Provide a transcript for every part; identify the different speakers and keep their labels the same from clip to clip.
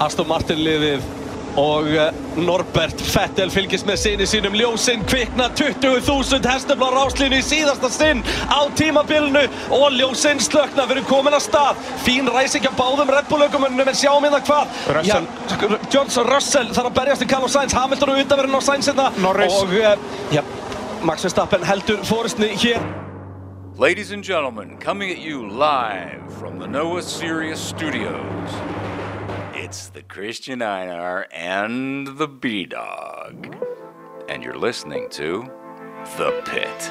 Speaker 1: Aston Martin liðið og eh, Norbert Fettel fylgist með sinni sínum ljósinn kvikna 20.000 hestum á ráslínu í síðasta sinn á tímabilinu og ljósinn slökna fyrir komin að stað fín ræsing af báðum Red Bull-aukumönnum en sjáum hérna hvað
Speaker 2: Russell.
Speaker 1: Já, R- Johnson Russell þarf að berjast í Carlos Sainz Hamilton og utanverðin á Sainz hérna
Speaker 2: Norris.
Speaker 1: og eh, já, Max Verstappen heldur fórustni hér
Speaker 3: Ladies and gentlemen, coming at you live from the NOAA Sirius Studios, it's the Christian Einar and the B Dog. And you're listening to The Pit.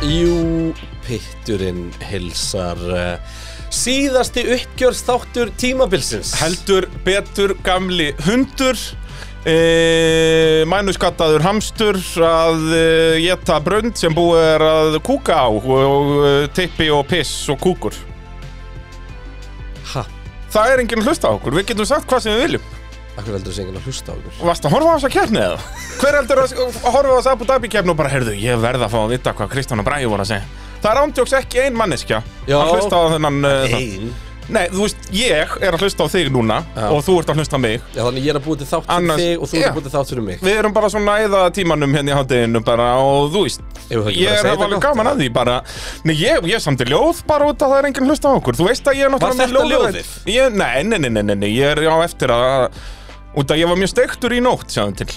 Speaker 4: Jú, pitturinn hilsar uh, síðasti uppgjörstáttur tímabilsins
Speaker 2: Heldur, betur, gamli hundur e, Mænuskattaður hamstur að e, geta brönd sem búið er að kúka á og e, tippi og piss og kúkur
Speaker 4: Ha,
Speaker 2: Það er enginn að hlusta á okkur, við getum sagt hvað sem við viljum
Speaker 4: akkur heldur þessi enginn að hlusta á okkur
Speaker 2: Varst að horfa á þessa kefni eða? Hver heldur að að horfa á þessa Abu Dhabi kefni og bara heyrðu, ég verð að fá að vita hvað Kristján og Bræði voru að segja Það er ándjóks ekki ein manneskja
Speaker 4: Já.
Speaker 2: að hlusta á þennan e, það.
Speaker 4: Ein
Speaker 2: Nei, þú veist, ég er að hlusta á þig núna
Speaker 4: Já.
Speaker 2: og þú ert að hlusta á mig
Speaker 4: Já, þannig ég er að búið til þátt fyrir
Speaker 2: Annars-
Speaker 4: þig og þú er
Speaker 2: Já.
Speaker 4: að búið til þátt fyrir mig
Speaker 2: Við erum bara svona að æða tímanum hérna í hátteginu bara og þú veist
Speaker 4: Eigum við ekki
Speaker 2: Ég
Speaker 4: bara að
Speaker 2: er
Speaker 4: segja
Speaker 2: hef
Speaker 4: þetta
Speaker 2: alveg
Speaker 4: gott,
Speaker 2: gaman
Speaker 4: eða?
Speaker 2: að því bara Nei, ég, ég samti ljóð bara út að það er enginn hlusta á okkur Þú veist að ég er náttúrulega
Speaker 4: þetta
Speaker 2: ljóðrænn-
Speaker 4: ljóðið?
Speaker 2: Ég, nei, nei, nei, nei, nei, nei, ég er á eftir að Út að ég var mjög steiktur í nótt, sjáðum til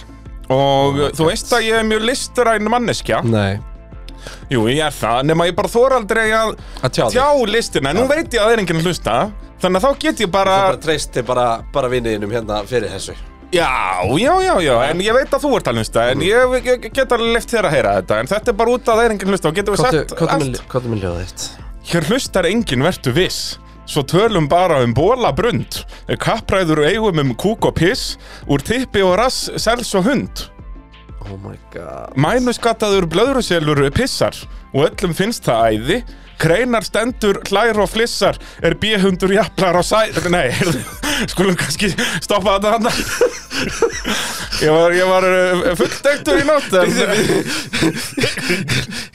Speaker 2: Og þú veist að ég er mjög listuræn manneskja
Speaker 4: Nei,
Speaker 2: Jú, ég er það, nema ég bara þor aldrei að
Speaker 4: að tjá
Speaker 2: tjá
Speaker 4: þig
Speaker 2: listina En nú veit ég að það er enginn að hlusta Þannig að þá get ég bara,
Speaker 4: Það bara treysti bara, bara vinniðinum hérna fyrir þessu
Speaker 2: Já, já, já, já, en ég veit að þú ert að hlusta En ég, ég get alveg leift þér að heyra þetta En þetta er bara út að það er enginn hlusta Og getum við sagt allt
Speaker 4: Hvað er með ljóðið þitt?
Speaker 2: Hér hlustar enginn vertu viss Svo tölum bara um bólabrund Kappræður eigum um kúk og piss Úr tippi og rass, sels og hund
Speaker 4: Oh my god
Speaker 2: Mænuskattaður blöðruselur pissar Og öllum finnst það æði Kreinar stendur, hlær og flissar Er bíhundur jaflar á sæ... Nei, skulum kannski stoppa þetta hann Ég var, ég var uh, fulldektur í nótt en-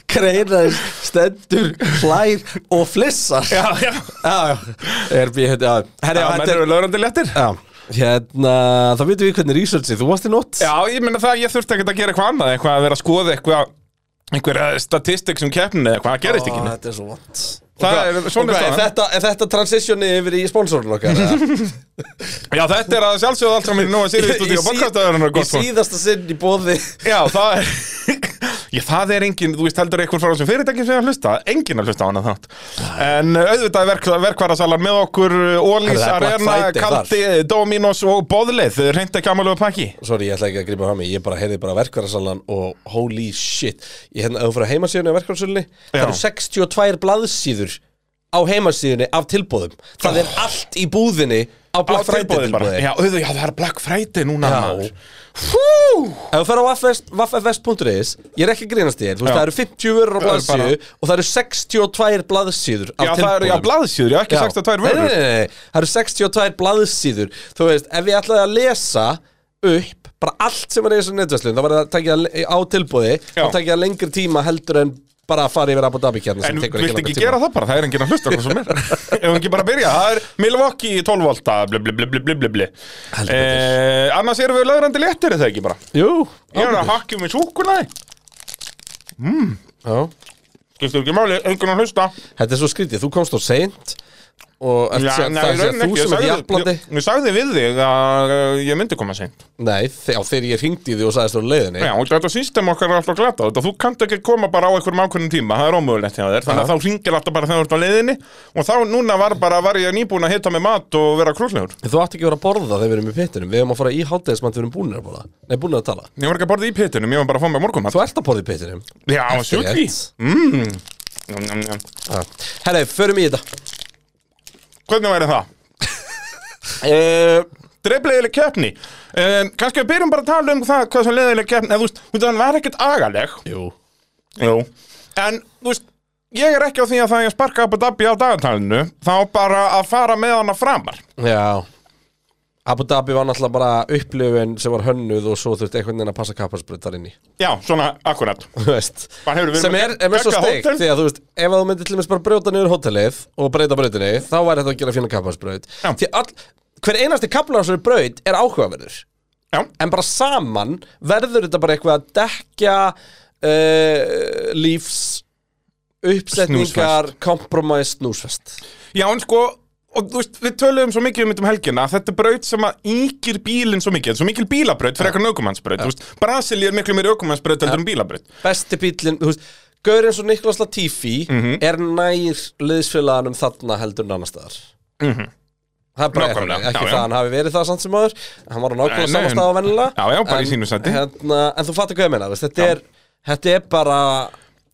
Speaker 4: Kreinar, stendur, hlær og flissar
Speaker 2: Já, já
Speaker 4: já, já Er býð, já
Speaker 2: Það
Speaker 4: Herri, já,
Speaker 2: menn
Speaker 4: þetta er
Speaker 2: eru lögrandi léttir
Speaker 4: Já, hérna, þá veitum við hvernig researchið, þú varst í nótt
Speaker 2: Já, ég meina það, ég þurfti ekkert að gera eitthvað annað Eitthvað að vera að skoða eitthvað einhverja statistik sem keppninu eða hvað það gerist ekki
Speaker 4: Ó,
Speaker 2: neitt.
Speaker 4: Þetta er svo vant
Speaker 2: Það er- svona er
Speaker 4: er
Speaker 2: staðan.
Speaker 4: þetta Er þetta transitioni yfir í sponsorinn okkar? eða?
Speaker 2: Já, þetta er að sjálfsögðu allt saman í Nóa Sirius
Speaker 4: Í
Speaker 2: stúdíu
Speaker 4: síð-
Speaker 2: podcastöðurinnar
Speaker 4: Í síðasta sinn í bóði
Speaker 2: Já, það er Já, það er engin, þú veist heldur eitthvað frá þessum fyrirtækjum sem er að hlusta, engin að hlusta á hana þátt En uh, auðvitað er verk, verkvarasalan með okkur uh, Ólís,
Speaker 4: Það er Black
Speaker 2: Arena,
Speaker 4: Friday
Speaker 2: Kaldi, uh, Dominos og Bóðleið Reynd ekki amalega pakki
Speaker 4: Sorry, ég ætla ekki að grípa fram í Ég bara heyrði bara verkvarasalan og holy shit Ég hérna, ef þú fyrir heimasíðunni á verkvarasölunni Það
Speaker 2: Já.
Speaker 4: eru 62 blaðsíður á heimasíðunni af tilbóðum Það er allt í búðinni á Black Friday
Speaker 2: tilboðið Ah. bara.
Speaker 4: tilbóði
Speaker 2: Já, auðvitað, já, það er Black Friday núna
Speaker 4: Já.
Speaker 2: maður. Hú!
Speaker 4: Ef þú fer á vaffefest.is Ég er ekki að grínast þér, þú veist
Speaker 2: Já.
Speaker 4: það eru 50 vörur á
Speaker 2: Það eru bara-
Speaker 4: blaðsíðu og það eru 62 blaðsíður af
Speaker 2: Já, það eru, já,
Speaker 4: tilboðum.
Speaker 2: blaðsýður, já, ekki 62
Speaker 4: Nei,
Speaker 2: vörur
Speaker 4: nei, nei, nei, það eru 62 blaðsíður Þú veist, ef ég ætlaði að lesa upp bara allt sem er í þessu netverslun þá var það að taka á tilbúði
Speaker 2: Já.
Speaker 4: þá taka ég lengri tíma heldur en bara að fara yfir Abu Dhabi kjarni
Speaker 2: En vilt ekki gera það bara, það er enginn að hlusta hvað sem er Ef við ekki bara byrja, það er Milwaukee 12 volta, bli bli bli bli bli bli bli
Speaker 4: Heldur
Speaker 2: eh, Annars erum við lögrandi léttir, er það ekki bara
Speaker 4: Jú,
Speaker 2: Ég er að hakka um með súkulæði
Speaker 4: Já.
Speaker 2: Skiptir ekki máli, enginn að hlusta
Speaker 4: Þetta er svo skrítið, þú komst á seint og ert sem-
Speaker 2: nei, í
Speaker 4: það er
Speaker 2: rauninni
Speaker 4: þú
Speaker 2: ekki,
Speaker 4: sem er
Speaker 2: ég sagði,
Speaker 4: jafnblandi
Speaker 2: ég, ég sagði við þig að uh, ég myndi koma seint
Speaker 4: Nei, þe- já, þegar ég hringdi í því og sagðist þú á leiðinni
Speaker 2: Já, og þetta system okkar er alltaf glata þetta Þú kannt ekki koma bara á einhverjum ákveðnum tíma Það er ómögulegt hjá þér Þannig að þá ringir alltaf bara þegar þú ert á leiðinni Og þá núna var bara, var ég nýbúin að hita með mat og vera krúslegur
Speaker 4: Þú átt ekki að vera að borða þegar við erum í pittinum Við erum að fara í hátæðismann þegar við erum búinir að borða Nei, búinir að tala
Speaker 2: Ég var ekki að borða í pittunum, ég var bara að fá mig morgumat
Speaker 4: Þú ert að borða í pittinum
Speaker 2: Já, sjúki
Speaker 4: Rétt.
Speaker 2: Mm.
Speaker 4: Já. Herra, förum í þetta
Speaker 2: Hvernig væri það? uh, Dreiflegileg keppni uh, Kannski við byrjum bara að tala um það hvað sem leðileg keppni eða, Þú veist, þú veist, hann var ekkert agaleg
Speaker 4: Jú
Speaker 2: Jú En, þú veist, ég er ekki á því að það ég sparka Abu Dhabi á dagatalinu Þá bara að fara með hana framar
Speaker 4: Já Abu Dhabi var náttúrulega bara upplifun sem var hönnuð og svo þurfti einhvern veginn að passa kapparsbrut þar inn í
Speaker 2: Já, svona akkurat
Speaker 4: Þú veist.
Speaker 2: Bara hefur við
Speaker 4: sem
Speaker 2: verið
Speaker 4: er,
Speaker 2: að
Speaker 4: er mér svo
Speaker 2: gegga
Speaker 4: steikt
Speaker 2: hótel?
Speaker 4: því að þú veist, ef að þú myndir til dæmis bara brjóta niður hótelið og breyta brautinni, þá væri þetta að gera fína kapparsbraut
Speaker 2: Já.
Speaker 4: því all, hver einasti kapparsbraut braut er áhugaverður
Speaker 2: Já,
Speaker 4: en bara saman verður þetta bara eitthvað að dekja uh, lífs uppsetningar,
Speaker 2: Snúsfest.
Speaker 4: kompromise, snúsfest
Speaker 2: já en sko Og þú veist, við töluðum svo mikið um þetta um helgina að Þetta er braut sem að ykir bílinn svo mikið Svo mikil bílabraut fyrir eitthvað aukumannsbraut ja. Brasil er miklu meiri aukumannsbraut heldur en bílabraut
Speaker 4: besti bílinn, þú veist Gaur eins og Niklas Latifi
Speaker 2: Mhm.
Speaker 4: er nær liðsfélaganum þarna heldur en annar staðar Það er bara
Speaker 2: Mhm. Nákvæmlega,
Speaker 4: ekki, ekki
Speaker 2: já, já.
Speaker 4: það hann hafi verið það samt sem áður Hann var á
Speaker 2: Nei,
Speaker 4: nákvæmlega saman
Speaker 2: nei,
Speaker 4: stað á vennilega
Speaker 2: Já, já, bara í
Speaker 4: En,
Speaker 2: sínu sæti.
Speaker 4: hérna, En þú fattar hvað ég meina, þú veist, þetta,
Speaker 2: Já.
Speaker 4: er, þetta er bara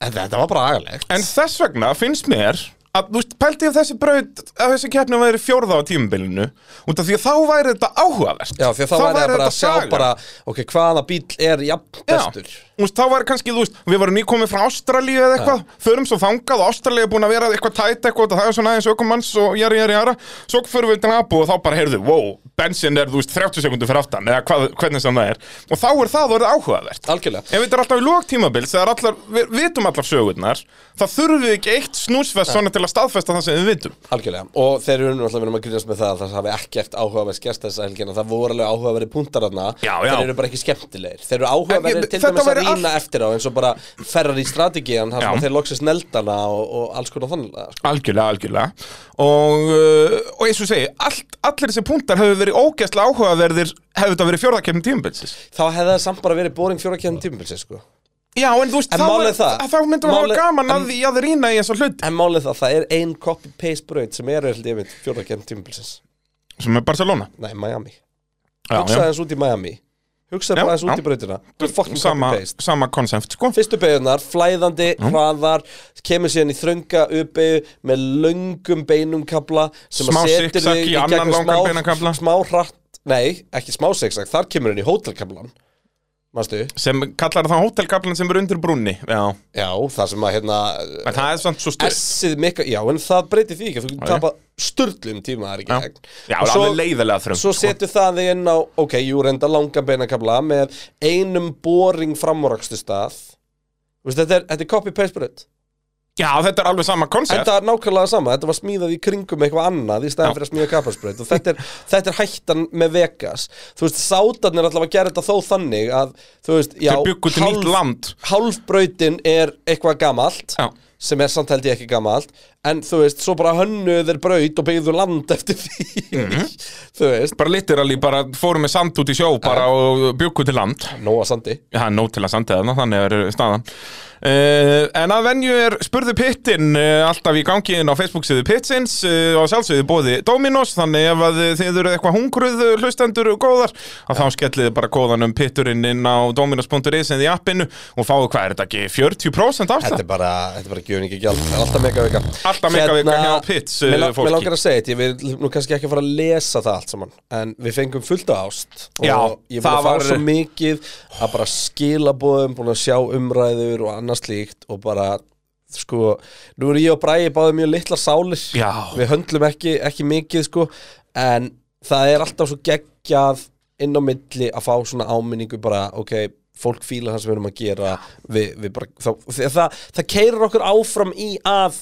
Speaker 4: en Þetta var bara agalegt
Speaker 2: En þess vegna finnst mér að, þú veist, pælti ef þessi braut að þessi keppni væri fjórða á tímabilinu út af því að þá væri þetta áhugavert
Speaker 4: Já, því að þá væri það bara að sjá
Speaker 2: saga.
Speaker 4: bara Ok, hvaða bíl er jafn bestur
Speaker 2: Já, þú veist, þá væri kannski, þú veist, við varum nýkomið frá Ástralíu eða eitthvað, förum svo þangað og Ástralíu er búin að vera eitthvað tætt eitthvað og það er svona aðeins ökumanns og jari, jari, jara svo förum við til Abu og þá bara heyrðu, wow, bensin er, þú veist, 30 sekundur fyrir aftan eða hvað, hvernig sem það er og þá er það orðið áhugavert
Speaker 4: Algjörlega
Speaker 2: Ef þetta er alltaf í lóktímabils, þegar allar, við vitum allar sögurnar, þá þurfum við ekki eitt snúsfest svona til að staðfesta það sem við vitum.
Speaker 4: Algjörlega, og þeir eru náttúrulega verið að grínast með það að það hafi ekkert áhugaverð skjast þess að helgina, það voru alveg áhugaverði punktar þarna,
Speaker 2: Já, já.
Speaker 4: þeir eru bara ekki skemmtilegir þeir eru
Speaker 2: En
Speaker 4: áhugaverðir
Speaker 2: ég-
Speaker 4: til
Speaker 2: þetta
Speaker 4: dæmis að
Speaker 2: væri
Speaker 4: rýna
Speaker 2: allt-
Speaker 4: eftir á eins og bara ferrar í strategían, þar sem
Speaker 2: Já.
Speaker 4: að þeir loksist neldana og, og alls konar þannig sko.
Speaker 2: Algjörlega, algjörlega og, uh, og eins og ég segi, allt, allir þessi punktar hefur verið ógæstlega áhugaverðir hefur þetta verið fjórðakefni tímabilsis
Speaker 4: þá hefði það samt bara verið boring fjórakefn tímabilsi sko.
Speaker 2: Já, en þú veist,
Speaker 4: En
Speaker 2: þá,
Speaker 4: málið
Speaker 2: er-
Speaker 4: það-
Speaker 2: þá myndum við hafa
Speaker 4: málið-
Speaker 2: gaman
Speaker 4: en-
Speaker 2: að því að rýna í þessu hluti
Speaker 4: en málið það, það er ein copy-paste braut sem er held ég mynd fjórakefn tímabilsis
Speaker 2: sem er Barcelona
Speaker 4: nei, Miami,
Speaker 2: já,
Speaker 4: hugsaði eins út í Miami hugsaði
Speaker 2: Já,
Speaker 4: bara eins
Speaker 2: já.
Speaker 4: út í brautina Bara fucking
Speaker 2: sama,
Speaker 4: copy-paste
Speaker 2: sama konsept, sko
Speaker 4: fyrstu beigunar, flæðandi, hraðar kemur síðan í þrönga uppeigu með löngum beinumkabla sem
Speaker 2: Smá
Speaker 4: að setur
Speaker 2: zigzag
Speaker 4: þig
Speaker 2: í annan
Speaker 4: gegnum
Speaker 2: langan
Speaker 4: smá-
Speaker 2: beinakafla.
Speaker 4: smá hratt, nei, ekki smá sexag þar kemur hann í hótelkablan Manstu?
Speaker 2: sem kallar það hótelkaflan sem er undir brúnni Já,
Speaker 4: Já, það sem að hérna
Speaker 2: en það er samt svo stuð
Speaker 4: S-ið mikka, já, en það breytir því ekki þú
Speaker 2: Nei.
Speaker 4: tapar sturlum tíma það
Speaker 2: Já,
Speaker 4: er ekki hægt
Speaker 2: já
Speaker 4: Og
Speaker 2: alveg sko.
Speaker 4: svo-
Speaker 2: leiðilega þröng
Speaker 4: Svo setur það þig inn á, ok, jú reynda langan beinakabla með einum boring framúrakstu stað Vist, þetta er, þetta er copy-paste breytt
Speaker 2: Já, þetta er alveg sama
Speaker 4: En
Speaker 2: konsept
Speaker 4: það er nákvæmlega sama, þetta var smíðað í kringum eitthvað annað í
Speaker 2: Já.
Speaker 4: staðan fyrir að smíða kapparsbraut og þetta er, þetta er hættan með Vegas Þú veist, sátarnir er allavega að gera þetta þó þannig að þú veist, já,
Speaker 2: Þau bjuggu til nýtt land
Speaker 4: hálfbrautin er eitthvað gamalt
Speaker 2: Já.
Speaker 4: sem er samt held ég ekki gamalt en þú veist, svo bara hönnuð er braut og byggðu land eftir því
Speaker 2: Mhm.
Speaker 4: þú veist,
Speaker 2: Bara literally, bara fórum með sand út í sjó bara og bjuggu til land
Speaker 4: nóa sandi
Speaker 2: Já, það er nóg til að sanda þarna, þannig er staðan uh, En að venju er spurðu pittin uh, alltaf í gangi inn á Facebook-síðu pittsins uh, og sjálfsögðu bóði Dominos þannig ef að þið eru eitthvað hungruð uh, hlustendur og góðar að þá skelliði bara góðan um pitturinn inn á dominos.is en í appinu og fáðu hvað er þetta ekki 40%
Speaker 4: Þetta
Speaker 2: afslætt?
Speaker 4: er bara, þetta er bara gjöningi gjald, alltaf Hérna, megavika
Speaker 2: Alltaf megavika hjá Pits, uh,
Speaker 4: Mér lang-
Speaker 2: fólki.
Speaker 4: mér langar að segja þetta, ég vil nú kannski ekki að fara að lesa það allt saman En við fengum fullt af ást Og
Speaker 2: Já,
Speaker 4: ég búin
Speaker 2: það
Speaker 4: að fá
Speaker 2: var-
Speaker 4: svo mikið að bara skilabóðum, búin að sjá umræður og annað slíkt Og bara, sko, nú er ég og Bræi báðið mjög litlar sálir
Speaker 2: Já.
Speaker 4: Við höndlum ekki, ekki mikið, sko En það er alltaf svo geggjað inn á milli að fá svona áminningu bara, ok, fólk fíla það sem við erum að gera við, við bara, þá, það, það, það keirir okkur áfram í að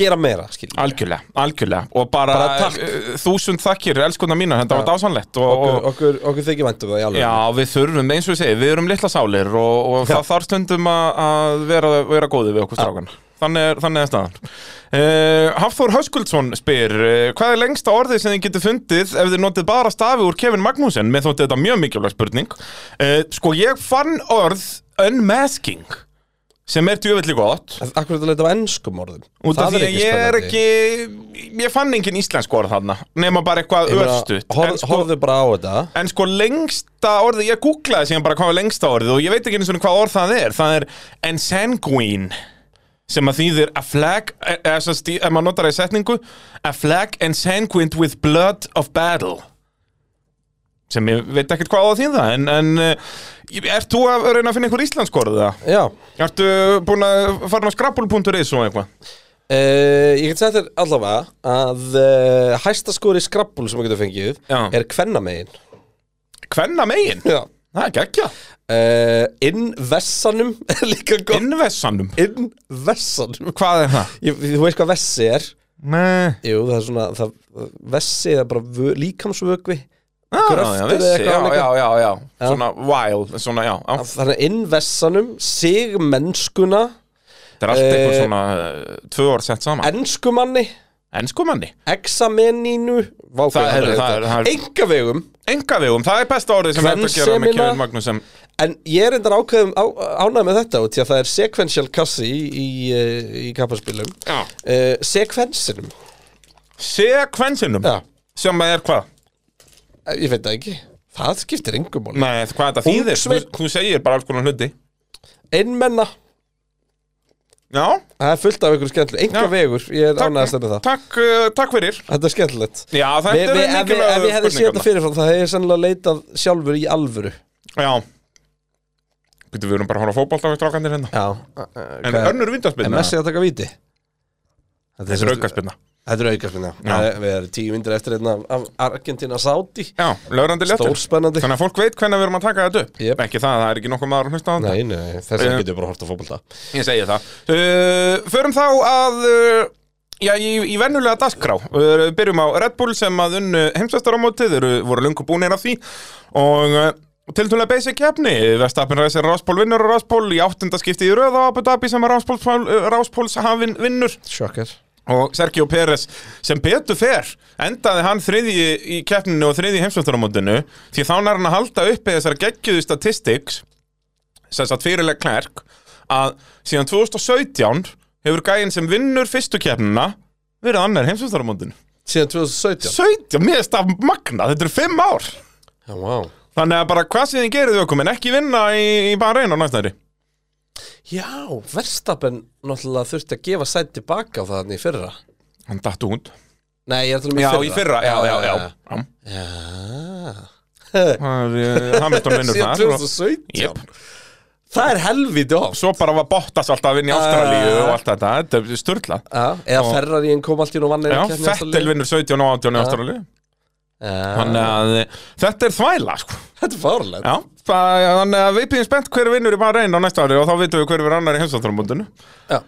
Speaker 4: gera meira, skiljum
Speaker 2: Algjörlega, algjörlega og bara,
Speaker 4: Bara takk.
Speaker 2: uh, þúsund þakkir, elskuna mínar, þetta
Speaker 4: Já.
Speaker 2: var dásanlegt og,
Speaker 4: okkur,
Speaker 2: og,
Speaker 4: okkur, okkur þykir væntum það í alveg
Speaker 2: Já, við þurfum, eins og ég segi, við erum litla sálir og, og það þarf stundum að, að vera, vera góði við okkur strákan Þannig er, þannig er staðan uh, Hafþór Höskuldsson spyr uh, Hvað er lengsta orðið sem þið getur fundið ef þið notið bara stafi úr Kevin Magnúsen? Mér þótti þetta mjög mikilvæg spurning uh, Sko, ég fann orð unmasking sem er djöfelli gott
Speaker 4: Akkur þetta leita á ennskum orðum
Speaker 2: Út af
Speaker 4: Það
Speaker 2: því að
Speaker 4: er ekki
Speaker 2: ég er
Speaker 4: spennandi.
Speaker 2: ekki, ég fann engin íslensk orð þarna nema bara eitthvað
Speaker 4: Ég meina,
Speaker 2: örstutt En sko-
Speaker 4: horf- Horfðu bara á þetta
Speaker 2: En sko lengsta orðið, ég googlaði síðan bara hvað var lengsta orðið og ég veit ekki eins og hvað orð það er. Það er ensanguine sem að þýðir a flag, eh, eh, sem sagt í- ef maður notar það í setningu, a flag ensanguined with blood of battle. Sem ég veit ekkert hvað á að þýða, en, en eh, ert þú að reyna að finna einhver íslensk orðið það?
Speaker 4: Já,
Speaker 2: Ertu búin að fara á skrappul.is og eitthvað?
Speaker 4: Uh, ég get sagt þér allavega að uh, hæstaskori skrabbul sem maður getur fengið
Speaker 2: Já.
Speaker 4: er kvennamegin
Speaker 2: Hvenna megin?
Speaker 4: Já
Speaker 2: Það er geggja
Speaker 4: uh, Inn vessanum er líka gott
Speaker 2: Innvessanum
Speaker 4: Inn vessanum
Speaker 2: Hvað er það?
Speaker 4: ég, Þú veist hvað vessi er
Speaker 2: Nei
Speaker 4: Jú, það er svona það, Vessi er bara vö, líkamsvögvi
Speaker 2: Ah, Já,
Speaker 4: Gröftur
Speaker 2: já,
Speaker 4: eða
Speaker 2: vissi,
Speaker 4: eitthvað
Speaker 2: já, já,
Speaker 4: álíka.
Speaker 2: já, já Svona wild, svona, já, já.
Speaker 4: Þannig að inn vessanum sig mennskuna
Speaker 2: Þetta er allt eitthvað
Speaker 4: Eh,
Speaker 2: svona uh, Tvö orð sett saman sko,
Speaker 4: Enskumanni
Speaker 2: Enskumanni
Speaker 4: Exameninu
Speaker 2: Það er- það er- það er-
Speaker 4: Engavegum
Speaker 2: Enga vegum, það er besta orðið sem hægt að gera með
Speaker 4: Kvensemina.
Speaker 2: Kevin Magnússon
Speaker 4: En ég er endar ákveðum á, ánægð með þetta og því að það er sequential kassi í, í, eh, í kappaspilum
Speaker 2: Já.
Speaker 4: uh, Sekvensinum
Speaker 2: Sekvensinum
Speaker 4: Já.
Speaker 2: Sem er hvað?
Speaker 4: Eh, Ég veit það ekki Það skiptir engum mál
Speaker 2: Nei, hvað þetta þýðir? Þú,
Speaker 4: Ungsveinn.
Speaker 2: þú segir bara alls konar hluti
Speaker 4: Einmenna
Speaker 2: Já,
Speaker 4: Það er fullt af ykkur skemmtilegt Enga
Speaker 2: Já.
Speaker 4: vegur Ég er ánægð að stefna það
Speaker 2: takk, uh, takk fyrir
Speaker 4: Þetta er skemmtilegt
Speaker 2: Já, þetta
Speaker 4: Vi, vi,
Speaker 2: er
Speaker 4: ef, við, ef við hefði séð þetta fyrirfram það hefði ég sennilega leitað sjálfur í alvöru
Speaker 2: Já Býttu, við erum bara að horfa á fótbolta við strákandir hérna
Speaker 4: Já
Speaker 2: En
Speaker 4: Hvað-
Speaker 2: önnur
Speaker 4: En
Speaker 2: vindarspilna
Speaker 4: Messi að taka víti Þetta
Speaker 2: Þessi raukaspilna
Speaker 4: Þetta er aukarspinna Við erum tíu vindur eftir einna af Argentina Saudi
Speaker 2: Já, lögrandi léttur
Speaker 4: Stórspennandi
Speaker 2: Þannig að fólk veit hvernig við erum að taka þetta upp
Speaker 4: Jep.
Speaker 2: Ekki það, það er ekki nokkuð maður að hlusta á þetta
Speaker 4: Nei, nei, þess vegna
Speaker 2: Eh.
Speaker 4: getum við bara hort að fótbolta
Speaker 2: Ég segi það uh, Förum þá að uh, Já, í, í vennulega daskrá uh, Byrjum á Red Bull sem að unnu heimsvestaramótið Þeir eru- voru lungu búnir af því Og uh, tiltúlega basic kefni Vestapin reisir Ráspól vinnur og Ráspól Í áttunda skipti í röð á Abu Dhabi sem að Ráspól, Ráspóls uh, hafinn vinnur
Speaker 4: Sjokkar
Speaker 2: Og Sergio Pérez sem betur fer endaði hann þriðji í keppninu og þriðji í heimsvöldaramótinu því þá nær hann að halda uppi þessar geggjuðu statistics sem satt fyrirlega klærk að síðan 2017 hefur gæinn sem vinnur fyrstu keppnina verið annar í heimsvöldaramótinu
Speaker 4: Síðan 2017
Speaker 2: 17, mér erst af magna, þetta eru 5 ár
Speaker 4: Já, wow.
Speaker 2: þannig að bara hvað sem þið gerðu okkur en ekki vinna í, í bara reyna á næstæri
Speaker 4: Já, Verstappen náttúrulega þurfti að gefa sætt tilbaka á það hann í fyrra
Speaker 2: hann datt út
Speaker 4: Nei, ég er að tala um í
Speaker 2: já,
Speaker 4: fyrra
Speaker 2: í fyrra, já, já, já, já.
Speaker 4: já.
Speaker 2: Það er, eh, Hamilton vinnur
Speaker 4: Síðan
Speaker 2: þar og-
Speaker 4: 2017
Speaker 2: Jep.
Speaker 4: Það er helvítið oft
Speaker 2: svo bara var Bottas alltaf að vinna í Ástralíu og allt þetta, þetta er sturla
Speaker 4: Já, eða Ferrari en kom allt í nú vann hérna
Speaker 2: Já, Fettel vinnur 17 og 18 í Ástralíu Þannig að eh, þetta er þvæla sko.
Speaker 4: Þetta er fárlega
Speaker 2: Já, það- þannig að við býðum spennt hver vinnur í bara á næsta ári og þá vitum við hver verður annar í heimsáttarmóndinu
Speaker 4: Já.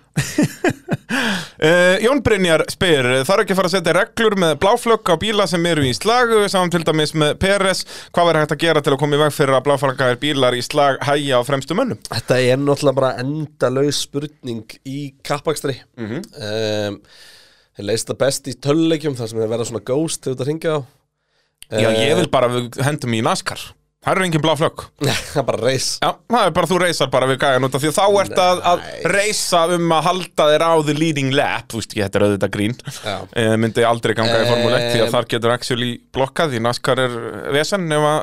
Speaker 2: Uh, Jón Brynjar spyr eh, Þarf ekki að fara að setja reglur með bláflögg á bíla sem eru í slag saman til dæmis með PRS Hvað verður hægt að gera til að koma í veg fyrir að bláflöggar bílar í slag hægja á fremstu mönnum?
Speaker 4: Þetta er náttúrulega bara endalaus spurning í kappakstri mm
Speaker 2: Mhm.
Speaker 4: -hmm. Þeir leist það best í tölleikjum þar sem þeir verða svona ghost þegar þú ert að hringja á
Speaker 2: Já, ég vil bara að við hendum í NASCAR Það eru Eh, engin bláflögg
Speaker 4: Það er bara reis
Speaker 2: Já, það er bara þú reysar bara við gæjan út af því að þá ert að, að reysa um að halda þér á the leading lap, þú veist ekki, þetta er auðvitað grín
Speaker 4: Já.
Speaker 2: e, myndi aldrei ganga í Formule 1 því
Speaker 4: Eh.
Speaker 2: að þar getur actually blokkað því NASCAR er vesen ef að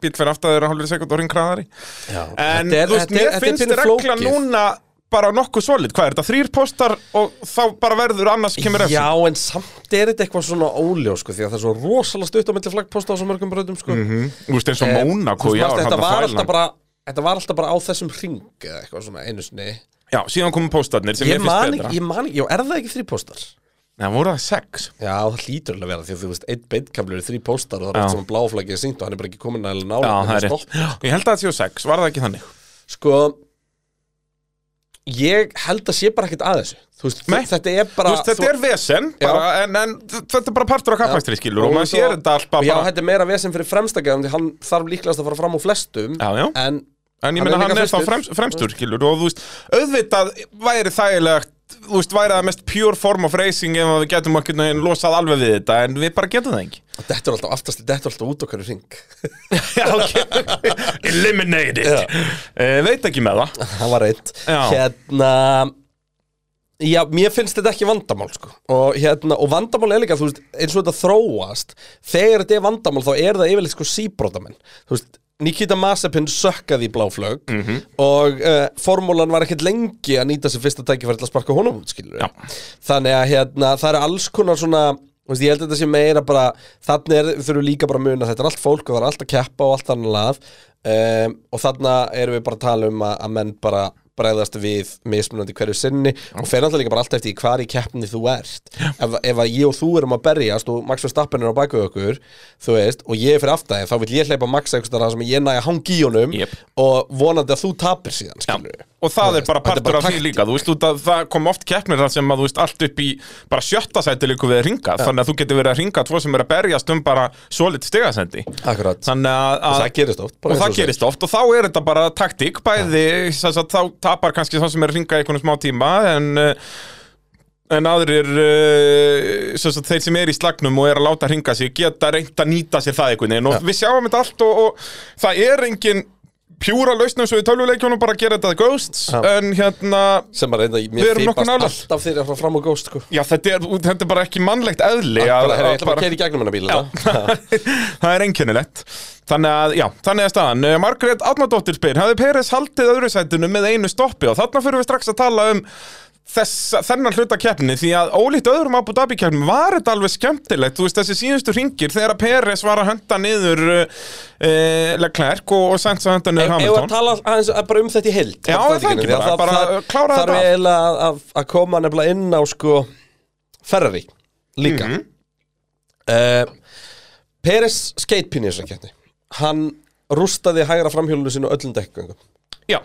Speaker 2: bíl fyrir aftur þér að hálfur sekund og ringraðari
Speaker 4: Já.
Speaker 2: en
Speaker 4: Þetta er-
Speaker 2: þú veist,
Speaker 4: þetta er-
Speaker 2: mér
Speaker 4: þetta er
Speaker 2: finnst
Speaker 4: pínu
Speaker 2: regla
Speaker 4: flókið.
Speaker 2: núna bara nokkuð solid, hvað er þetta, þrýr postar og þá bara verður annars kemur refsing.
Speaker 4: Já, en samt er þetta eitthvað svona óljó sko, því að það er svo rosalega stutt á milli flaggposta á svo mörgum bröðum sko. mm -hmm.
Speaker 2: þú veist eins og Mónako í ár,
Speaker 4: þetta,
Speaker 2: Mhm. þarna
Speaker 4: var
Speaker 2: þvælan.
Speaker 4: alltaf bara, þetta var alltaf bara á þessum hring eða eitthvað svona einu sinni
Speaker 2: já, síðan komu postarnir sem
Speaker 4: Ég
Speaker 2: ég finnst
Speaker 4: man ekki,
Speaker 2: betra
Speaker 4: ég man ekki, já, er það ekki þrý póstar?
Speaker 2: það voru það sex
Speaker 4: Já, það hlýtur alveg að vera því að þú veist, einn beintkamlur er þrý póstar og það er oft
Speaker 2: Já.
Speaker 4: svona bláflækið sínt og hann er bara ekki komin að
Speaker 2: Já,
Speaker 4: nála
Speaker 2: það er rétt. Ég held að það séu sex, var það ekki þannig?
Speaker 4: Sko Ég held að sé bara ekkert að þessu Þú veist,
Speaker 2: Nei.
Speaker 4: þetta er bara
Speaker 2: Þú veist, þetta er vesen, bara, en, en þetta er bara partur af kappakstri, skilur, og maður sér þetta allt bara,
Speaker 4: Já, þetta er meira vesen fyrir fremstakæðum því hann þarf líklegast að fara fram úr flestum
Speaker 2: Já, já.
Speaker 4: En
Speaker 2: en ég
Speaker 4: hann er
Speaker 2: meina hann
Speaker 4: líka
Speaker 2: er þá
Speaker 4: fyrstur.
Speaker 2: fremst, fremstur, skilur, og þú veist, auðvitað væri þægilegt, þú veist, væri það mest pure form of racing ef að við getum okkur neginn losað alveg við þetta, en við bara getum það ekki.
Speaker 4: þetta er alltaf aftast Þetta er alltaf út okkar í ring
Speaker 2: Já, ok, eliminated, uh, veit ekki með það.
Speaker 4: Það var reitt
Speaker 2: Já.
Speaker 4: Hérna Já, mér finnst þetta ekki vandamál sko. og, hérna, og vandamál er líka, þú veist, eins og þetta þróast Þegar þetta er vandamál þá er það yfirleitt sko síbrótamenn Þú veist, Nikita Mazepin sökkaði í bláflög
Speaker 2: Mhm.
Speaker 4: -hmm. Og uh, formúlan var ekkert lengi að nýta sér fyrsta tækifæri til að sparka honum út, skilur
Speaker 2: Já.
Speaker 4: Þannig að hérna, það eru alls konar svona þú veist, Ég held að þetta sé meira bara Þannig er, þurfum líka bara að muna að þetta er allt fólk og það Ehm, er allt að keppa og allt annað um, Og þannig erum við bara að tala um að, að menn bara bregðast við mismunandi hverju sinni og fer náttúrulega líka bara allt eftir hvar í keppni þú ert ef, ef að ég og þú erum að berjast og Max Verstappen er á baku okkur þú veist, og ég er fyrir aftæði, þá vil ég hleypa Max eitthvað þar sem ég næja hangi í honum
Speaker 2: Jep.
Speaker 4: og vonandi að þú tapir síðan skilur við.
Speaker 2: Og það er bara
Speaker 4: Þetta er
Speaker 2: partur
Speaker 4: bara
Speaker 2: af því
Speaker 4: taktík.
Speaker 2: líka, þú veist, út að það kom oft keppnir þar sem að þú veist allt upp í bara sjötta sæti líku við að ringa, þannig að þú getur verið að ringa tvo sem er að berjast um bara solid stigasendi.
Speaker 4: Akkurat,
Speaker 2: Þannig að,
Speaker 4: og
Speaker 2: að
Speaker 4: það gerist oft
Speaker 2: og
Speaker 4: bara eins
Speaker 2: það
Speaker 4: þú segir.
Speaker 2: gerist oft og þá er þetta bara taktík, bæði, ja. að, þá tapar kannski það sem er að ringa í einhvern smá tíma en, uh, en aðrir, uh, sem sagt, þeir sem er í slagnum og er að láta ringa sig geta reynt að nýta sér það einhvern veginn og
Speaker 4: Já.
Speaker 2: við sjáum þetta allt og, og það er engin pjúra lausnum svo í tölvuleikjónum bara að gera þetta ghosts
Speaker 4: Já.
Speaker 2: en hérna
Speaker 4: sem að reynda,
Speaker 2: Við
Speaker 4: mér
Speaker 2: erum nokkuð
Speaker 4: fýpast
Speaker 2: nálægt.
Speaker 4: alltaf þegar það fram og góst sko.
Speaker 2: Já, þetta er, þetta er bara ekki mannlegt eðli
Speaker 4: Akkurat,
Speaker 2: að-
Speaker 4: herra,
Speaker 2: að
Speaker 4: ég ætla bara að keira í gegnum hennar bíl
Speaker 2: það er einkennilegt þannig að, já, þannig að staðan Eh, Margrét Átnardóttir spyr, hafði Peres haldið öðru sætinu með einu stoppi og þarna fyrir við strax að tala um þess, þennan hluta keppni því að ólíkt öðrum Abu Dhabi keppni var þetta alveg skemmtilegt, þú veist þessi síðustu ringir þegar að Peres var að hönda niður uh, Leclerc og, og Sainz að hönda niður
Speaker 4: Ef að
Speaker 2: Hamilton
Speaker 4: tala aðeins að- bara um þetta í heild
Speaker 2: Já, er það ekki bara? Bara klára
Speaker 4: Þar
Speaker 2: þetta
Speaker 4: er
Speaker 2: af.
Speaker 4: eiginlega að- að- að koma nefnilega inn á sko Ferrari líka
Speaker 2: Mhm.
Speaker 4: mm Peres skeitpinn í þessari keppni Hann rústaði hægra framhjólinu sinu öllum dekkgöngum
Speaker 2: Já,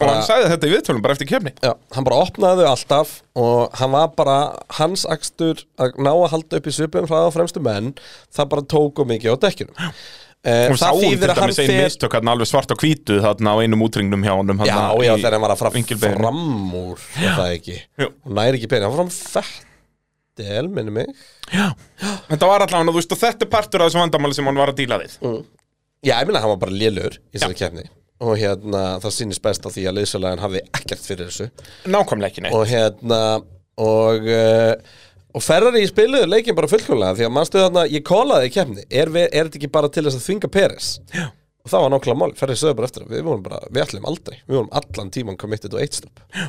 Speaker 2: bara hann sagði þetta í viðtölum bara eftir keppni
Speaker 4: Já, hann bara opnaði þau alltaf og hann var bara hans akstur að ná að halda upp í svipum hraða á fremstu menn það bara tók og mikið á dekkinum eh,
Speaker 2: og við sáum til dæmis einu
Speaker 4: fer-
Speaker 2: mistök hann alveg svart og hvítu þarna á einum útringnum hjá honum
Speaker 4: Já,
Speaker 2: þarna
Speaker 4: já,
Speaker 2: í
Speaker 4: þegar hann var að fara
Speaker 2: vingilbeiðinu.
Speaker 4: fram úr er það ekki,
Speaker 2: Jú.
Speaker 4: og næri ekki pening hann var fram fettel, minni mig
Speaker 2: Þetta var allavega, þú veist, og þetta er partur af þessu vandamáli sem hann var að díla við.
Speaker 4: Mm. Já, ég minna hann var bara lélur í þessari keppni og hérna, það sýnist best á því að liðsalæðan hafði ekkert fyrir þessu
Speaker 2: Nákvæmlega ekki neitt.
Speaker 4: og hérna og, uh, og Ferrari spiluðu leikin bara fullkomlega því að mannstu þarna, ég kólaði í kemni er, vi, er þetta ekki bara til þess að þvinga Peres Já. og það var nákvæmlega mál, Ferrari sögðu bara eftir það, við vorum bara, við ætlum aldrei við vorum allan tíman committed og eitt stopp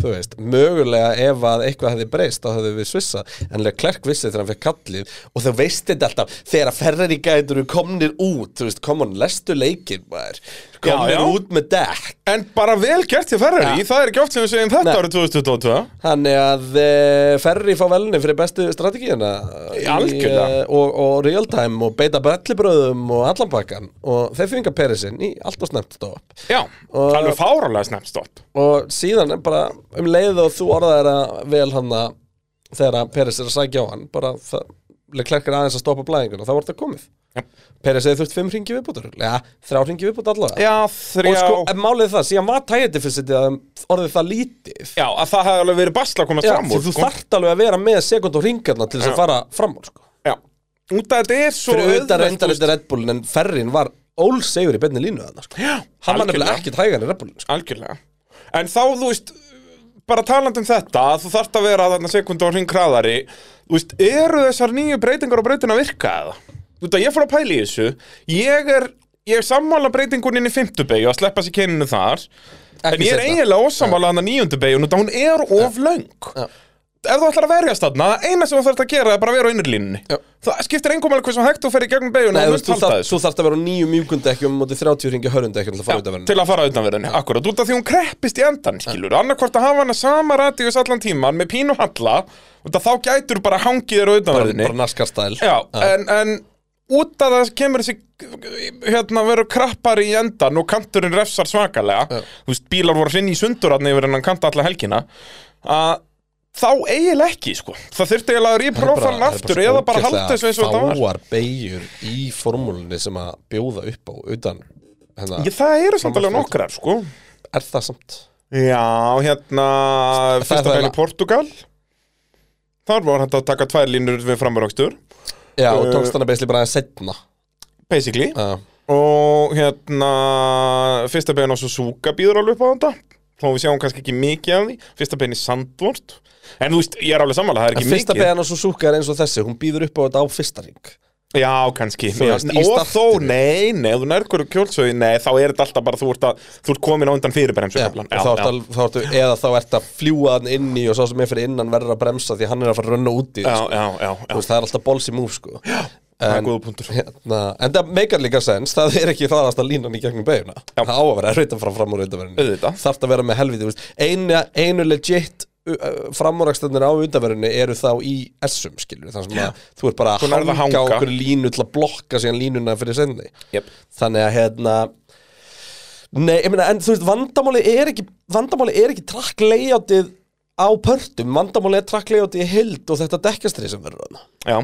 Speaker 4: þú veist, mögulega ef að eitthvað hefði breyst, þá hefði við svissa en Leclerc vissi þegar hann fekk kallið og þau veist þetta alltaf, þegar að Ferrari gætur eru komnir út, þú veist, come on, lestu leikin maður, komnir
Speaker 2: já.
Speaker 4: út með dekk
Speaker 2: En bara vel gert hjá Ferrari,
Speaker 4: Ja.
Speaker 2: það er ekki oft sem við segjum þetta
Speaker 4: Nei.
Speaker 2: árið 2022.
Speaker 4: Þannig að uh, Ferri fá velni fyrir bestu strategíuna
Speaker 2: Í algjörlega.
Speaker 4: Í, eh, og, og real time og beita brellibröðum og allan pakkan og þeir fengar Perisinn í allt og snemt stopp
Speaker 2: Já,
Speaker 4: Og-
Speaker 2: alveg fáralega snemmstopp.
Speaker 4: og síðan er bara um leið og þú orðaðir að vel hann að þegar að Peris er að sækja á hann bara það Leclerc er aðeins að stoppa blæðingun og það voru þetta komið
Speaker 2: Já.
Speaker 4: Peris hefði þurft fimm ringi viðbútur Já, þrjá ringi viðbútur allavega
Speaker 2: Já,
Speaker 4: Og
Speaker 2: þrjá...
Speaker 4: sko, en málið er það, síðan var tægjandi fyrir sitt orðið það lítið
Speaker 2: Já, að það hefði alveg verið basla að komast
Speaker 4: Já,
Speaker 2: fram
Speaker 4: því
Speaker 2: úr, sko.
Speaker 4: þú þarft alveg að vera með sekund og ringarna til þess
Speaker 2: Já.
Speaker 4: að fara fram úr sko.
Speaker 2: Já, út að þetta er svo
Speaker 4: fyrir utan
Speaker 2: auðvelt,
Speaker 4: reyndar
Speaker 2: þú veist.
Speaker 4: þetta Red Bullin en ferrin var ólsegur í beinni línu þarna sko.
Speaker 2: Já,
Speaker 4: hann var nefnilega
Speaker 2: algjörlega.
Speaker 4: ekkert hægan í Red Bullin sko.
Speaker 2: Algjörlega. En þá, þú veist, bara taland um þetta, að þú þarft að vera þarna sekund og hring hraðari, þú veist, eru þessar nýju breytingar á breytin að virka eða? Þú veist að ég fór að pæla í þessu, ég er, ég er sammála breytinguninni í fimmtubegi og að sleppa sér kyninu þar, en
Speaker 4: Ekki
Speaker 2: ég er
Speaker 4: seinna.
Speaker 2: eiginlega ósammála hann að níundubegi og nú hún er of löng.
Speaker 4: Já.
Speaker 2: Ef þú ætlar að verjast þarna, eina sem þú þarft að gera er bara að vera á innurlínunni.
Speaker 4: Já.
Speaker 2: Það skiptir engum alveg hversu hægt þú fer í gegnum beginu
Speaker 4: Nei,
Speaker 2: og þú
Speaker 4: þú, veist, þú,
Speaker 2: veist halda
Speaker 4: þarft,
Speaker 2: þessu.
Speaker 4: þú þarft að vera á nýju mjúkundi ekki um móti 30 ringi hörund ekki til að fara út af
Speaker 2: til
Speaker 4: verðinu
Speaker 2: að fara utanverðinni, akkurat, út af því hún kreppist í endan, skilur, annarkvort að hafa hana sama radíus allan tíman með pínu halla út af þá gætur bara hangið þér á
Speaker 4: bara,
Speaker 2: utanverðinni
Speaker 4: bara naskarstæl
Speaker 2: Já, en, en út af það kemur þessi hérna verður krappar í endan og kanturinn refsar svakalega þú veist, bílar voru hrinn í sundur hann yfir en hann kanta alla helgina að þá eiginlega ekki, sko það þurfti eiginlega að rýpa rófalinn aftur eða bara halda þessu eins og þetta var
Speaker 4: fáar beigjur í formúlinni sem að bjóða upp á utan hérna,
Speaker 2: Ég, það eru samt alveg nokkrar, sko
Speaker 4: er það samt
Speaker 2: Já, hérna
Speaker 4: Það-
Speaker 2: Fyrsta
Speaker 4: það er
Speaker 2: bæli
Speaker 4: la-
Speaker 2: Portugal Þar var hægt að taka tvær línur við framverjókstur
Speaker 4: já, og
Speaker 2: Eh, Ah.
Speaker 4: tókst hann að beisli bara að setna
Speaker 2: Basically
Speaker 4: uh,
Speaker 2: Og hérna Fyrsta bæli á Suzuka býður alveg upp á þetta Þó við sjáum kannski ekki mikið af því Fyrsta bæli Sandvort En þú veist, ég er alveg sammála, það er
Speaker 4: en
Speaker 2: ekki
Speaker 4: fyrsta
Speaker 2: mikið
Speaker 4: beigjan á Suzuka er eins og þessi hún býður upp á þetta á fyrsta ring
Speaker 2: Já, kannski
Speaker 4: Þú veist,
Speaker 2: Já,
Speaker 4: í
Speaker 2: Og
Speaker 4: startinu.
Speaker 2: þó, nei, nei, ef þú nærð hverju kjólsögi Nei, þá er þetta alltaf bara, þú ert, að, þú ert komin á undan fyrirbremsu
Speaker 4: Já,
Speaker 2: kaflann.
Speaker 4: og þá ertu al- þá ertu, eða þá ertu að fljúa hann inn í og sá sem er fyrir innan verður að bremsa því hann er að fara að runna út í
Speaker 2: já,
Speaker 4: sko.
Speaker 2: já, já, já,
Speaker 4: Þú veist, það er alltaf bolsi múf sko.
Speaker 2: það er
Speaker 4: En-
Speaker 2: góða punktur
Speaker 4: hérna, en það meikar líka sens það er ekki hraðast að línan í gegnum beiguna það á að vera erfitt að fara fram úr undanverðinu
Speaker 2: Auðvitað.
Speaker 4: þarf að vera með helviti þú veist. einu, einu legit framúrækstöndir á undanverðinu eru þá í S-um skilur þannig sem að þú ert bara að
Speaker 2: Þú nærð
Speaker 4: hanga,
Speaker 2: að hanga.
Speaker 4: okkur línu til að blokka síðan línuna fyrir sendi
Speaker 2: Jep.
Speaker 4: þannig að hérna Nei, ég meina, en þú veist, vandamáli er ekki vandamáli er ekki track layoutið á pörtum, vandamáli er track layoutið í hild og þetta dekkastri sem verður þarna
Speaker 2: Já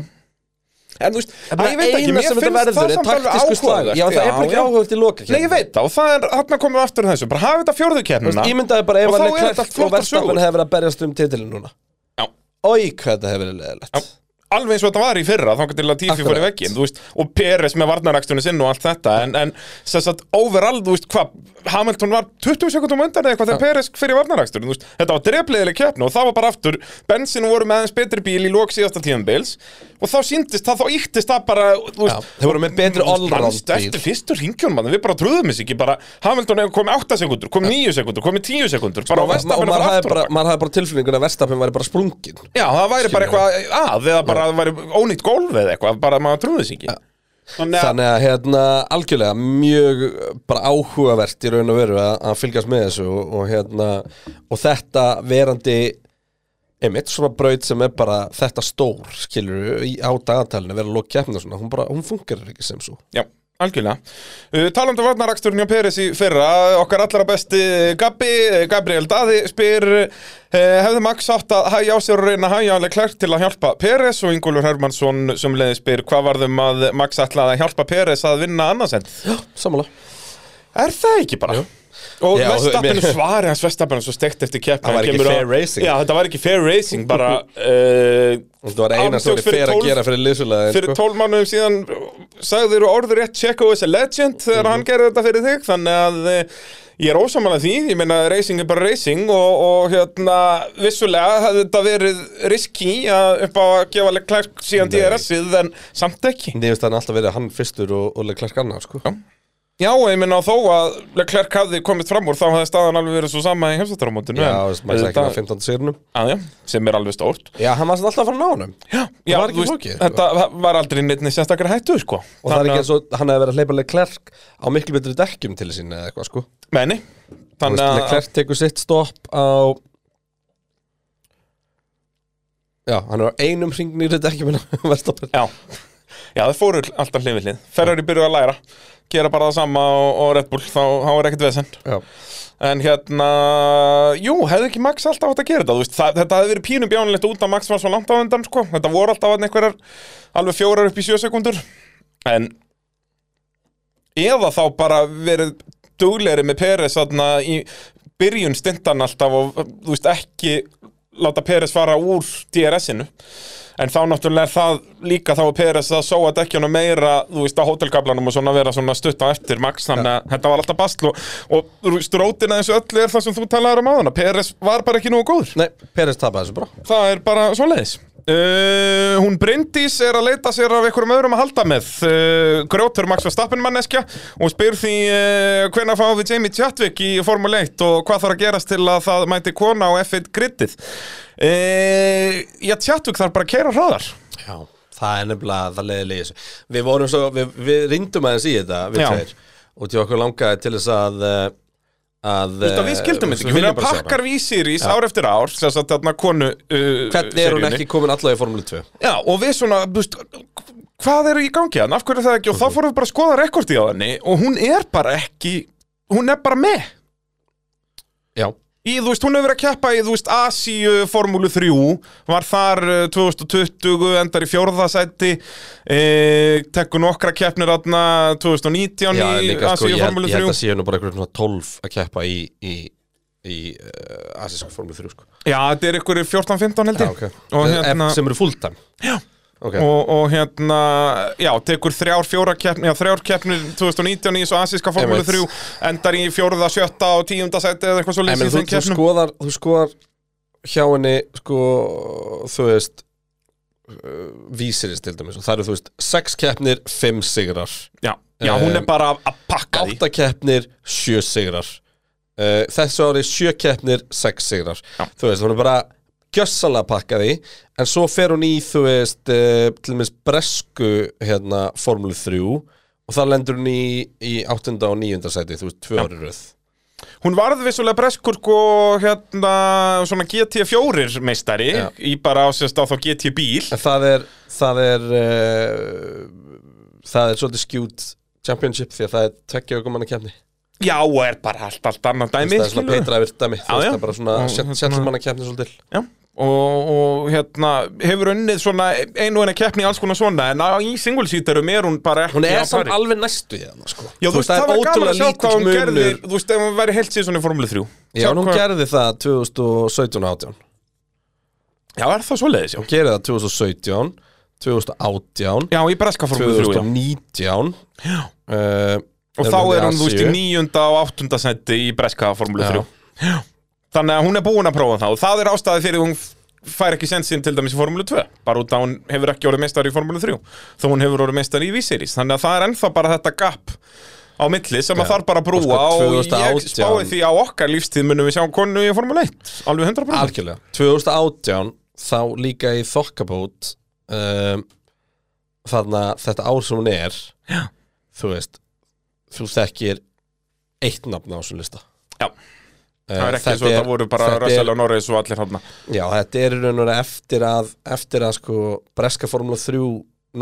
Speaker 2: En þú veist,
Speaker 4: Það
Speaker 2: að ég veit ekki, mér finnst það samt alveg áhugavert
Speaker 4: Já, það er bara ekki áhugavert í loka
Speaker 2: Nei, ég veit það og það er, þarna komum við aftur að þessu Bara hafa þetta fjórðu kemna
Speaker 4: Ímyndaði bara ef
Speaker 2: Og
Speaker 4: að
Speaker 2: þá er þetta allt
Speaker 4: Leclerc og
Speaker 2: flottar
Speaker 4: Verstappen
Speaker 2: sögur.
Speaker 4: hefur verið að berjast um titilin núna
Speaker 2: Já.
Speaker 4: Ói, hvað þetta hefur verið leðilegt
Speaker 2: Alveg eins og þetta var í fyrra, þá til að tífi fór í
Speaker 4: Akkurat.
Speaker 2: veggin þú veist, Og Peres með varnarækstunni sinn og allt þetta En, en sem sagt, overall, þú veist, hvað Hamilton var 20 sekundum undan eða eitthvað Þegar Peres fyrir varnarækstunni, þú veist Þetta var drefleðileg keppni og það var bara aftur Bensin voru með aðeins betri bíl í lók síðasta tíðanbils Og þá síndist það, þá íktist það bara þú
Speaker 4: Já, þeir voru með betri allround
Speaker 2: Manstu
Speaker 4: bíl.
Speaker 2: eftir fyrstu ringjum, við bara trúðum þess ekki bara, Hamilton kom 8 sekundur, kom 9 sekundur, kom 10 sekundur bara,
Speaker 4: Sko, Og
Speaker 2: Verstappen að
Speaker 4: maður
Speaker 2: fara
Speaker 4: hafði
Speaker 2: aftur á
Speaker 4: bara,
Speaker 2: bak.
Speaker 4: maður hafði bara tilfinningun að Verstappen væri bara sprungin
Speaker 2: Já, það væri bara eitthvað að eða bara það væri ónýtt gólf eða eitthvað bara maður trúði sig ekki Þannig að
Speaker 4: Þannig að hérna algjörlega mjög uh, bara áhugavert í raun og veru að, að fylgjast með þessu og, og hérna og þetta verandi einmitt svona braut sem er bara þetta stór skilur í, á dagatalinu vera að loka keppna svona, hún bara, hún funkar ekki sem svo
Speaker 2: Já, algjörlega uh, Talandi um varnaraksturinn hjá Peres í fyrra okkar allra besti Gabi eh, Gabriel Daði spyr uh, hefði Max átt að hægja á sér og reyna að hægja alveg klært til að hjálpa Peres og Ingúlur Hermannsson sem leiði spyr hvað varðum að Max ætlaði að hjálpa Peres að vinna annarsend
Speaker 4: Samanlega
Speaker 2: Er það ekki bara? Og
Speaker 4: Já,
Speaker 2: Vestapen
Speaker 4: þú- mér-
Speaker 2: svari hans Vestapen svo steikt eftir keppna
Speaker 4: Það var ekki fair racing.
Speaker 2: Já, þetta var ekki fair racing bara uh,
Speaker 4: Þetta var eina sem
Speaker 2: Átök
Speaker 4: þið
Speaker 2: fyrir
Speaker 4: fer að
Speaker 2: 12
Speaker 4: gera fyrir sko. liðsulega
Speaker 2: fyrir tól mánuðum síðan sagði þér orður rétt Checo is a legend þegar
Speaker 4: Mhm.
Speaker 2: hann gerði þetta fyrir þig þannig að eh, ég er ósamanlega því ég meina racing er bara racing og, og hérna vissulega hefði þetta verið riski að upp á að gefa Leclerc síðan
Speaker 4: Nei.
Speaker 2: DRS-ið en samt ekki
Speaker 4: Nýðust hann alltaf verið hann fyrstur og, og Leclerc annar sko Já,
Speaker 2: Já, ég meina þó að Leclerc hafði komið fram úr þá hefði staðan alveg verið svo sama í heimsáttarumótinu
Speaker 4: þess að maður sagði ekki að 15. sérnum
Speaker 2: aðja, sem er alveg stórt
Speaker 4: Já, hann var samt alltaf að fara að ná honum
Speaker 2: Já, já
Speaker 4: var
Speaker 2: þú
Speaker 4: ekki
Speaker 2: veist,
Speaker 4: flókið, sko.
Speaker 2: þetta var aldrei neittni sérstakar hættu sko
Speaker 4: Og það er
Speaker 2: Þannig
Speaker 4: ekki
Speaker 2: að-
Speaker 4: eins og hann hefði verið að hleypa Leclerc á miklu betri dekkjum til sín eða eitthvað sko
Speaker 2: Nei, nei.
Speaker 4: Þannig
Speaker 2: Þannig
Speaker 4: að
Speaker 2: að
Speaker 4: Leclerc tekur sitt stopp á Já, hann er á einum hringnir þetta ekki minna verðstoppin
Speaker 2: Já, já það fóru alltaf hlið við hlið Ferrari byrjuðu að læra Gera bara það sama og, og Red Bull Þá, þá er ekkert vesend
Speaker 4: Já,
Speaker 2: En hérna, jú, hefði ekki Max alltaf átt að gera þetta þú veist, það, Þetta hefði verið pínum bjánilegt út að Max var svo langt á undan sko. Þetta voru alltaf þarna einhverjar Alveg fjórar upp í sjö sekundur En Eða þá bara verið duglegri með Peres þarna í byrjun stindan alltaf og þú veist ekki láta Peres fara úr DRS-inu en þá náttúrulega er það líka þá er Peres að sóa dekkjana meira þú veist á hótelkablanum og svona vera svona stutt á eftir Max þannig að þetta var alltaf basl og, og þú veist, rótin að þessu öllu er það sem þú talaður um áðan að Peres var bara ekki nógu góður
Speaker 4: nei, Peres tapaði þessu bara
Speaker 2: það er bara svoleiðis Uh, hún Bryndís er að leita sér af einhverjum öðrum að halda með uh, Grótur Max Verstappen manneskja og spyr því uh, hvenær fáum við Jamie Chadwick í Formule 1 og hvað þarf að gerast til að það mæti kona á F1 grittið uh, Já, Chadwick þarf bara að keira hraðar
Speaker 4: Já, það er nefnilega, það leiðilega í þessu Við vorum svo, við, við rindum aðeins í þetta við
Speaker 2: Já.
Speaker 4: tveir og til okkur langaði til þess að eh, að, eh,
Speaker 2: Þetta við skildum þetta ekki, hún er að pakkar vísir í ár eftir ár, sem sagt þarna konu uh,
Speaker 4: Hvernig er hún
Speaker 2: seríunni.
Speaker 4: ekki komin allavega í Formule 2?
Speaker 2: Já, og við svona, þú veist, hvað er í gangi hann, af hverju er það ekki, og þá fórum við bara að skoða rekordi á henni og hún er bara ekki, hún er bara með
Speaker 4: Já,
Speaker 2: Í, þú veist, hún hefur verið að keppa í, þú veist, Asíu Formúlu 3, var þar eh, 2020, endar í fjórðasætti, e, tekur nokkra keppnir aðna 2019
Speaker 4: já
Speaker 2: í
Speaker 4: líka sko,
Speaker 2: Asíu
Speaker 4: ég, held-
Speaker 2: Formúlu
Speaker 4: ég held
Speaker 2: 3.
Speaker 4: að séu nú bara einhverjum svona 12 að keppa í, í, í uh, Asísku Formule 3 sko
Speaker 2: Já, þetta er ykkur 14-15 held
Speaker 4: Já,
Speaker 2: ég.
Speaker 4: ok
Speaker 2: Og
Speaker 4: Eh,
Speaker 2: hérna,
Speaker 4: Sem eru fulltime
Speaker 2: Já.
Speaker 4: Ok
Speaker 2: og, og hérna, já, tekur þrjár, fjóra keppnir, já, þrjár keppnir 2019 í þessu Asíska Formúlu
Speaker 4: Einmitt.
Speaker 2: 3, endar í fjórða, sjötta og tíundasætti eða eitthvað svo
Speaker 4: Nei, menn,
Speaker 2: leysið
Speaker 4: þú,
Speaker 2: þeim
Speaker 4: þú,
Speaker 2: keppnum.
Speaker 4: skoðar, þú skoðar hjá henni sko, þú veist uh, vísirist til dæmis og það eru þú veist 6 keppnir, 5 sigrar
Speaker 2: Já, já, hún
Speaker 4: Um,
Speaker 2: er bara að pakka því.
Speaker 4: 8 keppnir, 7 sigrar uh, þessu ári 7 keppnir, 6 sigrar
Speaker 2: Já.
Speaker 4: þú veist, hún er bara gjössanlega pakkaði en svo fer hún í þú veist eh, til dæmis bresku hérna Formule 3 og það lendur hún í, í 8. og 9. sæti þú veist, tvö ári röð
Speaker 2: Hún varð vissulega breskur sko hérna svona GT4 meistari
Speaker 4: Já.
Speaker 2: í bara ásist á þá GT bíl
Speaker 4: en það er það er uh, það er svolítið skjút championship því að það er tveggja ögum manna kemni
Speaker 2: Já, og er bara allt, allt annað dæmi
Speaker 4: það er svona
Speaker 2: skilurðu.
Speaker 4: beitra yfir dæmi
Speaker 2: Já,
Speaker 4: þú
Speaker 2: já.
Speaker 4: veist það er bara svona
Speaker 2: Og
Speaker 4: sjett-
Speaker 2: hérna-
Speaker 4: sjættum manna kemni svolítið
Speaker 2: Já, og, og hérna hefur unnið svona einu og eina keppni í alls konar svona en á, í singlesítarum er hún bara ekki
Speaker 4: hún er
Speaker 2: á
Speaker 4: samt
Speaker 2: pari.
Speaker 4: alveg næstu í þannig sko
Speaker 2: Já, þú veist, það var gaman að sjá hvað hún
Speaker 4: lítill
Speaker 2: gerði Þú veist, ef hún væri heilt síðan svona í Formule 3
Speaker 4: já,
Speaker 2: Sjá
Speaker 4: en hún
Speaker 2: hvað-
Speaker 4: gerði það 2017 og 18
Speaker 2: Já, er það svoleiðis, já
Speaker 4: hún gerði það 2017 2018
Speaker 2: Já, í breska Formule 3, já
Speaker 4: 2019 uh,
Speaker 2: Og þá er hún, þú veist, í níunda og áttunda senti í breska Formule
Speaker 4: Já.
Speaker 2: 3 Já Þannig að hún er búin að prófa það og það er ástæði fyrir hún fær ekki sensin til dæmis í Formule 2 bara út að hún hefur ekki orðið meistari í Formule 3 þó hún hefur orðið meistari í V-series þannig að það er ennþá bara þetta gap á milli sem að
Speaker 4: Já.
Speaker 2: þarf bara að brúa
Speaker 4: Og sko,
Speaker 2: og, ég
Speaker 4: 2018
Speaker 2: spáði því á okkar lífstíð munum við sjá konu í Formule 1 alveg 100%
Speaker 4: algjörlega 2018 þá líka í þokkabót um, þarna þetta ár sem hún er já. þú veist þú þekkir eitt nafn á þessum lista
Speaker 2: Já. það er ekki
Speaker 4: Eh, Þetta
Speaker 2: svo að það voru bara
Speaker 4: þetta er-
Speaker 2: Russell og Norris og allir hann
Speaker 4: Já, þetta er í raun og veru eftir að eftir að sko breska Formula 3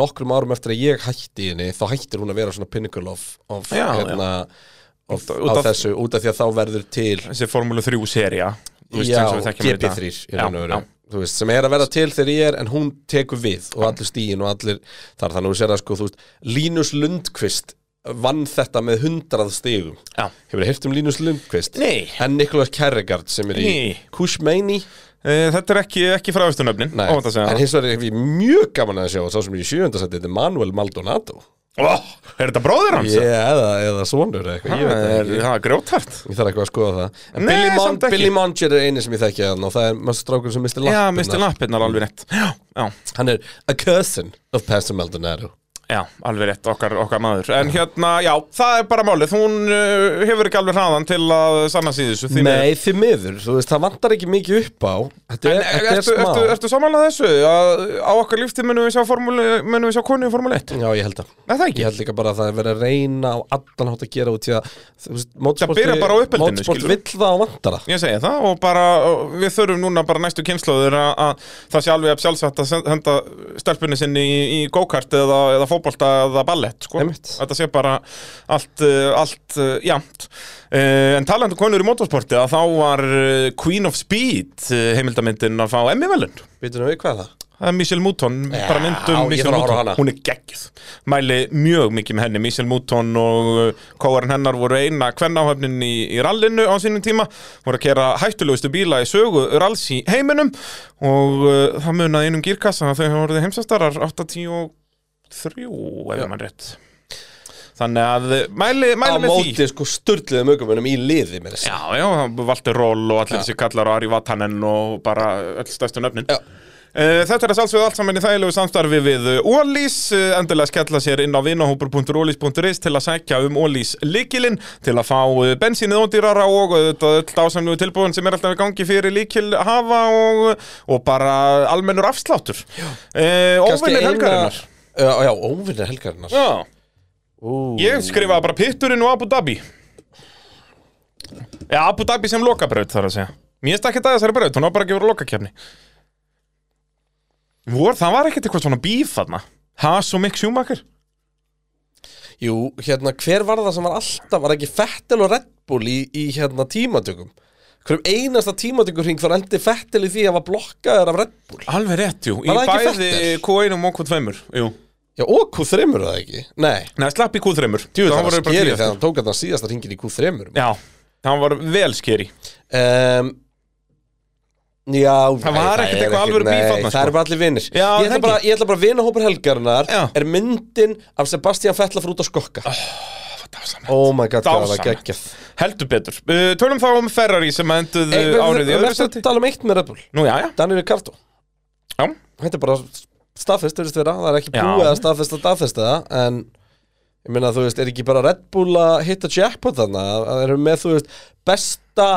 Speaker 4: nokkrum árum eftir að ég hætti í henni þá hættir hún að vera svona pinnacle of, of
Speaker 2: Já,
Speaker 4: hérna Of,
Speaker 2: Út- út
Speaker 4: af
Speaker 2: af-
Speaker 4: þessu, út af því að þá verður til
Speaker 2: þessi Formule 3 seria
Speaker 4: Já, GP3 í raun og veru Þú veist, sem er að vera til þegar ég er en hún tekur við og allir stíin og allir þar þannig að þú sér að sko, þú veist, Linus Lundqvist vann þetta með 100 stígum
Speaker 2: Já.
Speaker 4: Hefur heyrt um Linus Lundqvist?
Speaker 2: Nei.
Speaker 4: En Nicholas Kerrigard sem er í
Speaker 2: Nei.
Speaker 4: Kushmeini
Speaker 2: Eh, Þetta er ekki, ekki fræðustunöfnin
Speaker 4: Nei, en hins vegar hef ég mjög gaman að sjá og sá sem er í sjöundasætti, þetta er Manuel Maldonado
Speaker 2: oh, Er þetta bróðir hans?
Speaker 4: yeah, eða, eða sonur eða eitthvað, ég veit það
Speaker 2: það er,
Speaker 4: ekki
Speaker 2: það er grjótart
Speaker 4: Ég þarf eitthvað að skoða það En
Speaker 2: Nei,
Speaker 4: Billy, Mon
Speaker 2: samt ekki.
Speaker 4: Billy Monger er eini sem ég þekki hann og það er mjög strákur sem Mr.
Speaker 2: Já,
Speaker 4: Lappin
Speaker 2: Mr. Lappirnar alveg rétt Já, já,
Speaker 4: Hann er a cousin of Pastor Maldonado
Speaker 2: já alveg rétt, okkar, okkar maður En hérna, já, það er bara málið Hún uh, hefur ekki alveg hraðan til að sanna síðu þessu því miður.
Speaker 4: Nei, því miður, þú veist, það vantar ekki mikið upp á Þetta
Speaker 2: En
Speaker 4: er,
Speaker 2: er,
Speaker 4: þetta er
Speaker 2: ertu,
Speaker 4: smá
Speaker 2: ertu, ertu samanlega þessu? Að, á okkar líftíð munum við sjá, formúlu, munum við sjá konu í Formule 1?
Speaker 4: Já, ég held að
Speaker 2: Nei, það ekki
Speaker 4: Ég held líka bara að það er verið að reyna á allan hátt að gera út í að þú veist, motorsporti-
Speaker 2: byrjar bara á uppeldinu,
Speaker 4: Motorsport
Speaker 2: skilurðu.
Speaker 4: vill það og vantar það
Speaker 2: Ég segi það og bara og við þurfum núna bara næstu kynnslóður að að það sé alveg að sjálfsagt að send- henda stelpunni sinni í, í go-kart eða, eða fótbolta eða ballett sko.
Speaker 4: Einmitt.
Speaker 2: Þetta sé bara allt, uh, allt uh, jæmt uh, En talandi um konur í motorsporti að þá var uh, Queen of Speed uh, heimildamyndin að fá Emmy velun
Speaker 4: Býtum við hvað er það?
Speaker 2: Það er Michelle Mouton,
Speaker 4: Já,
Speaker 2: bara myndum
Speaker 4: ég
Speaker 2: Michelle
Speaker 4: þarf að horfa á
Speaker 2: Mouton,
Speaker 4: hana.
Speaker 2: hún er geggjuð Mæli mjög mikið með henni, Michelle Mouton og uh, kóarinn hennar voru eina kvennáhöfnin í, í rallinu á sínum tíma voru að kera hættulegustu bíla í sögu ralls í heiminum og uh, það munaði einum gírkassa að þau hafa voruð heimsastarar 83 ef mann rétt Þannig að uh, mæli,
Speaker 4: Á
Speaker 2: mæli með því
Speaker 4: móti sko sturluðum ökumunum í liði með þessi
Speaker 2: Já, já, Valter Ról og allir þessi kallar og Ari Vatanen og bara öll stærstu nöfnin
Speaker 4: Já.
Speaker 2: Eh, Þetta er að sjálfsögðu allt saman í þægilegu samstarfi við Ólís Endilega skella sér inn á vinahópur.ólís.is til að sækja um Ólís líkilinn til að fá eh, bensínið ódýrara og auðvitað öll ásamlegu tilbúin sem er alltaf í gangi fyrir líkil hafa og, og bara almennur afsláttur Eh, Óvinnir helgarinnar
Speaker 4: Já, já, óvinnir helgarinnar
Speaker 2: Já,
Speaker 4: Ú,
Speaker 2: ég skrifaði bara pitturinn og Abu Dhabi Já, Abu Dhabi sem lokabraut þarf að segja Mér finnst ekki að þessari braut, hún á bara ekki verið lokakefni Vor, það var ekkert eitthvað svona bíf þarna Haas og Mick Schumacher
Speaker 4: Jú, hérna, hver var það sem var alltaf Var ekki Fettel og Red Bull í, í hérna tímatökum Hverjum einasta tímatökum hring Þá endi Fettel í því að var blokkaður af Red Bull
Speaker 2: Alveg rétt, jú, í
Speaker 4: Var það ekki
Speaker 2: bæði
Speaker 4: Vettel?
Speaker 2: Q1 og Q2 Jú,
Speaker 4: Já, og Q3 er það ekki Nei,
Speaker 2: neða slapp í Q3
Speaker 4: djú,
Speaker 2: Þá
Speaker 4: það var
Speaker 2: voru þeir bara
Speaker 4: skeri
Speaker 2: tíu
Speaker 4: þegar
Speaker 2: eftir.
Speaker 4: hann tók að það síðasta hringin í Q3 um,
Speaker 2: Já, það var vel skeri
Speaker 4: Já,
Speaker 2: Það
Speaker 4: nei,
Speaker 2: var ekkert
Speaker 4: er
Speaker 2: eitthvað alvöru bíf
Speaker 4: nei,
Speaker 2: þarna,
Speaker 4: Það
Speaker 2: sko.
Speaker 4: er bara allir vinnir
Speaker 2: Já,
Speaker 4: ég,
Speaker 2: það
Speaker 4: ætla bara,
Speaker 2: ekki.
Speaker 4: ég ætla bara að vinna hópur helgarinnar
Speaker 2: Já. Öh,
Speaker 4: Er myndin af Sebastian Fettel að frúta skokka Oh my god, hvað var það
Speaker 2: Dásamlegt.
Speaker 4: geggjað
Speaker 2: Heldur betur uh, Tölum þá um Ferrari sem enduðu
Speaker 4: Ey, Eh, við-
Speaker 2: árið í
Speaker 4: Við
Speaker 2: öðru
Speaker 4: erum eftir
Speaker 2: seti
Speaker 4: að tala um eitt með Red Bull
Speaker 2: Nú, já, já,
Speaker 4: Daniel Ricardo
Speaker 2: já
Speaker 4: Þetta er bara staðfest, verðist vera Það er ekki
Speaker 2: Já.
Speaker 4: búið að staðfesta, staðfesta það En ég meina, þú veist, er ekki bara Red Bull að hitta jackpot þarna Það eru með, þú veist, besta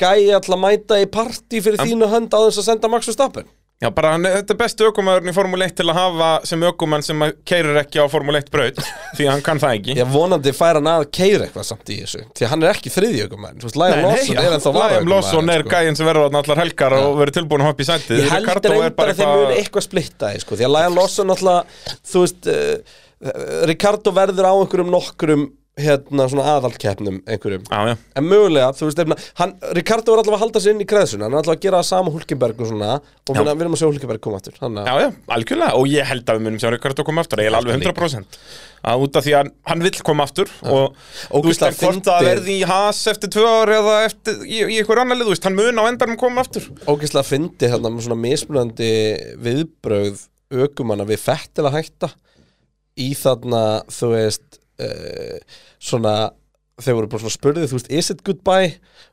Speaker 4: gæja alltaf mæta í partí fyrir þínu hönd á þess að senda Max Verstappen
Speaker 2: Já, bara hann, þetta er bestu ökumæðurinn í Formule 1 til að hafa sem ökumann sem keirir ekki á Formule 1 braut því að hann kann það ekki
Speaker 4: Ég vonandi fær hann að keira eitthvað samt í þessu Því að hann er ekki þriðjögumæn Þú veist, Liam Lawson er ennþá
Speaker 2: Liam Lawson er
Speaker 4: varaökumaðurinn, sko.
Speaker 2: gæinn sem verður þarna allar helgar og verður tilbúin að hoppa í sætið
Speaker 4: Ég held
Speaker 2: Ricardo er
Speaker 4: reyndar
Speaker 2: bara
Speaker 4: að þeim
Speaker 2: eitthvað-
Speaker 4: muni eitthvað splitta því, sko, Því að Liam Lawson alltaf Þú veist, uh, Ricardo verður á einhverjum nokkrum hérna, svona aðaldkeppnum einhverjum
Speaker 2: Já, já,
Speaker 4: En mögulega, þú veist, efna, hann, Ricardo er allavega að halda sig inn í kreðsuna, hann er allavega að gera það sama Hulkenberg og svona, og við erum að sjá Hulkenberg koma aftur, hann að,
Speaker 2: já, já, algjörlega og ég held að við munum sjá Ricardo koma aftur ég er alveg 100% að út af því að hann vill koma aftur og þú veist
Speaker 4: Ógeðslega
Speaker 2: að hvort það
Speaker 4: fyndið.
Speaker 2: verði í has eftir tvö ár eða eftir, í, í eitthvað annar lið, þú veist, hann mun á endanum koma aftur
Speaker 4: ógeðslega fyndi hérna með svona mismunandi viðbrögð ökumanna við fett að hætta í þarna, þú veist uh, svona þeir voru bara svona spurðið, þú veist, is it goodbye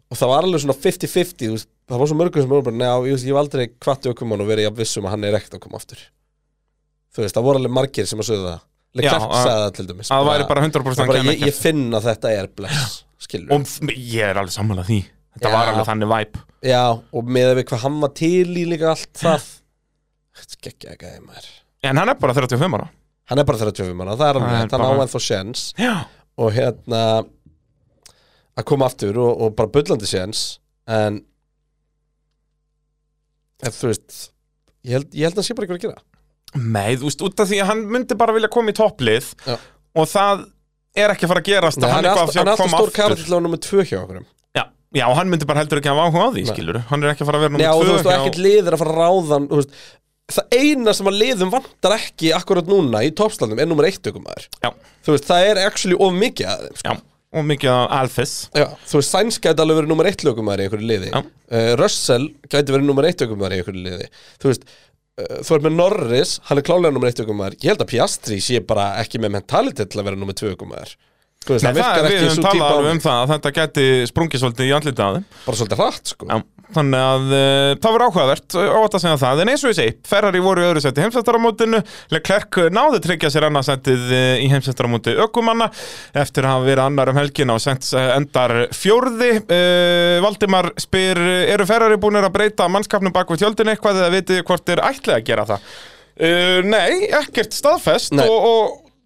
Speaker 4: og það var alveg svona 50-50 þú veist, það var svo mörgum sem voru bara, neða, ég, veist, ég hef aldrei kvart ökumann og verið jafn vissum að hann er ekkert að koma aftur þú veist, það voru alveg margir sem að sögðu það
Speaker 2: Já,
Speaker 4: Leclerc
Speaker 2: að-
Speaker 4: sagði það til dæmis
Speaker 2: að það væri bara 100%
Speaker 4: bara,
Speaker 2: hann
Speaker 4: ég, ég finn að þetta er bless skilur
Speaker 2: og ég er alveg sammála því þetta
Speaker 4: Já.
Speaker 2: var alveg þannig væp
Speaker 4: Já, og með við hvað hann var til í líka allt það Þetta er geggjaði gæði maður
Speaker 2: en hann er bara 35 ára
Speaker 4: Hann er bara 35 manna, það er hann
Speaker 2: Hann er
Speaker 4: rétt, hann á
Speaker 2: bara-
Speaker 4: ennþá sjens
Speaker 2: já,
Speaker 4: og hérna að koma aftur og, og bara bullandi sjens en ef þú veist ég held, ég held að hann sé bara ykkur að gera
Speaker 2: með, þú veist, út af því að hann myndi bara vilja koma í topplið
Speaker 4: Já.
Speaker 2: og það er ekki að fara að gerast
Speaker 4: Nei,
Speaker 2: að
Speaker 4: hann, er alltaf,
Speaker 2: sé að
Speaker 4: hann er alltaf
Speaker 2: koma
Speaker 4: stór
Speaker 2: aftur.
Speaker 4: karl á nummer 2 hjá okkur
Speaker 2: Já, já, og hann myndi bara heldur ekki að hafa áhuga á því,
Speaker 4: Nei.
Speaker 2: skilur Hann er ekki að fara að vera
Speaker 4: Nei, og
Speaker 2: nummer
Speaker 4: þú veist, og
Speaker 2: tvö
Speaker 4: ekkert liðir að fara að ráðan þú veist, það eina sem að liðum vantar ekki akkurat núna í toppslandum er nummer 1 okkur maður
Speaker 2: Já,
Speaker 4: þú veist, það er actually of mikið að þeim sko.
Speaker 2: já, og mikið af Alphys
Speaker 4: Já, þú veist, Sainz gæti alveg verið nummer eitt lögumæður í einhverju liði
Speaker 2: Já.
Speaker 4: uh, Russell gæti verið nummer eitt lögumæður í einhverju liði Þú veist, uh, þú er með Norris, hann er klálega nummer eitt lögumæður Ég held að Piastri sé bara ekki með mentality til að vera nummer tvö lögumæður Þú veist,
Speaker 2: Nei,
Speaker 4: það
Speaker 2: það er
Speaker 4: virkar
Speaker 2: við
Speaker 4: ekki
Speaker 2: höfum
Speaker 4: svo típa
Speaker 2: talað
Speaker 4: á
Speaker 2: alveg
Speaker 4: um.
Speaker 2: um það að þetta gæti sprungið svolítið í andlita á þeim
Speaker 4: bara svolítið hratt, sko
Speaker 2: Já, þannig að uh, það var áhugavert uh, óvægt að segja það, en eins og ég segi Ferrari voru í öðru seti heimsættaramótinu Leclerc náði tryggja sér annarsættið uh, í heimsættaramóti ökumanna eftir að hafa verið annar um helgina og sent uh, endar fjórði uh, Valdimar spyr, uh, eru Ferrari búinir að breyta mannskapnum bak við tjöldin eitthvað eða vitið þið hvort þeir ætlaði að gera það uh, Nei, ekkert staðfest
Speaker 4: Nei.
Speaker 2: og,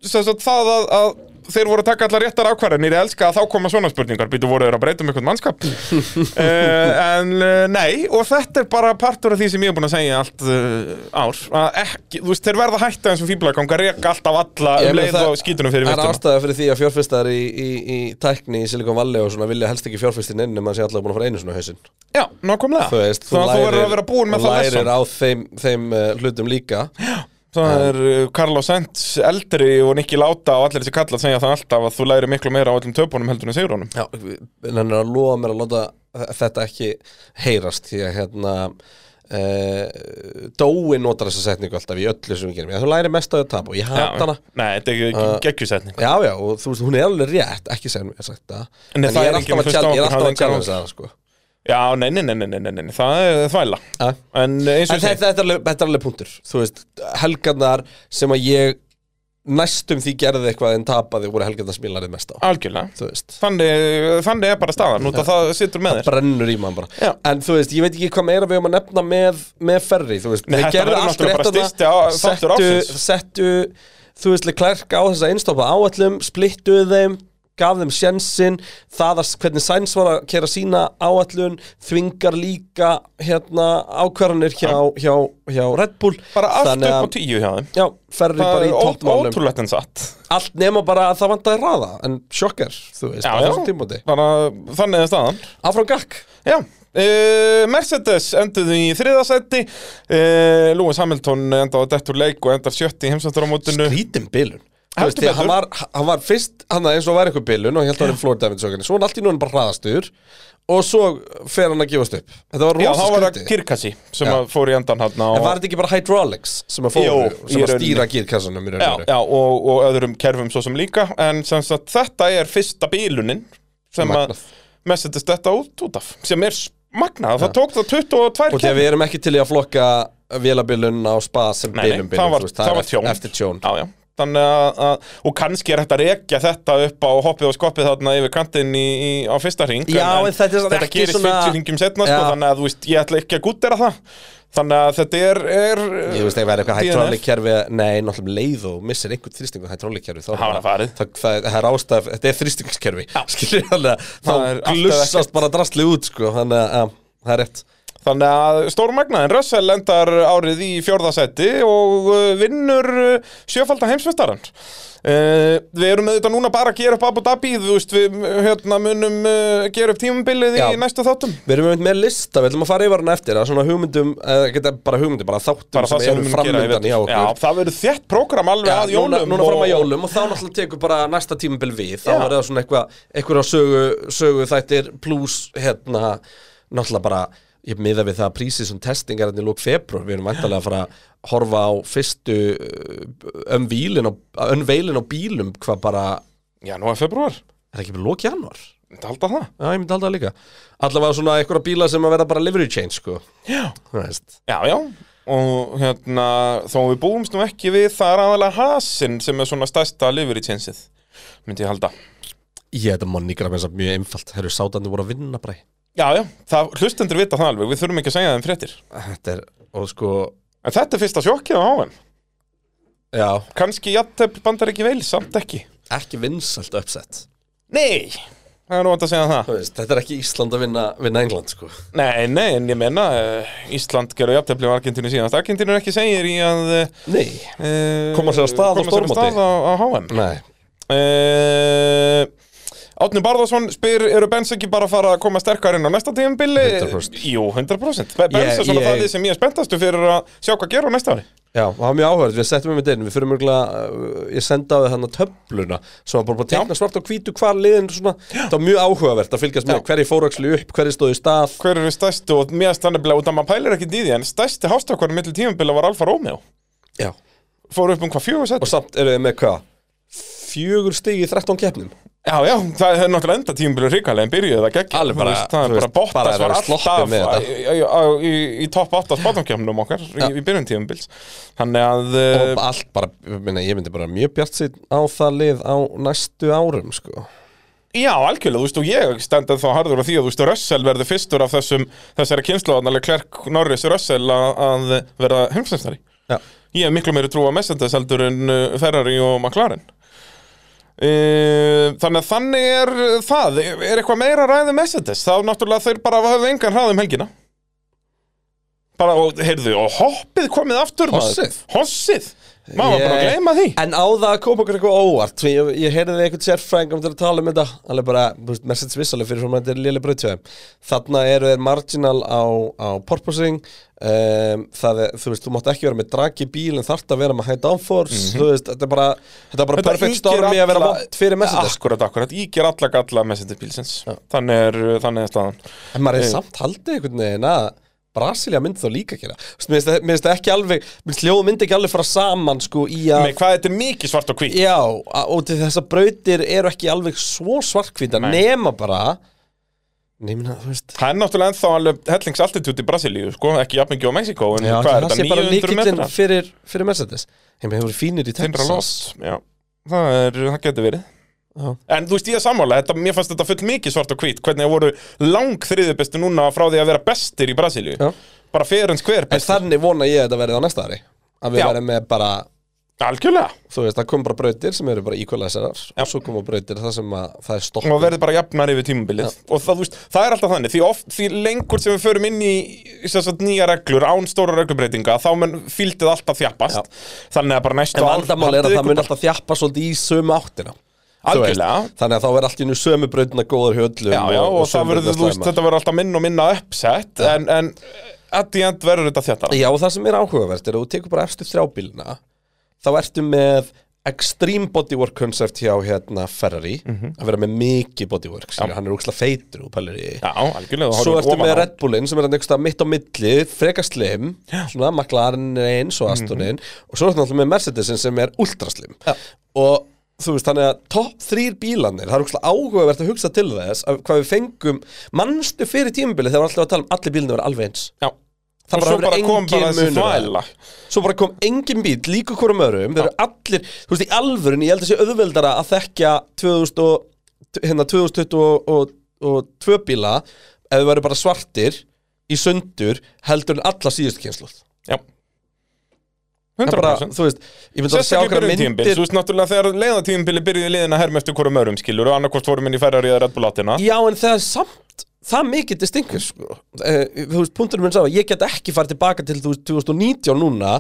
Speaker 2: og sem sagt, það að, að þeir voru að taka allar réttar ákvarðanir ég elska að þá koma svona spurningar býtu voru þeir að breyta um eitthvað mannskap uh, en uh, nei, og þetta er bara partur af því sem ég er búin að segja allt uh, ár, að ekki, þú veist, þeir verða að hætta eins og fíblaganga, reka alltaf alla
Speaker 4: Ég
Speaker 2: um
Speaker 4: meina,
Speaker 2: leið
Speaker 4: það-
Speaker 2: og skítunum fyrir
Speaker 4: Það er
Speaker 2: viltuna
Speaker 4: ástæða fyrir því að fjárfestar í, í, í tækni í Silicon Valley og svona vilja helst ekki fjárfestin inn en mann sé allavega búin að fara einu svona hausinn
Speaker 2: Já, nákvæmlega,
Speaker 4: Þú veist,
Speaker 2: þannig að Ah. þú verður að vera búin með
Speaker 4: þú
Speaker 2: það
Speaker 4: lærir
Speaker 2: lesson
Speaker 4: á þeim, þeim uh, hlutum líka
Speaker 2: Það er uh, Carlos Sainz eldri og Nicky Láta og allir þessi kallar segja það alltaf að þú lærir miklu meira á öllum töpunum heldur en sigurónum
Speaker 4: Já, en hann er að lofa mér að láta þetta ekki heyrast því að hérna uh, Dói notar þessa setningu alltaf í öllu sem við gerum, já þú læri mest á þetta tap og ég hata hana
Speaker 2: Nei, þetta er
Speaker 4: Uh,
Speaker 2: ekki geggjusetning
Speaker 4: Já, já, og þú veist, hún er alveg rétt, ekki sem ég hef sagt það
Speaker 2: En
Speaker 4: En
Speaker 2: það
Speaker 4: ég
Speaker 2: er
Speaker 4: er
Speaker 2: enginn
Speaker 4: alltaf að
Speaker 2: að hlusta á
Speaker 4: challenge- ég er
Speaker 2: okkur,
Speaker 4: alltaf
Speaker 2: hafði
Speaker 4: að
Speaker 2: engan
Speaker 4: challenge
Speaker 2: áhuga.
Speaker 4: það, sko
Speaker 2: Já, nei, nei, nei, nei, nei, nei, nei, nei, það er þvæla
Speaker 4: Já.
Speaker 2: En eh, eins og ég
Speaker 4: En
Speaker 2: segi
Speaker 4: þetta, þetta, er alveg, þetta er alveg punktur Þú veist, helgarnar sem að ég næstum því gerði eitthvað en tapaði voru helgarnar sem ég lærið mest á
Speaker 2: Algjörlega
Speaker 4: Þú veist,
Speaker 2: Þannig, eh, þannig er bara staðan út að það situr með þér
Speaker 4: brennur í mann bara
Speaker 2: Já.
Speaker 4: En þú veist, ég veit ekki hvað meira við höfum að nefna með, með ferri Þú veist,
Speaker 2: Nei,
Speaker 4: þeir
Speaker 2: þetta
Speaker 4: gerðu
Speaker 2: verður
Speaker 4: allt
Speaker 2: náttúrulega
Speaker 4: rétt
Speaker 2: bara
Speaker 4: þarna,
Speaker 2: stysti á- þáttur
Speaker 4: settu,
Speaker 2: ársins.
Speaker 4: settu, þú veist, klærk á þessa einstoppa áallum Splittuðu þeim, gaf þeim sjensinn Það að s- hvernig Sainz var að kera sína áallun Þvingar líka hérna ákvarðanir hjá, hjá, hjá Red Bull
Speaker 2: Bara allt
Speaker 4: Þannig
Speaker 2: upp á
Speaker 4: að-
Speaker 2: tíu hjá þeim
Speaker 4: Já, ferri
Speaker 2: Það
Speaker 4: bara í
Speaker 2: er ó-
Speaker 4: toppmálum
Speaker 2: ótrúlegt en satt
Speaker 4: Allt nema bara að það vantaði ráða En sjokkar, þú veist,
Speaker 2: Já,
Speaker 4: á
Speaker 2: já.
Speaker 4: þessum tímóti
Speaker 2: bara, Þannig er staðan
Speaker 4: Áfram gakk
Speaker 2: Já Uh, Mercedes enduðu í þriðasætti uh, Lewis Hamilton endaði á dettur leik og endar sjötti í heimsvættur á mótinu
Speaker 4: skrítin bilun Þú
Speaker 2: Heldur
Speaker 4: veist, því að hann
Speaker 2: betur.
Speaker 4: var, hann var fyrst, hann var eins og var einhver bilun og ég held að hann er floor damage okkarni, svo hann allt í núna bara hraðastur og svo fer hann að gefast upp Þetta var
Speaker 2: Já,
Speaker 4: rosa
Speaker 2: þá var það
Speaker 4: skrítið
Speaker 2: Kirkassi sem
Speaker 4: Já.
Speaker 2: að fór í endan hann
Speaker 4: En var þetta ekki bara hydraulics sem að fóru,
Speaker 2: Jó, í
Speaker 4: sem að
Speaker 2: rauninni.
Speaker 4: stýra gírkassanum í raun
Speaker 2: já,
Speaker 4: og veru?
Speaker 2: já, og, og öðrum kerfum svo sem líka en sem sagt, þetta er fyrsta bílunin sem að
Speaker 4: Magnað.
Speaker 2: Mercedes þetta út, út af sem er s- magnað, það tók það 22
Speaker 4: Og því að við erum ekki til í að flokka vélabilun á spa sem
Speaker 2: Nei, nei,
Speaker 4: bilun
Speaker 2: það
Speaker 4: bilun,
Speaker 2: var-
Speaker 4: þú veist, það
Speaker 2: það
Speaker 4: er
Speaker 2: var tjón.
Speaker 4: eftir tjón
Speaker 2: já, já, Þannig að, að, og kannski er hægt að rekja þetta upp á hoppið og skoppið þarna yfir kantinn í, í, á fyrsta ring
Speaker 4: Já, en þetta er samt
Speaker 2: þetta
Speaker 4: ekki
Speaker 2: gerist
Speaker 4: svona-
Speaker 2: 50 ringjum setna sko,
Speaker 4: Já.
Speaker 2: þannig að þú veist, ég ætla ekki að gúttera það þannig að þetta er, er
Speaker 4: Ég veist ekki verið eitthvað
Speaker 2: DNF.
Speaker 4: hydrolikkerfi Nei, náttúrulega um leið og missir einhvern þrýstingu hydrolikkerfi Þá er
Speaker 2: Þá er það farið.
Speaker 4: það, það, það er ástæð, þetta er þrýstingskerfi Skilur þannig að
Speaker 2: Það er
Speaker 4: þá
Speaker 2: alltaf
Speaker 4: glussast bara drastli út sko, Þannig að já, það er rétt
Speaker 2: Þannig að stórmagnaðin Russell endar árið í fjórðasetti og uh, vinnur uh, sjöfaldan heimsmestaran. Uh, við erum auðvitað núna bara að gera upp Abu Dhabi, þú veist, við uh, hérna, munum uh, gera upp tímabilið
Speaker 4: Já.
Speaker 2: í næstu þáttum.
Speaker 4: Við erum einmitt með lista, við ætlum að fara yfir hann eftir að svona hugmyndum, eða geta bara hugmyndum, bara þáttum
Speaker 2: Bara það
Speaker 4: sem,
Speaker 2: sem
Speaker 4: eru
Speaker 2: við munum gera í
Speaker 4: framöndan
Speaker 2: vetur.
Speaker 4: í okkur
Speaker 2: Já, það verður þétt prógram alveg
Speaker 4: Já,
Speaker 2: að jólum.
Speaker 4: núna, núna fram að
Speaker 2: og-
Speaker 4: jólum og þá náttúrulega tekur bara næsta tímabil við þá
Speaker 2: Já.
Speaker 4: verður það svona eitthvað, eitthvað sögu, sögu þættir pluss hérna náttúrulega bara, ég miða við það að prísið sem testing er hérna í lók februar við erum vantarlega að fara að horfa á fyrstu ömvílin og önveilin á bílum hvað bara,
Speaker 2: Já, nú er februar.
Speaker 4: er það ekki bara lók januar?
Speaker 2: Þetta halda það.
Speaker 4: Já, ég myndi halda það líka allavega svona einhverja bíla sem að vera bara livery change sko,
Speaker 2: Já.
Speaker 4: þú veist
Speaker 2: Já, já og hérna, þó við búumst nú ekki við það er aðalega hasinn sem er svona stærsta liveritjensið, myndi ég halda.
Speaker 4: Ég, þetta monnigra með þess að mjög einfalt Herru, sátandi voru að vinna bara
Speaker 2: Já, já, það, hlustendur vita það alveg, við þurfum ekki að segja þeim fréttir.
Speaker 4: Þetta er, og sko,
Speaker 2: En þetta er fyrsta sjokkið á HM.
Speaker 4: já
Speaker 2: Kanski jafntefl bandar ekki veil, samt ekki.
Speaker 4: ekki vinsalt uppsett
Speaker 2: Nei! Það er nú vant að segja það.
Speaker 4: Þetta er ekki Ísland að vinna, vinna England sko
Speaker 2: Nei, nei, en ég menna, uh, Ísland gerur jafntefli á Argentínu síðan. Argentínu er ekki segir í að... eh,
Speaker 4: Nei
Speaker 2: Uh,
Speaker 4: Koma sér af stað á stórmóti.
Speaker 2: á, á HM.
Speaker 4: Nei
Speaker 2: Uh, Átni Barðarsson spyr, eru Benz ekki bara að fara að koma sterkar inn á næsta tíðanbili?
Speaker 4: 100%.
Speaker 2: Jú, 100%. Be- Benz
Speaker 4: Ég-
Speaker 2: er svona
Speaker 4: ég-
Speaker 2: það sem ég er spenntastu fyrir að sjá hvað gera á næsta ári.
Speaker 4: Já, það var mjög áhverð, við settum um þetta inn Við fyrir mjögulega, ég senda á þið þannig töfluna sem var bara búin að tekna svart og hvítu hvar liðin svona, það var mjög áhugavert að fylgjast með hverju fórökslu upp, hverju stóðu í stað
Speaker 2: hver eru stærstu og mér stanniblega út að maður pælir ekki í því en stærsti hástakvarinn millir tímabila var Alfa Romeo
Speaker 4: Já Og
Speaker 2: fóru upp um hvað fjögur sett
Speaker 4: samt eru þið með hvað? Fjögur stig í 13 keppnum
Speaker 2: já já, það er náttúrulega enda tímabila ríkalega en byrjuði það geggja
Speaker 4: Alveg bara,
Speaker 2: Þú veist, það er bara
Speaker 4: þú veist, bara
Speaker 2: Bottas
Speaker 4: er
Speaker 2: var
Speaker 4: að sloppið
Speaker 2: alltaf
Speaker 4: með
Speaker 2: í, í, á- í, í topp 8 spátumkjöfnum okkar í, í byrjun tímabils þannig að eh,
Speaker 4: Og allt bara, ég meina, ég myndi bara mjög bjart sitt á það lið á næstu árum sko
Speaker 2: já, algjörlega, þú veist og ég stendið þá harður á því að þú veist Russell verður fyrstur af þessum þessari kynnslóðanlega Klerk Norris Russell að, að verða heimsumstari
Speaker 4: Já
Speaker 2: Ég hef miklu meiri trú á Mercedes heldur en uh, Ferrari og McLaren Uh, þannig að þannig er uh, það, er eitthvað meira að ræða um Mercedes, þá náttúrulega þeir bara höfðu engan hraða um helgina bara, og heyrðu, og hoppið komið aftur maður.
Speaker 4: Hossið?
Speaker 2: hossið, maður yeah. bara að
Speaker 4: Ég-
Speaker 2: gleyma því
Speaker 4: En á það að koma okkur eitthvað óvart Því ég, ég heyrði einhvern sérfræðingum til að tala um þetta Alveg bara, þú veist, Mercedes vissalega fyrir svona Þetta er léli brauðtjöðum Þarna eru þeir marginal á, á porposing um, Það er, þú veist, þú mátt ekki vera með drag í bíl En þarft að vera með high downforce Þú veist, þetta er bara Mhm. Þetta er bara
Speaker 2: Þetta
Speaker 4: perfect
Speaker 2: ýkir
Speaker 4: storm í að vera
Speaker 2: alla- Ah,
Speaker 4: vant fyrir Mercedes
Speaker 2: Akkurat, akkurat, ígjör alla galla Mercedes bílsins þannig er, þannig er staðan
Speaker 4: Ah, En maður er samt haldið einhvern veginn að Brasilia myndi þá líka gera Þú veist, Mér finnst það- mér finnst það ekki alveg Mér finnst hljóð myndi ekki alveg fara saman sko, í að
Speaker 2: með hvað þetta er mikið svart og hvít
Speaker 4: Já, a- og til þess að brautir eru ekki alveg svo svartkvítar
Speaker 2: Nei.
Speaker 4: nema bara Nefna, þú veist
Speaker 2: það er náttúrulega ennþá alveg hellingsaltitút í Brasilíu sko, ekki jafn mikið á Mexiko en
Speaker 4: Já,
Speaker 2: hvað er
Speaker 4: það sé
Speaker 2: þetta,
Speaker 4: bara
Speaker 2: 900
Speaker 4: líkillinn
Speaker 2: metra?
Speaker 4: fyrir, fyrir Mercedes Ég með hefur fínir í
Speaker 2: Tindra
Speaker 4: Texas
Speaker 2: loft, já Það, er, það getur verið
Speaker 4: Já.
Speaker 2: En þú veist ég er sammála, þetta, mér fannst þetta full mikið svart og hvít Hvernig það voru lang þriði bestu núna frá því að vera bestir í Brasilíu
Speaker 4: Já.
Speaker 2: Bara fyrir en skver
Speaker 4: En
Speaker 2: bestir
Speaker 4: þannig vona ég að þetta verði á næsta ári Að við
Speaker 2: Já.
Speaker 4: verðum með bara,
Speaker 2: Algjörlega
Speaker 4: þú veist, það kom bara brautir sem eru bara íkvælæsarar og svo koma brautir það sem að það er stopp
Speaker 2: Og verður bara jafnar yfir tímabilið Og það, þú veist, það er alltaf þannig Því, oft, því lengur sem við förum inn í sem sagt, nýja reglur Án stóra reglubreitinga Þá menn fíldið alltaf þjappast Þannig að bara næstu
Speaker 4: En
Speaker 2: ár-
Speaker 4: vandamál er að
Speaker 2: haldið
Speaker 4: það
Speaker 2: ykkur
Speaker 4: mun
Speaker 2: bara-
Speaker 4: alltaf þjappa svolítið í sömu áttina Þú veist,
Speaker 2: Algjörlega.
Speaker 4: Þannig að þá verður allt í nú sömu brautina góður höllum
Speaker 2: Já, já, og, það
Speaker 4: sömu
Speaker 2: verður,
Speaker 4: brautirnar
Speaker 2: þú veist,
Speaker 4: slæmar.
Speaker 2: þetta verður alltaf minna og minna uppsett En, en at the end verður þetta þjattara
Speaker 4: Já, og það sem er áhugavert er að þú tekur bara efstu þrjábílina þá ertu með extreme bodywork concept hjá hérna Ferrari
Speaker 2: Mhm.
Speaker 4: að vera með mikið bodywork skilur, hann er úkslega feitur og pælir í
Speaker 2: Já, algjörlega þú
Speaker 4: Svo
Speaker 2: horfir
Speaker 4: ertu
Speaker 2: ofan
Speaker 4: með
Speaker 2: á.
Speaker 4: Red Bullin sem er hann einhverstað mitt á milli frekar slim, svona McLaren er eins og Astonin
Speaker 2: Mhm.
Speaker 4: og svo ertu náttúrulega með Mercedesin sem er ultra slim og þú veist, þannig að topp þrýr bílanir það er úkslega áhugavert að hugsa til þess að hvað við fengum, mannstu fyrir tímabilið þegar var alltaf að tala um allir bílinu verið alveg eins
Speaker 2: Já,
Speaker 4: það
Speaker 2: og svo bara
Speaker 4: hefur
Speaker 2: kom bara
Speaker 4: engin
Speaker 2: þessi
Speaker 4: munur á þeim.
Speaker 2: þvæla
Speaker 4: svo bara kom engin bíl líka hverjum öðrum þeir eru allir, þú veist, í alvörun ég held að sé auðveldara að þekkja 2000 og, hérna, 2022 bíla ef þau væru bara svartir í sundur heldur en alla síðustu kynsluð
Speaker 2: Já
Speaker 4: Það er bara,
Speaker 2: 100%
Speaker 4: þú veist, ég myndi að sjá
Speaker 2: Sérstaklega í
Speaker 4: okkar
Speaker 2: byrjun tímabils,
Speaker 4: myndir
Speaker 2: þú veist náttúrulega þegar leiðatímabili byrjuði liðin að herma eftir hverjum öðrum skilur og annarkost vorum inn í Ferrari eða Red Bull átina
Speaker 4: Já, en það er samt það er mikið distingur sko. Eh, þú veist, punkturinn minn sá að ég get ekki farið tilbaka til þú veist, 2019 núna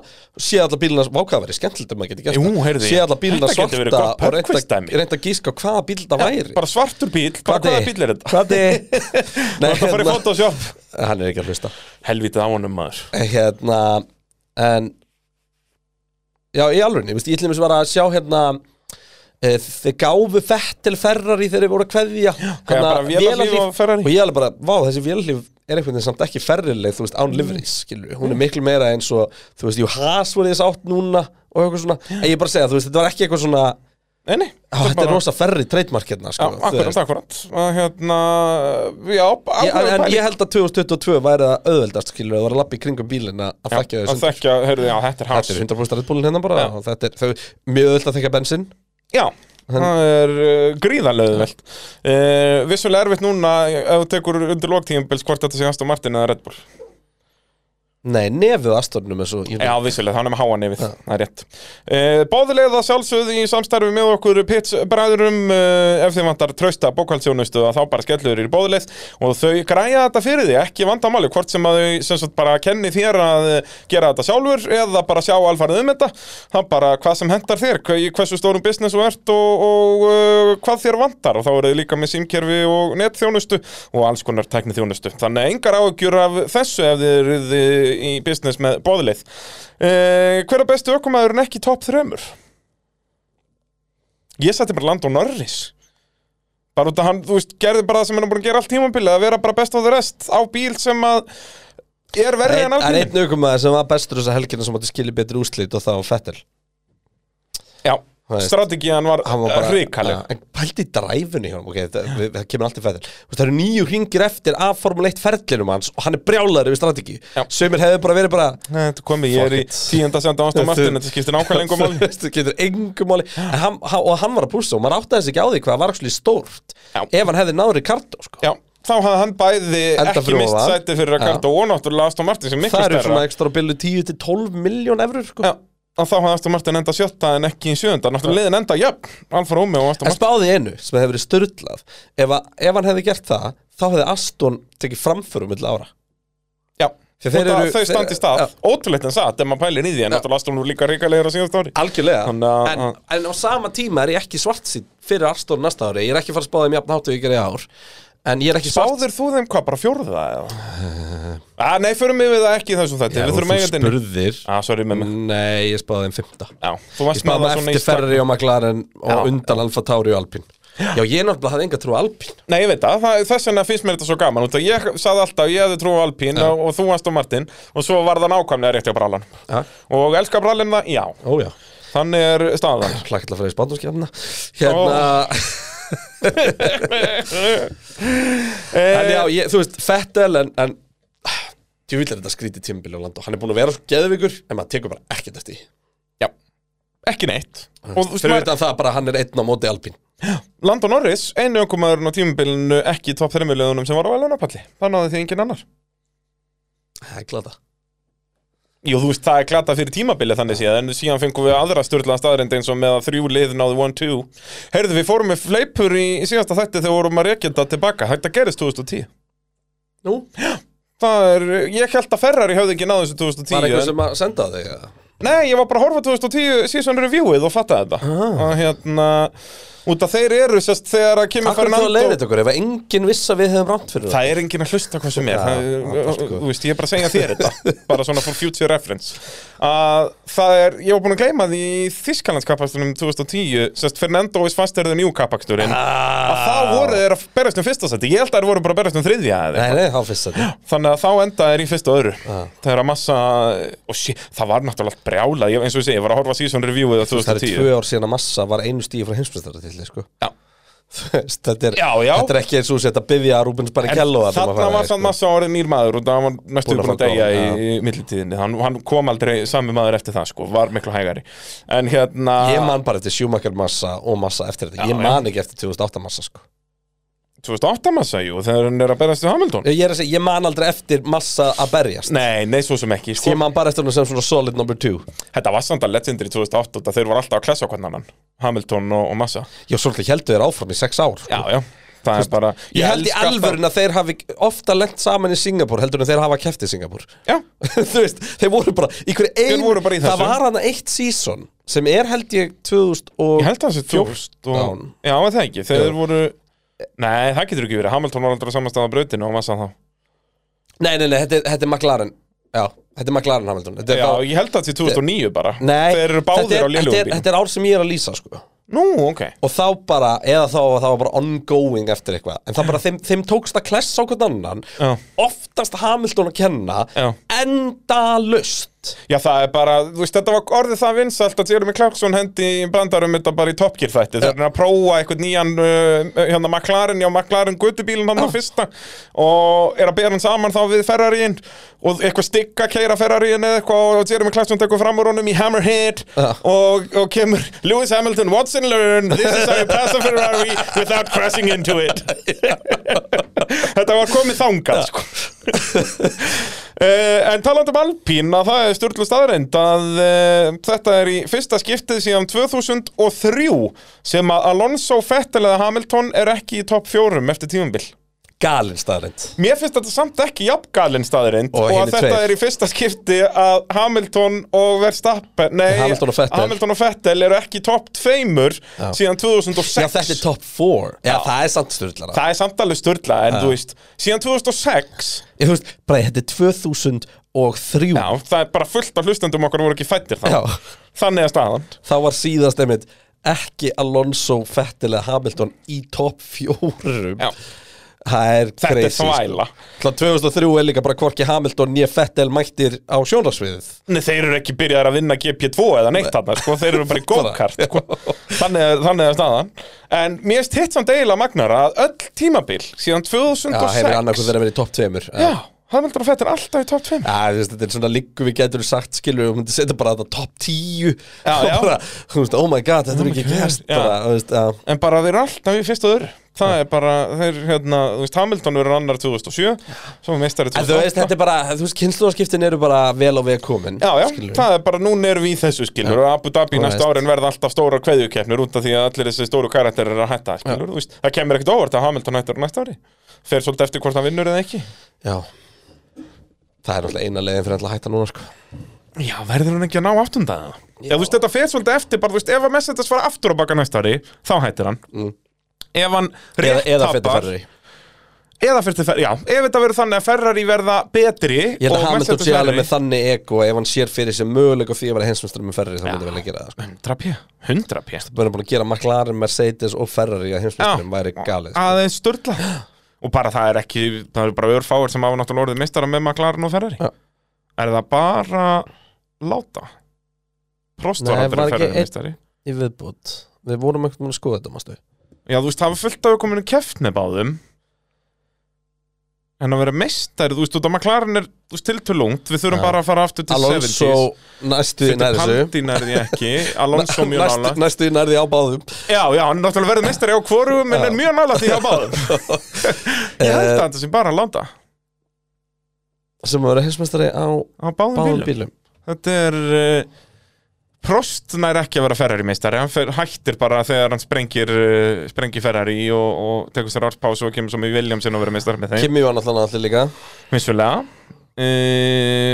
Speaker 4: sé alla bílina, vákaða verið skemmtilegt um að geta gert
Speaker 2: Jú,
Speaker 4: það.
Speaker 2: heyrðu ég.
Speaker 4: sé alla bílina
Speaker 2: Þetta getur verið
Speaker 4: svarta
Speaker 2: gott
Speaker 4: og reynda,
Speaker 2: pubquiz-dæmi.
Speaker 4: reynda að gíska á hvaða bíl það væri
Speaker 2: Bara svartur bíl, bara hvaða bíl er þetta?
Speaker 4: Hvað er Nei,
Speaker 2: Það fyrir
Speaker 4: hérna,
Speaker 2: Photoshop
Speaker 4: hann er ekki að hlusta
Speaker 2: Helvítið á honum maður
Speaker 4: Hérna, en Já, í alveg, ég ætlum þess að vera að sjá hérna eh, Þeir gáfu Fettel Ferrari þegar þeir voru að kveðja
Speaker 2: Já,
Speaker 4: Hérna,
Speaker 2: bara vélarhlíf
Speaker 4: vélarhlíf.
Speaker 2: á Ferrari.
Speaker 4: Og ég alveg bara, vá, þessi vélalíf er einhvern veginn samt ekki ferrileg, þú veist, án
Speaker 2: Mm.
Speaker 4: livrís, skilur Hún er miklu meira eins og, þú veist, jú, has voru þess átt núna og eitthvað svona En ég er bara að segja, þú veist, þetta var ekki eitthvað svona
Speaker 2: Nei, nei
Speaker 4: Á, þetta er rosa ferri trademark hérna,
Speaker 2: Já,
Speaker 4: sko þú veist.
Speaker 2: akkurat, akkurat Og Hérna, já,
Speaker 4: Ég, en, en ég
Speaker 2: akkurat
Speaker 4: held að 2022 væri það auðveldast skilur að það var að lappa í kringum bílinn að að þekkja
Speaker 2: Að
Speaker 4: þessum
Speaker 2: þekkja, heyrðu, já, þetta er hans
Speaker 4: Þetta er 100% Red Bullin hérna bara
Speaker 2: Já.
Speaker 4: og þetta er þau, mjög auðveld að þekka bensin
Speaker 2: Já, það er uh, gríðarlega velt uh, Vissulega erfitt núna ef þú tekur undir lóktíðanbils hvort þetta sé Aston Martin eða Red Bull
Speaker 4: Nei, nefið Astornum er svo ég-
Speaker 2: Já, vissulega, hann er með háa nefið, það er rétt uh, Báðilega sjálfsögðu í samstarfi með okkur pitsbræðurum uh, ef þið vantar trausta bókvældsjónustu þá bara skellur í bóðilegð og þau græja þetta fyrir því, ekki vandamáli hvort sem að þau sem sagt bara kenni þér að eh, gera þetta sjálfur eða bara sjá alfarið um þetta, það bara hvað sem hendar þér, hve- í hversu stórum business þú ert og, og uh, hvað þér vantar og þá eru þau líka með símkerfi og netþjónustu og alls konar tækni þjónustu þannig að engar áhugjur af þessu ef þið eruð eh, í business með bóðilegð uh, Hver er bestu ökumæðurinn ekki top 3? Ég setti bara Landon Norris bara út að hann, þú veist, gerði bara það sem hann er búin að gera allt tímabilið að vera bara best of the rest á bíl sem að er
Speaker 4: Það
Speaker 2: verri
Speaker 4: er
Speaker 2: en
Speaker 4: það er
Speaker 2: alpín
Speaker 4: einn aukumæður sem var bestur þessa helgina sem átti skilja betri úrslit og það var Fettel
Speaker 2: Já,
Speaker 4: veist,
Speaker 2: strategían var,
Speaker 4: Hann var bara
Speaker 2: hrikaleg
Speaker 4: Ja, En pældi í dræfunni hjá hann, ok, það, við, það kemur alltaf Fettel Þú veist, Það eru nýju hringir eftir af Formule 1 ferlinum hans og hann er brjálæður yfir strategi
Speaker 2: Já.
Speaker 4: Sveimir hefði bara verið bara
Speaker 2: Nei, Þetta komið, ég er í
Speaker 4: Fuck it.
Speaker 2: tíunda senda ánstæð Martin, þetta skiptir nákvæmlega engum
Speaker 4: Þú
Speaker 2: máli
Speaker 4: veist, það getur engum máli En hann, hann, og hann var að pússa og maður átti þessi ekki á því hvað það var ekki stórt
Speaker 2: Já.
Speaker 4: ef hann hefði náður Ricardo sko.
Speaker 2: Já, þá hafði hann bæði
Speaker 4: Enda
Speaker 2: ekki
Speaker 4: fyrir
Speaker 2: mist
Speaker 4: ofan.
Speaker 2: sæti fyrir
Speaker 4: Já.
Speaker 2: Ricardo og náttúrulega Aston Martin sem er miklu
Speaker 4: það eru
Speaker 2: stærra
Speaker 4: svona ekstra á byllu 10-12 miljón efrur sko.
Speaker 2: Já, og þá hafði Aston Martin enda sjötta en ekki í sjönda Náttúrulega liðin enda, jöfn, Alfa Romeo og Aston
Speaker 4: en
Speaker 2: Martin
Speaker 4: spáði einu sem hefði verið störtlað ef, að- ef hann hefði gert það þá hefði Aston tekið framförum mill ára
Speaker 2: Já, þeir
Speaker 4: Þeir- þeir
Speaker 2: eru,
Speaker 4: eru-
Speaker 2: þau standi í stað
Speaker 4: Já.
Speaker 2: Ótrúleitt en satt, ef maður pælir í því En náttúrulega Aston voru líka ríkalegur á síðast ári
Speaker 4: algjörlega
Speaker 2: Þannig að-
Speaker 4: en, en á sama tíma er ég ekki svart sín fyrir Aston næsta ári ég er ekki að fara að spáði mér jafn hátu ykkur í ár en ég er ekki svart
Speaker 2: Báður þú þeim hvað, bara fjórða eða? Uh, nei, förum við það ekki í þessum þetta Við þurfum eigandi inn í-
Speaker 4: spurðir
Speaker 2: Ah, sorry með mig
Speaker 4: nei, ég spáði þeim fymta
Speaker 2: Já, þú
Speaker 4: Mm.
Speaker 2: varst með
Speaker 4: Ég spáði
Speaker 2: það svona í
Speaker 4: eftir Ferrari og McLaren og
Speaker 2: Já.
Speaker 4: undan Alfa Tauri og Alpine Já, ég náttúrulega hafði enga trú á Alpine
Speaker 2: Nei, ég veit það, það, þess vegna finnst mér þetta svo gaman út af Ég sagði alltaf, ég hefði trú á Alpín og, og þú varst á Martin Og svo var það nákvæmlega rétt hjá brallan
Speaker 4: Já.
Speaker 2: Og elskar brallin það, já
Speaker 4: Ó já
Speaker 2: Þannig er staðan
Speaker 4: Hlakka til að fara í spátumskjafna Hérna,
Speaker 2: Eh,
Speaker 4: en já, ég, þú veist, Fettel en, en Þú vil er þetta skrítið tímbil og land og hann er búin að vera svo geðvikur en maður tekur bara ekkert eftir því.
Speaker 2: Já, ekki neitt Og þú veist,
Speaker 4: Fyrir
Speaker 2: maður-
Speaker 4: utan það bara að hann er einn á móti Alpine
Speaker 2: Landon Norris, einu ökumæðurinn á tímabilinu ekki í topp 3 liðunum sem var á velunapalli Það náði því engin annar
Speaker 4: Það er glada
Speaker 2: Jú, þú veist, það er klata fyrir tímabilið þannig séð En síðan fengum við aðra störla staðrind eins og með að þrjú lið náði 1-2 Heyrðu, við fórum með fleipur í, í síðasta þætti þegar vorum að rekja þetta tilbaka Þetta gerist 2010
Speaker 4: Nú,
Speaker 2: Það er, ég held að Ferrari hefði ekki náð þessu 2010
Speaker 4: var
Speaker 2: en-
Speaker 4: eitthvað sem að senda á þig eða?
Speaker 2: Nei, ég var bara að horfa á 2010 season reviewið og fatta þetta
Speaker 4: Ah.
Speaker 2: Og hérna, út að þeir eru sérst þegar að kemur
Speaker 4: Akkur þú að leiðið okkur ef að enginn viss að við hefum rámt fyrir það
Speaker 2: Það er enginn að hlusta hvað sem er
Speaker 4: Já,
Speaker 2: það,
Speaker 4: það er allt
Speaker 2: Þú
Speaker 4: góð.
Speaker 2: veist, ég er bara að segja þér þetta Bara svona for future reference að Það er, ég var búin að gleyma því Í Þískalandskapastunum 2010 Sest Fernando is faster than you kapaksturinn
Speaker 4: Ah.
Speaker 2: Að þá voru þeir að berast um fyrsta seti Ég held að þeir voru bara að berast um þriðja eða
Speaker 4: Nei, nei, það fyrst að
Speaker 2: Þannig að þá enda er í fyrsta og öðru Þegar að massa og sí, Það var náttúrulega allt brjálað Ég- Eins og ég segi, ég var að horfa á season reviewið á
Speaker 4: Það er
Speaker 2: 2010
Speaker 4: tvö ár síðan að massa var einu stíð frá heimsmyndstæra til sko.
Speaker 2: Já.
Speaker 4: Þú veist, þetta, er,
Speaker 2: Já, já.
Speaker 4: þetta er ekki eins og þetta byggja Rúbens Barrichello
Speaker 2: En þarna var
Speaker 4: sko.
Speaker 2: samt massa árið nýr maður og það var næstu
Speaker 4: Búinn
Speaker 2: búin
Speaker 4: að
Speaker 2: að
Speaker 4: fá
Speaker 2: deyja í,
Speaker 4: gól,
Speaker 2: í millitíðinni hann, hann kom aldrei sami maður eftir það sko, var miklu hægari En hérna
Speaker 4: Ég man bara eftir sjúmakar massa og massa eftir þetta Ég
Speaker 2: Já,
Speaker 4: man ekki eftir 2008 massa sko
Speaker 2: 2008 massa, jú, þegar hann er að berast við Hamilton
Speaker 4: Ég, er að segja, ég man aldrei eftir massa að berjast
Speaker 2: Nei, nei, svo sem ekki sko.
Speaker 4: Ég man bara eftir hann sem svona solid number two
Speaker 2: Þetta var samt að legendary 2008 og þeir voru alltaf að klessa hvernig annan Hamilton og, og massa
Speaker 4: Já, svolítið heldur þér áfram í sex ár sko.
Speaker 2: Já, já, það er bara
Speaker 4: Ég held í
Speaker 2: elska alltaf-
Speaker 4: alvörun að þeir hafi ofta lent saman í Singapur heldur en þeir hafa keft í Singapur
Speaker 2: Já,
Speaker 4: Þú veist, þeir voru bara í hverju ein,
Speaker 2: voru bara í
Speaker 4: Það
Speaker 2: þessu.
Speaker 4: var hann eitt season sem er held ég 2000 og
Speaker 2: ég held að það sé 14 og... Já, en það ekki, þeir
Speaker 4: Já.
Speaker 2: voru Nei, það getur ekki verið, Hamilton var aldrei samanstæða brautinu og massa þá
Speaker 4: Nei, nei, nei, þetta er, þetta er McLaren Já, þetta er McLaren Hamilton Þetta er
Speaker 2: Já,
Speaker 4: þá-
Speaker 2: ég held að það sé 2009 bara
Speaker 4: Nei,
Speaker 2: Þeir eru
Speaker 4: þetta
Speaker 2: báðir
Speaker 4: er,
Speaker 2: á lillum
Speaker 4: þetta er,
Speaker 2: bíl
Speaker 4: þetta er ár sem ég er að lýsa sko.
Speaker 2: Nú, ok
Speaker 4: Og þá bara, eða þá að það var bara ongoing eftir eitthvað En það bara, þeim, þeim tókst að klessa á hvern annan
Speaker 2: Já.
Speaker 4: Oftast Hamilton að kenna
Speaker 2: Já.
Speaker 4: Endalust
Speaker 2: Já, það er bara, þú veist, þetta var orðið það vinsalt að Jeremy Clarkson hendi brandarum þetta bara í Top Gear þætti Þeir eru að prófa eitthvað nýjan, uh, hérna, McLaren, já, McLaren guttubílinn hann á fyrsta Og er að bera hann saman þá við Ferrarín Og eitthvað stikka keira Ferrarín eða eitthvað Og Jeremy Clarkson tekur fram úr honum í Hammerhead og, og kemur Lewis Hamilton, what's in learn? This is how you pass a Ferrari without crashing into it Þetta var komið þangað, sko Uh, en taland um Alpín að það er styrlu staðreind að uh, þetta er í fyrsta skiptið síðan 2003 sem að Alonso, Fettel eða Hamilton er ekki í topp fjórum eftir tímumbil.
Speaker 4: Galin staðarind
Speaker 2: Mér finnst þetta samt ekki jafngalinn staðreind og,
Speaker 4: Og hinir
Speaker 2: að þetta
Speaker 4: tveir.
Speaker 2: er í fyrsta skipti að Hamilton og Verstappen, nei,
Speaker 4: Hamilton og Vettel.
Speaker 2: Hamilton og Vettel eru ekki í topp tveimur síðan 2006.
Speaker 4: Já, þetta er top 4 Já, það er samt styrlara
Speaker 2: Það er samt alveg styrla, en þú veist, síðan 2006,
Speaker 4: Ég þú veist, bara þetta er 2003
Speaker 2: já, það er bara fullt af hlustendum okkar voru ekki fættir þá.
Speaker 4: Já.
Speaker 2: Þannig er staðan.
Speaker 4: Þá var síðast einmitt ekki Alonso, Vettel eða Hamilton í top 4
Speaker 2: Já.
Speaker 4: Það er
Speaker 2: Þetta er
Speaker 4: crazy sko.
Speaker 2: þvæla.
Speaker 4: Þannig að 2003 er líka bara hvorki Hamilton nýja Fettel mættir á sjónarsviðið
Speaker 2: Nei, þeir eru ekki byrjaðar að vinna GP2 eða neitt þarna, sko, þeir eru bara í go-kart, sko. Þannig er, þannig er staðan. En mér erst hitt samt eiginlega magnar að öll tímabil síðan
Speaker 4: Já, hefur
Speaker 2: 2006...
Speaker 4: annað hvað þeirra verið í topp tveimur
Speaker 2: Já, Hamilton og Fettir alltaf í top 5.
Speaker 4: Já, þú veist, þetta er svona líku við getur sagt skilur við myndum setja bara þetta topp 10
Speaker 2: Já,
Speaker 4: og
Speaker 2: já.
Speaker 4: bara, þú veist, oh my god, þetta er ekki gerst
Speaker 2: Já.
Speaker 4: bara, þú veist, já,
Speaker 2: En bara þeir eru alltaf í fyrstu öðru. Það er bara, þeir, hérna, þú veist, Hamilton verður annar 2007, svo meistari
Speaker 4: en þú veist,
Speaker 2: 2008.
Speaker 4: þetta er bara þú veist, kynnslóðskiptin eru bara vel á veg komin
Speaker 2: Já, já,
Speaker 4: skilurðu.
Speaker 2: það er bara, núna erum við í þessu skilur og Abu Dhabi
Speaker 4: Þú
Speaker 2: næstu
Speaker 4: veist.
Speaker 2: árin verða alltaf stórar kveðjukeppnir út af því að allir þessi stóru karakterir er að hætta skilur, þú veist, það kemur ekkert óvart að Hamilton hættur á næsta ári fer svolítið eftir hvort hann vinnur eða ekki
Speaker 4: Já Það er náttúrulega eina leiðin fyrir alltaf að hætta núna sko
Speaker 2: Já, verður hann ekki að ná aftundaða? Já, þú veist, þetta fer svolítið eftir, bara, þú veist, ef að Mercedes fara aftur á baka næsta ári, þá hættir hann. Ef hann
Speaker 4: Mm. Eða,
Speaker 2: rétt
Speaker 4: eða fettu
Speaker 2: tapar-
Speaker 4: ferri Ég
Speaker 2: Eða fyrir ferri, já, ef þetta verður þannig að Ferrari verða betri
Speaker 4: held
Speaker 2: og
Speaker 4: að Hamilton
Speaker 2: Mercedes
Speaker 4: sé alveg
Speaker 2: verri,
Speaker 4: með þannig ego ef hann sér fyrir sér möguleika því að vera hensmestrar með ferri þá myndi vel að gera það sko
Speaker 2: 100 pjö, 100 pjö.
Speaker 4: Börnum búin að gera McLaren, Mercedes og Ferrari að heimsmeistarum væri galið sko.
Speaker 2: aðeins störla og bara það er ekki, það eru bara örfáir sem hafa náttúrulega orðið meistara með McLaren og Ferrari
Speaker 4: Já.
Speaker 2: er það bara láta Prost var
Speaker 4: Nei,
Speaker 2: aldrei
Speaker 4: var ekki
Speaker 2: Ferrari
Speaker 4: einn-
Speaker 2: meistari
Speaker 4: Í viðbútt Við vorum ekkert múin að skoða þetta mástu
Speaker 2: já þú veist, það var fullt af kominu keftni báðum en að vera meistari, þú veist, út að McLaren er þú veist, tiltölungt, við þurfum
Speaker 4: Já.
Speaker 2: bara að fara aftur til
Speaker 4: Alonso
Speaker 2: 70s
Speaker 4: næstu í
Speaker 2: Þetta
Speaker 4: nærðu
Speaker 2: pandi nærði ekki Alonso mjög nála
Speaker 4: næstu, næstu í nærðu á báðum
Speaker 2: Já, já, hann er náttúrulega verið meistari á hvorum en er mjög nála því á báðum Ég held að þetta sem bara að láta
Speaker 4: sem að vera heimsmeistari á
Speaker 2: á báðum, bílum.
Speaker 4: báðum bílum
Speaker 2: Þetta er uh, Prost nær ekki að vera Ferrari meistari hann fer, hættir bara þegar hann sprengir uh, sprengir Ferrari og, og tekur sér árspásu og kemur svo með Williamson og vera meistari með þeim
Speaker 4: Kimi var náttúrulega allir líka
Speaker 2: vissulega
Speaker 4: E,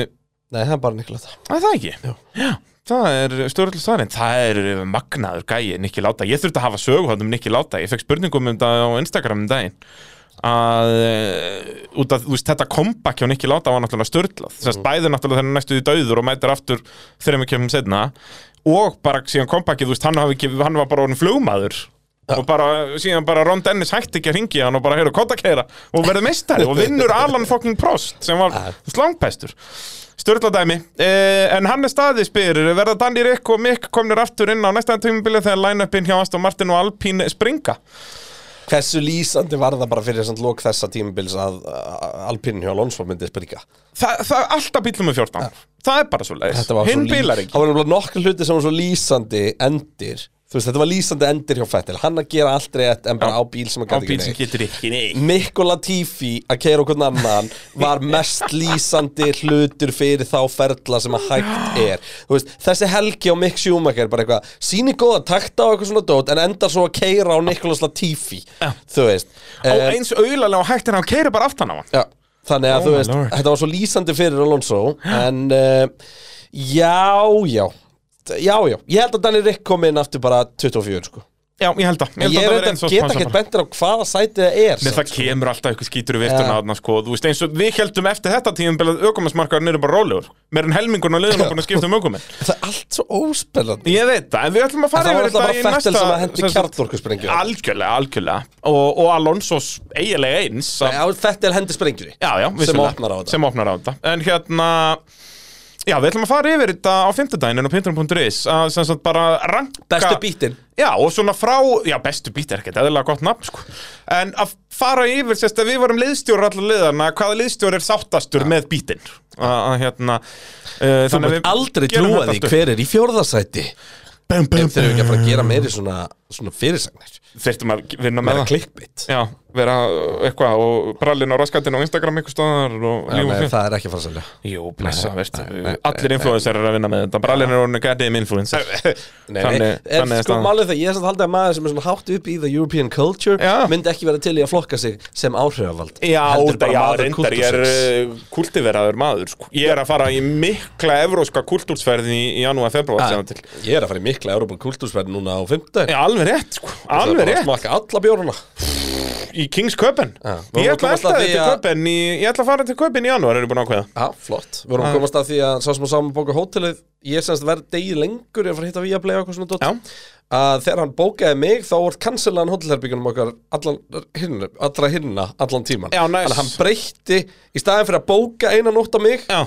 Speaker 2: uh,
Speaker 4: Nei, það er bara Nikolata
Speaker 2: að það ekki Já. það er stjórnlega staðarinn það er uh, magnaður gæi Nikki Láta ég þurfti að hafa sögu hann um Nikki Láta ég fekk spurningum um þetta á Instagram um daginn að uh, út að þú veist, þetta comeback hjá Nikki Láta var náttúrulega störtlað þess að bæður náttúrulega þegar hann næstu í dauður og mætir aftur þreymur kemum setna og bara síðan comebackið, þú veist, hann, hafi ekki, hann var bara orðin flugmaður og bara, síðan bara Ron Dennis hætti ekki að ringi hann og bara heyra kottakeira og verði meistari og vinnur Alan fucking Prost sem var slangpestur Sturla dæmi, eh, en hann er staði spyr, verða Danny Rick og Mick komnir aftur inn á næsta tímubili þegar line-upin hjá Aston Martin og Alpine springa
Speaker 4: Hversu lýsandi var það bara fyrir samt lók þessa tímabils að uh, Alpine hjá Alonso myndi sprika
Speaker 2: Þa, það er alltaf bílum með 14 Það er bara svo leiðis,
Speaker 4: Þetta var
Speaker 2: hinn
Speaker 4: svo lí-
Speaker 2: bílar ekki
Speaker 4: Það var nefnilega nokkur hluti sem var svo lýsandi endir Þú veist, þetta var lýsandi endir hjá Fettil Hann að gera allt rétt en
Speaker 2: Já.
Speaker 4: bara á bíl sem hann
Speaker 2: Á
Speaker 4: gæti
Speaker 2: bíl sem
Speaker 4: ekki neitt.
Speaker 2: getur ekki neitt
Speaker 4: Nikola Tifi að keira okkur annan var mest lýsandi hlutur fyrir þá ferla sem að hægt er Þú veist, þessi helgi á Mick Schumacher bara eitthvað, síni góða takta á eitthvað svona dót en endar svo að keira á Nikola Latifi þú veist
Speaker 2: Á
Speaker 4: Eh,
Speaker 2: eins auðlega hægt en hann keiri bara aftan á hann
Speaker 4: Já, þannig að
Speaker 2: Oh
Speaker 4: þú
Speaker 2: my
Speaker 4: veist,
Speaker 2: lord.
Speaker 4: þetta var svo lýsandi fyrir Alonso En uh, já, já Já, já, ég held að Danny Rick kom inn aftur bara 24 sko
Speaker 2: Já, ég held að
Speaker 4: Ég,
Speaker 2: held
Speaker 4: ég
Speaker 2: það
Speaker 4: er
Speaker 2: verði eins
Speaker 4: þetta
Speaker 2: og
Speaker 4: geta
Speaker 2: smá
Speaker 4: ekkert
Speaker 2: saman.
Speaker 4: bentir á hvaða sæti það er
Speaker 2: Nei,
Speaker 4: samt,
Speaker 2: það kemur alltaf eitthvað skítur í viftun
Speaker 4: Já.
Speaker 2: að hann, sko, þú veist, eins og við heldum eftir þetta tíðumbilað aukumismarkaðurinn eru bara rólegur Meir en helmingun og liðunum búin að skipta um aukuminn
Speaker 4: Það er allt svo óspennandi
Speaker 2: Ég veit það, en við ætlum að
Speaker 4: Það
Speaker 2: fara
Speaker 4: var
Speaker 2: yfir þetta
Speaker 4: alltaf bara
Speaker 2: í
Speaker 4: Fettel
Speaker 2: næsta
Speaker 4: sem að hendi
Speaker 2: sem sagt,
Speaker 4: kjartorkusprengju
Speaker 2: Algjörlega, algjörlega Og, og Alonso s- eiginlega eins að-
Speaker 4: Þetta er hendi sprengjur
Speaker 2: Já, já,
Speaker 4: Sem
Speaker 2: vissulega.
Speaker 4: opnar á þetta
Speaker 2: Sem opnar á þetta En hérna Já, við ætlum að fara yfir þetta á fimmtudaginn en á pinturum.is að sem sagt bara ranka
Speaker 4: Bestu bítinn
Speaker 2: Já, og svona frá, já, bestu bít er ekkert eðlilega gott nafn, sko En að fara yfir, sérst, að við vorum liðstjóri allar liðana Hvaða liðstjóri er sáttastur með bítinn Að, að hérna uh,
Speaker 4: Þú mér aldrei trúa því hver er í fjórðasæti
Speaker 2: bum, bum,
Speaker 4: Þeir eru ekki að fara að gera meiri svona, svona fyrirsagnir
Speaker 2: Þyrftum að vinna með
Speaker 4: Meira
Speaker 2: það
Speaker 4: klikkbit
Speaker 2: Já, vera uh, eitthvað og brallin á raskatinn á Instagram eitthvað staðar og
Speaker 4: Já,
Speaker 2: lífum
Speaker 4: nei,
Speaker 2: fyrir
Speaker 4: það er ekki að fara að selja
Speaker 2: Jú, blessa, veist
Speaker 4: nei, nei,
Speaker 2: Allir influencer er að vinna með þetta Brallin er orðin að goddamn influencer
Speaker 4: Nei, nei,
Speaker 2: Þannig,
Speaker 4: er
Speaker 2: þannig er
Speaker 4: sko
Speaker 2: staðan
Speaker 4: málið það, ég er samt haldið að maður sem er svona hátt upp í the European culture
Speaker 2: Já.
Speaker 4: myndi ekki vera til í að flokka sig sem áhrifavald
Speaker 2: Já,
Speaker 4: Heldur
Speaker 2: það,
Speaker 4: bara
Speaker 2: já,
Speaker 4: maður
Speaker 2: reyndar, ég er
Speaker 4: kultúrsins.
Speaker 2: uh, kultiveraður maður sko. Ég er að fara í mikla evróska kultúrsferð í, í janúar, februar
Speaker 4: Ah,
Speaker 2: sem það til
Speaker 4: Ég er að fara í mikla Európa kultúrsverð núna á 15
Speaker 2: Já, alveg rétt, sko, alveg
Speaker 4: Það er bara að
Speaker 2: rétt
Speaker 4: smaka alla bjóruna
Speaker 2: Í Kings Köpen
Speaker 4: Já, við
Speaker 2: Ég
Speaker 4: vorum að
Speaker 2: ætla
Speaker 4: komast að
Speaker 2: alltaf
Speaker 4: því
Speaker 2: til
Speaker 4: að-
Speaker 2: Köpen í, Ég ætla að fara til Köpen í janúar, erum við búin að ákveða
Speaker 4: Já, flott Við vorum að komast að því að sá sem að saman bóka hótelið Ég semst verð degi lengur Ég var að hitta við að blei eitthvað svona dótt
Speaker 2: Já.
Speaker 4: Að þegar hann bókaði mig þá voru kanselaðan hótelherbyggunum okkar allan, hinna, allra hinna allan tíman
Speaker 2: Já, næs.
Speaker 4: Þannig að hann breytti Í staðin fyrir að bóka eina nótt á mig
Speaker 2: Já,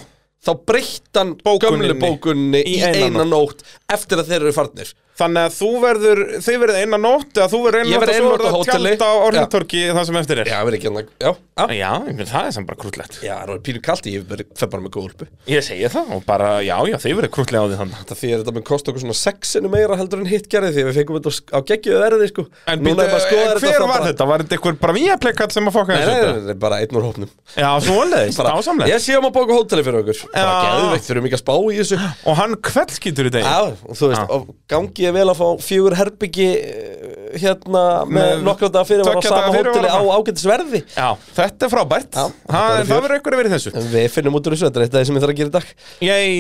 Speaker 4: Þá breytti hann
Speaker 2: Bókuninni.
Speaker 4: gömlu bókunni í,
Speaker 2: Í
Speaker 4: eina,
Speaker 2: eina
Speaker 4: nótt. Eftir að þeir eru farnir
Speaker 2: þannig að þú verður Þið verður eina nótt eða þú verður
Speaker 4: Ég
Speaker 2: eina nótt
Speaker 4: verð
Speaker 2: og
Speaker 4: eina
Speaker 2: svo
Speaker 4: nótt á
Speaker 2: verður það
Speaker 4: hóteli.
Speaker 2: tjald á
Speaker 4: Já.
Speaker 2: orðintorki það sem eftir er
Speaker 4: Já, við erum ekki hann Já, já
Speaker 2: Já, ég meina, það er sem bara krúllegt
Speaker 4: Já, það er pínu kallt Ég fer fer bara með góð úlpu
Speaker 2: Ég segi það og bara, já, já, þið verður krúllið á því þannig
Speaker 4: Þetta því að þetta mun kosta okkur svona sexinu meira heldur en hitt gerði því að við fengum þetta á sk- á geggjöðu verði sko
Speaker 2: En
Speaker 4: Núna er
Speaker 2: býtu,
Speaker 4: bara að skoða
Speaker 2: en
Speaker 4: þetta
Speaker 2: hver
Speaker 4: þá
Speaker 2: var
Speaker 4: bara-
Speaker 2: þetta? Var þetta einhver bara víaplekall sem að fokka
Speaker 4: Nei,
Speaker 2: þessu?
Speaker 4: nei, nei,
Speaker 2: þetta?
Speaker 4: nei, nei, bara einn úr hópnum
Speaker 2: Já, svoleiðis,
Speaker 4: bara,
Speaker 2: dásamlega
Speaker 4: Ég sé um að bóka hóteli fyrir okkur Bara
Speaker 2: Já.
Speaker 4: geðveikt, þurfum ekki að spá í þessu Já,
Speaker 2: Og hann kveldskýtur í degi
Speaker 4: og þú veist,
Speaker 2: Já.
Speaker 4: og gangi ég vel að fá fjögur herbyggi eh, hérna með
Speaker 2: Með
Speaker 4: nokkra daga fyrir var á
Speaker 2: tveggja daga
Speaker 4: sama
Speaker 2: fyrir
Speaker 4: hóteli á
Speaker 2: var
Speaker 4: ágætisverði
Speaker 2: Já, þetta er frábært
Speaker 4: Já,
Speaker 2: ha,
Speaker 4: þetta var í
Speaker 2: en Það
Speaker 4: fjör.
Speaker 2: verður einhver að vera í þessu
Speaker 4: En Við finnum út úr þessu, þetta er eitt af því sem ég þarf að gera í dag
Speaker 2: Jæj,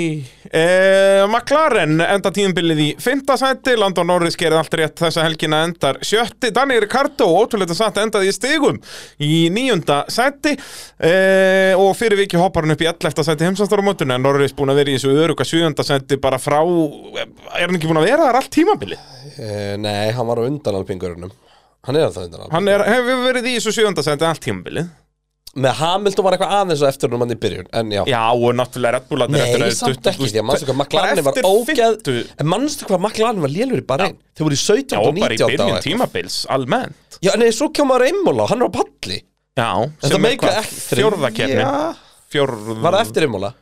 Speaker 2: eh, McLaren enda tíðumbilið í fymta sæti Landon Norris gerði allt rétt þessa helgina endar sjötti Daniel Ricardo, ótrúleita satt, endaði í stigum í níunda sæti eh, og fyrir viki hoppar hann upp í 11. sæti heimsastarumótun en Norris búin að vera í þessu öruga sjöunda sæti bara frá, er hann ekki búin að vera þar allt tímabilið?
Speaker 4: uh, Nei, hann var á undan alpingurunum Hann er alltaf undan alpingurunum
Speaker 2: Eh, Hann er, hefur verið í þessu sjöunda sæti allt tímabilið
Speaker 4: Með Hamilton var eitthvað aðeins á eftir um hann í byrjun En já,
Speaker 2: Já, og náttúrulega Red Bull þarna eftir
Speaker 4: Nei,
Speaker 2: að-
Speaker 4: samt ekki, því að mannstu hvað McLaren var
Speaker 2: Bara eftir
Speaker 4: ógeð
Speaker 2: fimmtu-
Speaker 4: En mannstu hvað McLaren var lélur í Bahrein Þau voru í 17
Speaker 2: Já,
Speaker 4: og
Speaker 2: bara í
Speaker 4: 19
Speaker 2: byrjun
Speaker 4: daga.
Speaker 2: tímabils, almennt
Speaker 4: Já, nei, svo kemur maður einmála, hann var á palli
Speaker 2: Já,
Speaker 4: En það meika ekki
Speaker 2: fjórðakefni
Speaker 4: Já.
Speaker 2: Fjórð...
Speaker 4: Var það eftir einmála?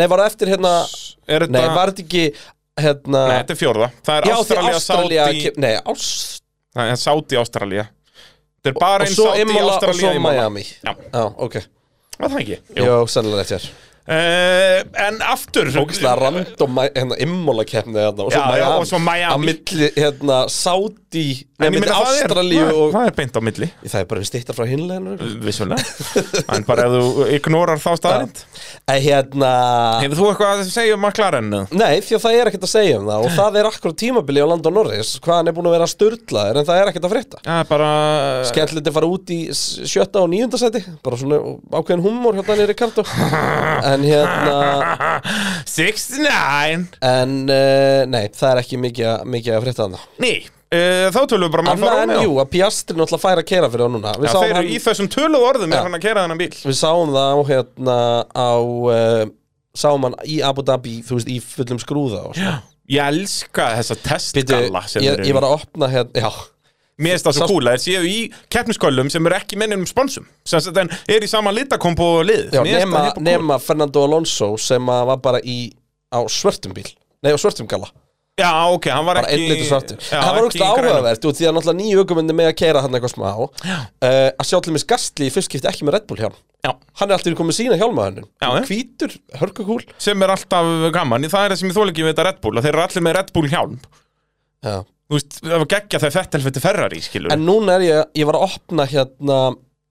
Speaker 4: Nei, var það eftir hérna
Speaker 2: Er þetta...
Speaker 4: Nei, var þetta ekki hérna
Speaker 2: Nei, þetta er fjórða Það er
Speaker 4: Já, því
Speaker 2: Ástralía,
Speaker 4: Ástralía
Speaker 2: Sáti
Speaker 4: kem- Nei, Ást
Speaker 2: Það er Sáti, Ástralía Þetta er
Speaker 4: Og
Speaker 2: bara einn
Speaker 4: svo
Speaker 2: Sáti,
Speaker 4: einmála og svo
Speaker 2: Ástralía, Imola
Speaker 4: Miami
Speaker 2: Já,
Speaker 4: Já, ok
Speaker 2: var það ekki? Jú.
Speaker 4: Jó, sennilega rétt hér
Speaker 2: Eh, En aftur
Speaker 4: Ógislega random ma- hérna, immola keppni hérna, og svo
Speaker 2: Já,
Speaker 4: Miami
Speaker 2: já, og svo Miami.
Speaker 4: Á milli, hérna, Saudi Nei,
Speaker 2: En ég
Speaker 4: milli
Speaker 2: meina, það er-
Speaker 4: Ástralíu
Speaker 2: það-
Speaker 4: og
Speaker 2: Það er beint á milli
Speaker 4: Það er bara við stýttar frá hinleginu
Speaker 2: Vissulega En bara ef þú ignorar þá staðarind
Speaker 4: En hérna
Speaker 2: Hefur þú eitthvað að segja um McLaren? eða?
Speaker 4: Nei, því að það er ekkert að segja um það og það er akkur tímabili á Landon Norris hvað hann er búin að vera störtlaður en það er ekkert að frétta
Speaker 2: Já, bara
Speaker 4: Skellilegt að fara út í s- sjötta og níunda seti bara svona ákveðin humor hjá Daniel Ricardo en hérna
Speaker 2: 69
Speaker 4: en uh, nei, það er ekki mikið, að- mikið að frétta þannig
Speaker 2: Nei, uh, þá tölum við bara um Alfa
Speaker 4: Annað en
Speaker 2: Romeo.
Speaker 4: jú, að Piastri náttúrulega fær að keira fyrir hann núna
Speaker 2: Já,
Speaker 4: við,
Speaker 2: þeir
Speaker 4: sáum,
Speaker 2: eru
Speaker 4: hann,
Speaker 2: í þessum töluðu orðum
Speaker 4: Já.
Speaker 2: er hann að kera þennan bíl
Speaker 4: við sáum það á hérna á uh, sáum hann í Abu Dhabi þú veist, í fullum skrúða og svona
Speaker 2: Ég elska þessa
Speaker 4: Bíddu,
Speaker 2: testgalla sem
Speaker 4: ég,
Speaker 2: þeir
Speaker 4: ég
Speaker 2: eru
Speaker 4: var að opna hérna, já
Speaker 2: Mér finnst það svo
Speaker 4: Sást-
Speaker 2: kúla, þeir séu í keppnisköllum sem eru ekki minni um sponsum sem sagt, en er í sama litakombo og lið
Speaker 4: Já,
Speaker 2: Mér finnst
Speaker 4: nema,
Speaker 2: það hérna hippo kúl.
Speaker 4: nema Fernando Alonso sem að var bara í á svörtum bíl Nei, á svörtum gala
Speaker 2: Já, ok, hann var
Speaker 4: bara einn
Speaker 2: ekki
Speaker 4: litur svartur
Speaker 2: Já,
Speaker 4: það var
Speaker 2: ekki
Speaker 4: úrst
Speaker 2: í grænum.
Speaker 4: áhugavert út því að náttúrulega nýju ökumenni með að keira hann eitthvað smá uh, að sjá til mér skastli í fyrst skipti ekki með Red Bull hjálm
Speaker 2: Já.
Speaker 4: hann er alltaf komið sína hjálma hennum
Speaker 2: Já, já.
Speaker 4: hvítur, hörkukúl
Speaker 2: Sem er alltaf gaman, það er það sem ég þóla ekki við þetta Red Bull að þeir eru allir með Red Bull hjálm
Speaker 4: já.
Speaker 2: Þú veist, það var geggja þegar þetta helfetti Ferrari, skilur
Speaker 4: en núna er ég ég var að opna hérna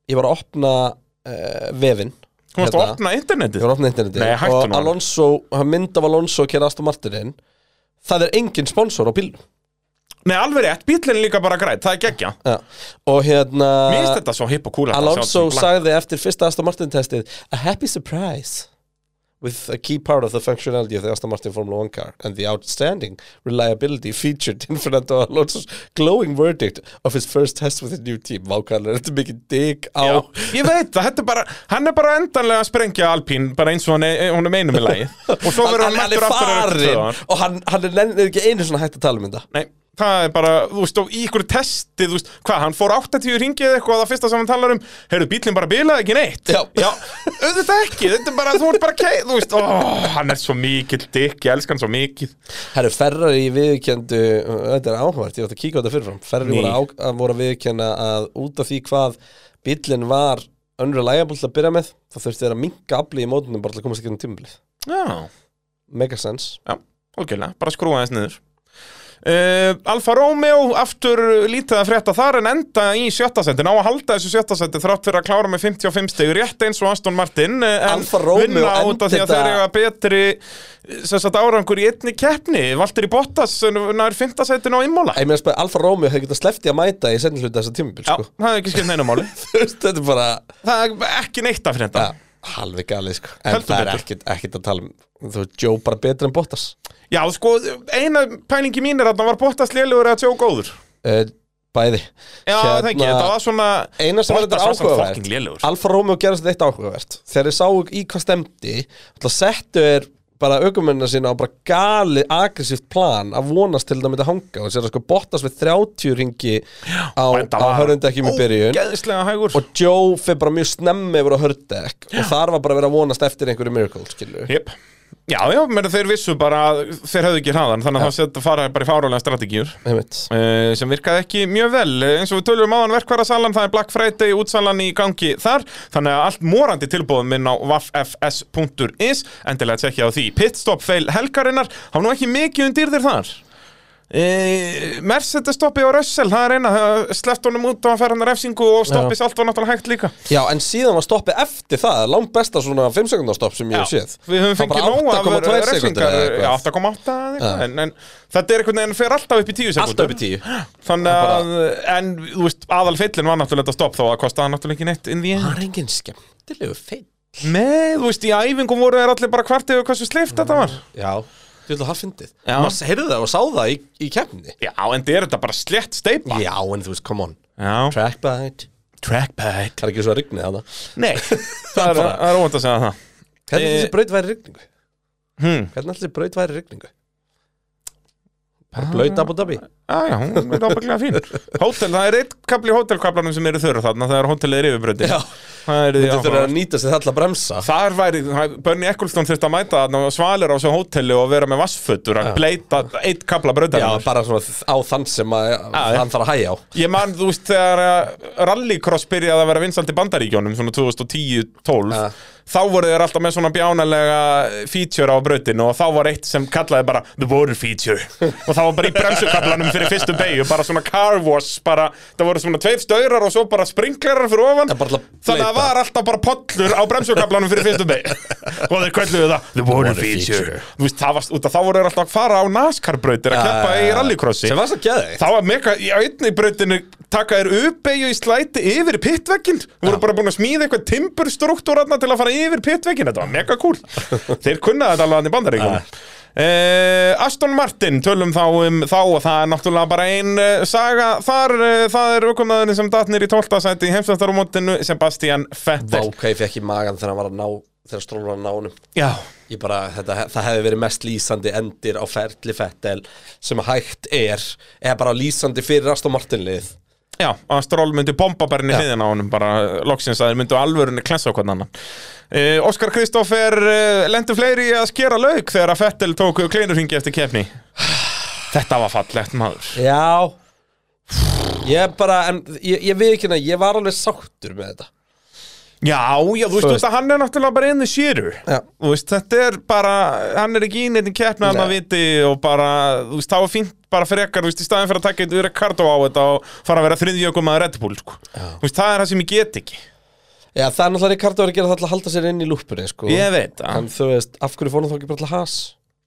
Speaker 4: ég var að opna uh, vefin
Speaker 2: Hún varst að opna
Speaker 4: ég
Speaker 2: internetið
Speaker 4: var að opna interneti
Speaker 2: Nei, hættu
Speaker 4: og
Speaker 2: nú alveg.
Speaker 4: Alonso, hann mynd af Alonso að keira Aston Martin það er engin sponsor á bílnum
Speaker 2: Nei, alveg rétt, bíllinn er líka bara grætt, það er geggja
Speaker 4: Já. og hérna
Speaker 2: Mér finnst þetta svo hipp og kúla
Speaker 4: Alonso sagði eftir fyrsta Aston Martin testið A happy surprise with a key part of the functionality of the Aston Martin Formula 1 car and the outstanding reliability featured in Fernando Alonso's glowing verdict of his first test with a new team Vákallar, þetta er mikið dig á
Speaker 2: Já, ég veit það, þetta er bara, hann er bara endanlega að sprengja Alpín, bara eins og hann er, hún er meinum í lagi og svo verður hann
Speaker 4: hann er
Speaker 2: mættur aftur eftir tvö
Speaker 4: farin
Speaker 2: ár.
Speaker 4: og hann, hann er nennir ekki einu svona hægt að tala um þetta
Speaker 2: Nei, það er bara, þú veist, og í ykkur testi, þú veist, hvað, hann fór 80 ringið eða eitthvað, það fyrsta sem hann talar um, heyrðu, bílinn bara bilaði ekki neitt.
Speaker 4: Já.
Speaker 2: auðvitað ekki, þetta er bara, þú ert bara keið, þú veist, ó, hann er svo mikill dikk, ég elska hann svo mikið.
Speaker 4: Herru, Ferrari viðurkendu, þetta er áhvert, ég átti að kíka á þetta fyrirfram Ferrari
Speaker 2: Ný.
Speaker 4: voru, á, að voru að viðurkenna að út af því hvað bíllinn var unreliable til að byrja með þá þurfti þeir að minka afli í mótunum bara til að komast ekki um tímabilið
Speaker 2: Já,
Speaker 4: Mega sense
Speaker 2: já, okkurlega, bara skrúa þess niður. Uh, Alfa Romeo aftur lítið að frétta þar en enda í sjötta seti, ná að halda þessu sjötta seti þrátt fyrir að klára með 55 stegur rétt eins og Aston Martin eh, en
Speaker 4: Alfa Romeo
Speaker 2: vinna út af því
Speaker 4: endita-
Speaker 2: að þeir eru að betri sem sagt árangur í einni keppni Valtteri Bottas eh, nær 5. setin á Imola
Speaker 4: Ég meina spæði, Alfa Romeo hefur getað slefti að mæta í senni hluta þessa tímabil,
Speaker 2: Já,
Speaker 4: sko
Speaker 2: það er ekki skipt neina máli
Speaker 4: Þú veist, þetta er bara
Speaker 2: Það er ekki neitt að frétta
Speaker 4: ja, halvið galið, sko En
Speaker 2: Heldur
Speaker 4: það er
Speaker 2: betur.
Speaker 4: ekkit, ekkit að tala um Þú veist, Joe bara betur en Bottas
Speaker 2: Já, sko, eina pælingi mín er að það var Bottas lélugur eða tjó góður
Speaker 4: uh, Bæði
Speaker 2: Já, það ekki, þetta var svona
Speaker 4: eina Hérna, sem var þetta
Speaker 2: Bottas var samt fucking
Speaker 4: áhugavert
Speaker 2: lélegur.
Speaker 4: Alfa Romeo gerðist þetta áhugavert þegar þeir sáu í hvað stemdi ætla að settu er bara aukumennina sína á bara gali aggressíft plan að vonast til það myndi hanga og sér að sko bóttast við 30 ringi á,
Speaker 2: Þetta
Speaker 4: á
Speaker 2: var
Speaker 4: hörundekjum í byrjun
Speaker 2: ógeðslega hægur
Speaker 4: og Joe fyrir bara mjög snemmi yfir á hördekk og þar var bara að vera að vonast eftir einhverju miracle skilu
Speaker 2: Jep. Já, já, menn þeir vissu bara að þeir höfðu ekki hraðan, þannig að það setja fara bara í fárálega strategíur
Speaker 4: Einmitt.
Speaker 2: eh, sem virkaði ekki mjög vel, Eh, eins og við tölum áðan verkværasalan, það er Black Friday útsalan í gangi þar, þannig að allt morandi tilbúðum minn á vaffs.is endilega tjekkja á því, pitstop fail helgarinnar, hafa nú ekki mikið undir þér þar e, Mercedes stoppi á Russell, það er eina það sleppt honum út og hann fær hann refsingu og stoppis allt var náttúrulega hægt líka
Speaker 4: Já, en síðan var stoppið eftir það langt besta svona 5 sekundar stopp sem ég hef séð
Speaker 2: Við höfum
Speaker 4: Það var
Speaker 2: fengið nóg af eh,
Speaker 4: 8,2 sekúndur
Speaker 2: refsingar
Speaker 4: eða eitthvað.
Speaker 2: já, 8,8 eða eitthvað en, en þetta er einhvern veginn fyrir alltaf upp í 10 sekundar
Speaker 4: Alltaf upp í 10
Speaker 2: Þannig að, en þú veist, aðal feillin var náttúrulega þetta stopp þó að kostaði hann náttúrulega ekki neitt inn í einn
Speaker 4: Það er engin skemmtilegu feitt
Speaker 2: Nei, þú veist, í æfingum voru þeir allir bara hvart yfir hversu sleift þetta var
Speaker 4: Já, þú ætla að hafa fyndið
Speaker 2: Já.
Speaker 4: Maður heyrði það og sá það í, í keppni
Speaker 2: Já, en þið er þetta bara slett steipa
Speaker 4: Já, en þú veist, come on
Speaker 2: Já,
Speaker 4: Trackbite
Speaker 2: trackpad
Speaker 4: Það er ekki svo að rignið hana
Speaker 2: Nei, það er, það er óvænt að segja það
Speaker 4: Hvernig
Speaker 2: Eh,
Speaker 4: ætli þessi braut væri í rigningu?
Speaker 2: hmm.
Speaker 4: Hvernig ætli þessi braut væri í rigningu? Bara blaut Abu Dhabi
Speaker 2: Já, já, hún er ábygglega fín Hótel, það er eitt kapli í hótelkaplanum sem eru þurra þarna þegar hótelið er yfirbröndin
Speaker 4: Já,
Speaker 2: Það er því
Speaker 4: þú þurfir
Speaker 2: áhugavert.
Speaker 4: að nýta sér það að bremsa
Speaker 2: Þar væri, Bernie Ecclestone þurfti að mæta þarna og svalir á svo hóteli og vera með vassfötur að bleita eitt kapla
Speaker 4: Já,
Speaker 2: bröðarinnar
Speaker 4: bara svona á þann sem að,
Speaker 2: já.
Speaker 4: hann þarf að hæja á
Speaker 2: Ég man, þú veist, þegar eh, rallycross byrjaði að vera vinsalt í bandaríkjónum svona 2010-12
Speaker 4: Ja.
Speaker 2: þá voru þeir alltaf með svona bjánalega feature á brautinu og þá var eitt sem kallaði bara the water feature og það var bara í bremsukablanum fyrir fyrstu beigju bara svona car wash, bara það voru svona tveir staurar og svo bara sprinklerar fyrir ofan
Speaker 4: Það bara til að
Speaker 2: þannig að það
Speaker 4: bleyta.
Speaker 2: var alltaf bara pollur á bremsukablanum fyrir fyrstu beigju og þeir kvölduðu það the water feature,
Speaker 4: feature.
Speaker 2: Þú Veist, það var, út, af- þá voru þeir alltaf að fara á NASCAR brautir að keppa í rallycrossi
Speaker 4: Sem var svo geði
Speaker 2: Það var mega, í einni brautinu taka þér uppeyju í slæti yfir pittveggin Þú voru bara búin að smíða eitthvað timburstruktúrarna til að fara yfir pittveggin Þetta var mega cool Þeir kunnaði þetta alveg hann í bandaríkjum
Speaker 4: Ja.
Speaker 2: Uh, Aston Martin, tölum þá um þá og það er náttúrulega bara ein uh, saga þar, uh, það er aukumnaðurinn sem datnir í 12. sæti í heimsvættarumótinu Sebastian Vettel
Speaker 4: Váka, ég fekk í magan þegar hann var að ná Þegar strólar var að ná honum
Speaker 2: Já,
Speaker 4: Ég bara, þetta, það hefði verið mest lýsandi endir á ferli fettel sem hægt er eða bara lýsandi fyrir Aston Martin lið
Speaker 2: Já, að Stroll myndi bomba bara inn í
Speaker 4: Já.
Speaker 2: hliðina á honum bara eh, loksins að þeir myndu alvörunni klessa á hvern annan eh, Óskar Kristófer eh, lendu fleiri í að skera lauk þegar að Fettel tók kleinurhingi eftir kefni Þetta var fallegt maður
Speaker 4: Já Ég bara, en ég, ég við ekki hérna Ég var alveg sáttur með þetta
Speaker 2: Já, já, þú veist,
Speaker 4: Þú
Speaker 2: þú
Speaker 4: veist.
Speaker 2: veist að hann er náttúrulega bara einu sýru
Speaker 4: Já.
Speaker 2: Þú veist, þetta er bara, hann er ekki í neitt keppna hann að
Speaker 4: Nei.
Speaker 2: viti og bara, þú veist, þá er fínt bara frekar, þú veist, í staðin fyrir að taka eitthvað Ricardo á þetta og fara að vera þriðjögum að Red Bull, sko Þú veist, það er það sem ég get ekki
Speaker 4: Já, það er náttúrulega Ricardo er að gera það til að halda sér inn í lúpunni sko.
Speaker 2: Ég veit það.
Speaker 4: En þú veist, af hverju fór hann þá ekki bara til has?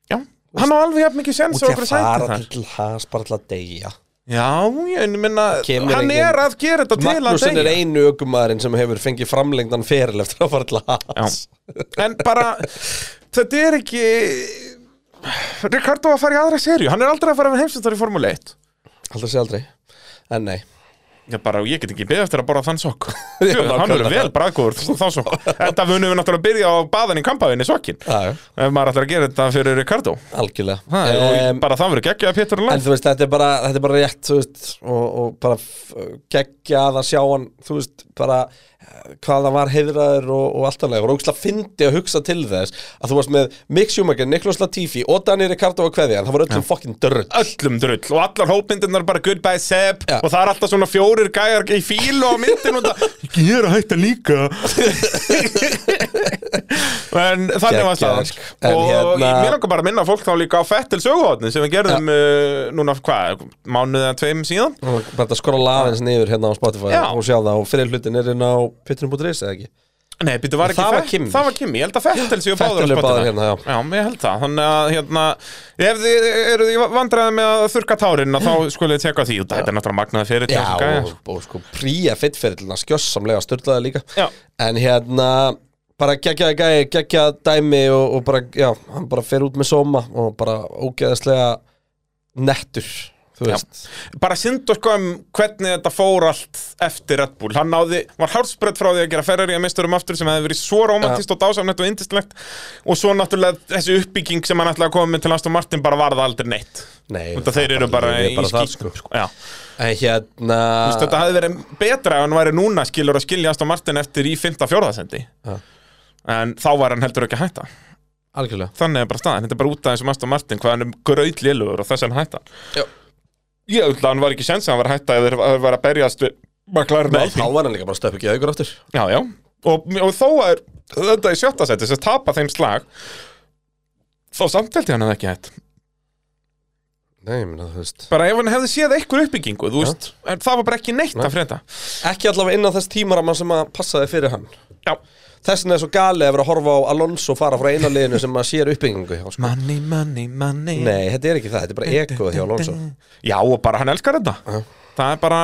Speaker 2: Já, hann á alveg jafn mikið sens
Speaker 4: Út
Speaker 2: og
Speaker 4: í að
Speaker 2: okkur sæti
Speaker 4: fara
Speaker 2: þar
Speaker 4: til has, bara til að deyja
Speaker 2: Já, ég en ég minna,
Speaker 4: Kemur
Speaker 2: hann
Speaker 4: engin-
Speaker 2: er að gera þetta til að
Speaker 4: Magnúsin er
Speaker 2: deyja
Speaker 4: einu ökumæðurinn sem hefur fengið framlengdan feril eftir að fara til has
Speaker 2: En bara, þetta er ekki Ricardo að fara í aðra serju, hann er aldrei að fara að vera heimsvæmstari í Formule 1
Speaker 4: Aldrei sé aldrei En nei
Speaker 2: Já, bara, ég get ekki beðið eftir að borða þann sokk Jú, Hann verður vel bræðgóður þá sokk Þetta munum við náttúrulega byrja á baðan í kampaðinni sokkin
Speaker 4: Já, já.
Speaker 2: Ef maður ætlar að gera þetta fyrir Ricardo
Speaker 4: Algjörlega
Speaker 2: ha, um,
Speaker 4: Em,
Speaker 2: Bara það verður geggjað Pétur og
Speaker 4: En
Speaker 2: Læn
Speaker 4: þú veist, þetta er bara, þetta er bara rétt þú veist, og, og bara f- geggjað að sjá hann þú veist, bara eh, hvað hann var heiðraður og, og allt annað og rókslega fyndi að hugsa til þess að þú varst með Mick Schumacher, Niklas Latifi og Dani Ricardo að kveðja, en það voru öllum fucking dörr
Speaker 2: Öllum drull og allar hópmyndirnar bara goodbye Seb
Speaker 4: Já.
Speaker 2: Og það er alltaf svona fjórir gæjar í fíl og á myndin og það Ég er að hætta líka En þannig var
Speaker 4: Geggjað,
Speaker 2: staðan
Speaker 4: sko. En
Speaker 2: Og
Speaker 4: hérna-
Speaker 2: hérna... mér langar bara að minna fólk þá líka á Fettil söguhotni sem við gerðum uh, núna, hvað, mánuðið að tveim síðan
Speaker 4: og bara að skora laðins niður hérna á Spotify
Speaker 2: Já.
Speaker 4: og sjá það og fyrir hlutin er inn á pitturum.is eða ekki
Speaker 2: Nei, býttu, var
Speaker 4: En
Speaker 2: ekki
Speaker 4: það var
Speaker 2: Fett-
Speaker 4: Kimi.
Speaker 2: Það var Kimi, ég held að Fettel séu
Speaker 4: Vettel
Speaker 2: báður
Speaker 4: eru báðir hérna, já.
Speaker 2: ég held það Þannig að, hérna, ef þið eru því vandræði með að þurka tárin þá skulle þið teka því út Þetta er náttúrulega magnaði fyrir
Speaker 4: Já,
Speaker 2: þessum gæja,
Speaker 4: og,
Speaker 2: sko.
Speaker 4: og sko príja fyrirlina skjössamlega styrlaði líka
Speaker 2: Já.
Speaker 4: en hérna bara geggjaði gæi, geggjaði dæmi og, og bara, já, hann bara fer út með sóma og bara ógeðaslega nettur, þú veist
Speaker 2: Bara synd og sko um hvernig þetta fór allt eftir Red Bull Hann náði, var hálsbrett frá því að gera Ferrari að misturum aftur sem hefði verið svo romantist og dásamnett og indislegt og svo náttúrulega þessi uppbygging sem hann ætlaði að koma með til Aston Martin bara varða aldrei neitt
Speaker 4: Nei,
Speaker 2: Út af þeir eru bara,
Speaker 4: ég er
Speaker 2: í
Speaker 4: það,
Speaker 2: skýtum sko. Já.
Speaker 4: En hérna
Speaker 2: Þú veist, þetta hefði verið betra ef hann væri núna skilur að skilja Aston Martin eftir í 5-4 sendi
Speaker 4: Já.
Speaker 2: en þá var hann heldur ekki að hætta
Speaker 4: Algjörlega
Speaker 2: þannig er bara staðan, þetta er bara út aðeins um Aston Martin hvað hann er grautlélur og þess að hann hætta
Speaker 4: Já.
Speaker 2: ég ætla að hann var ekki sens að hann var að hætta ef þeir þeir var að berjast við McLaren og
Speaker 4: Þá
Speaker 2: Alpine.
Speaker 4: var hann líka bara stöp ekki aukur aftur
Speaker 2: já, já. Og, og þó að er, þetta í sjötta seti sem tapa þeim slag þá samteldi hann að ekki hætt
Speaker 4: Nei, ég meina, þú veist
Speaker 2: bara ef hann hefði séð eitthvað uppbyggingu þú
Speaker 4: Já.
Speaker 2: veist, en það var bara ekki neitt að frétta
Speaker 4: Ekki allavega innan þess tímarama sem að passaði fyrir hann
Speaker 2: já
Speaker 4: Þess vegna er svo galið að vera að horfa á Alonso fara frá eina liðinu sem að sér uppbyggingu hjá sko.
Speaker 2: Money, money, money
Speaker 4: Nei, þetta er ekki það, þetta er bara ekoð hjá Alonso
Speaker 2: Já, og bara hann elskar þetta Það er bara,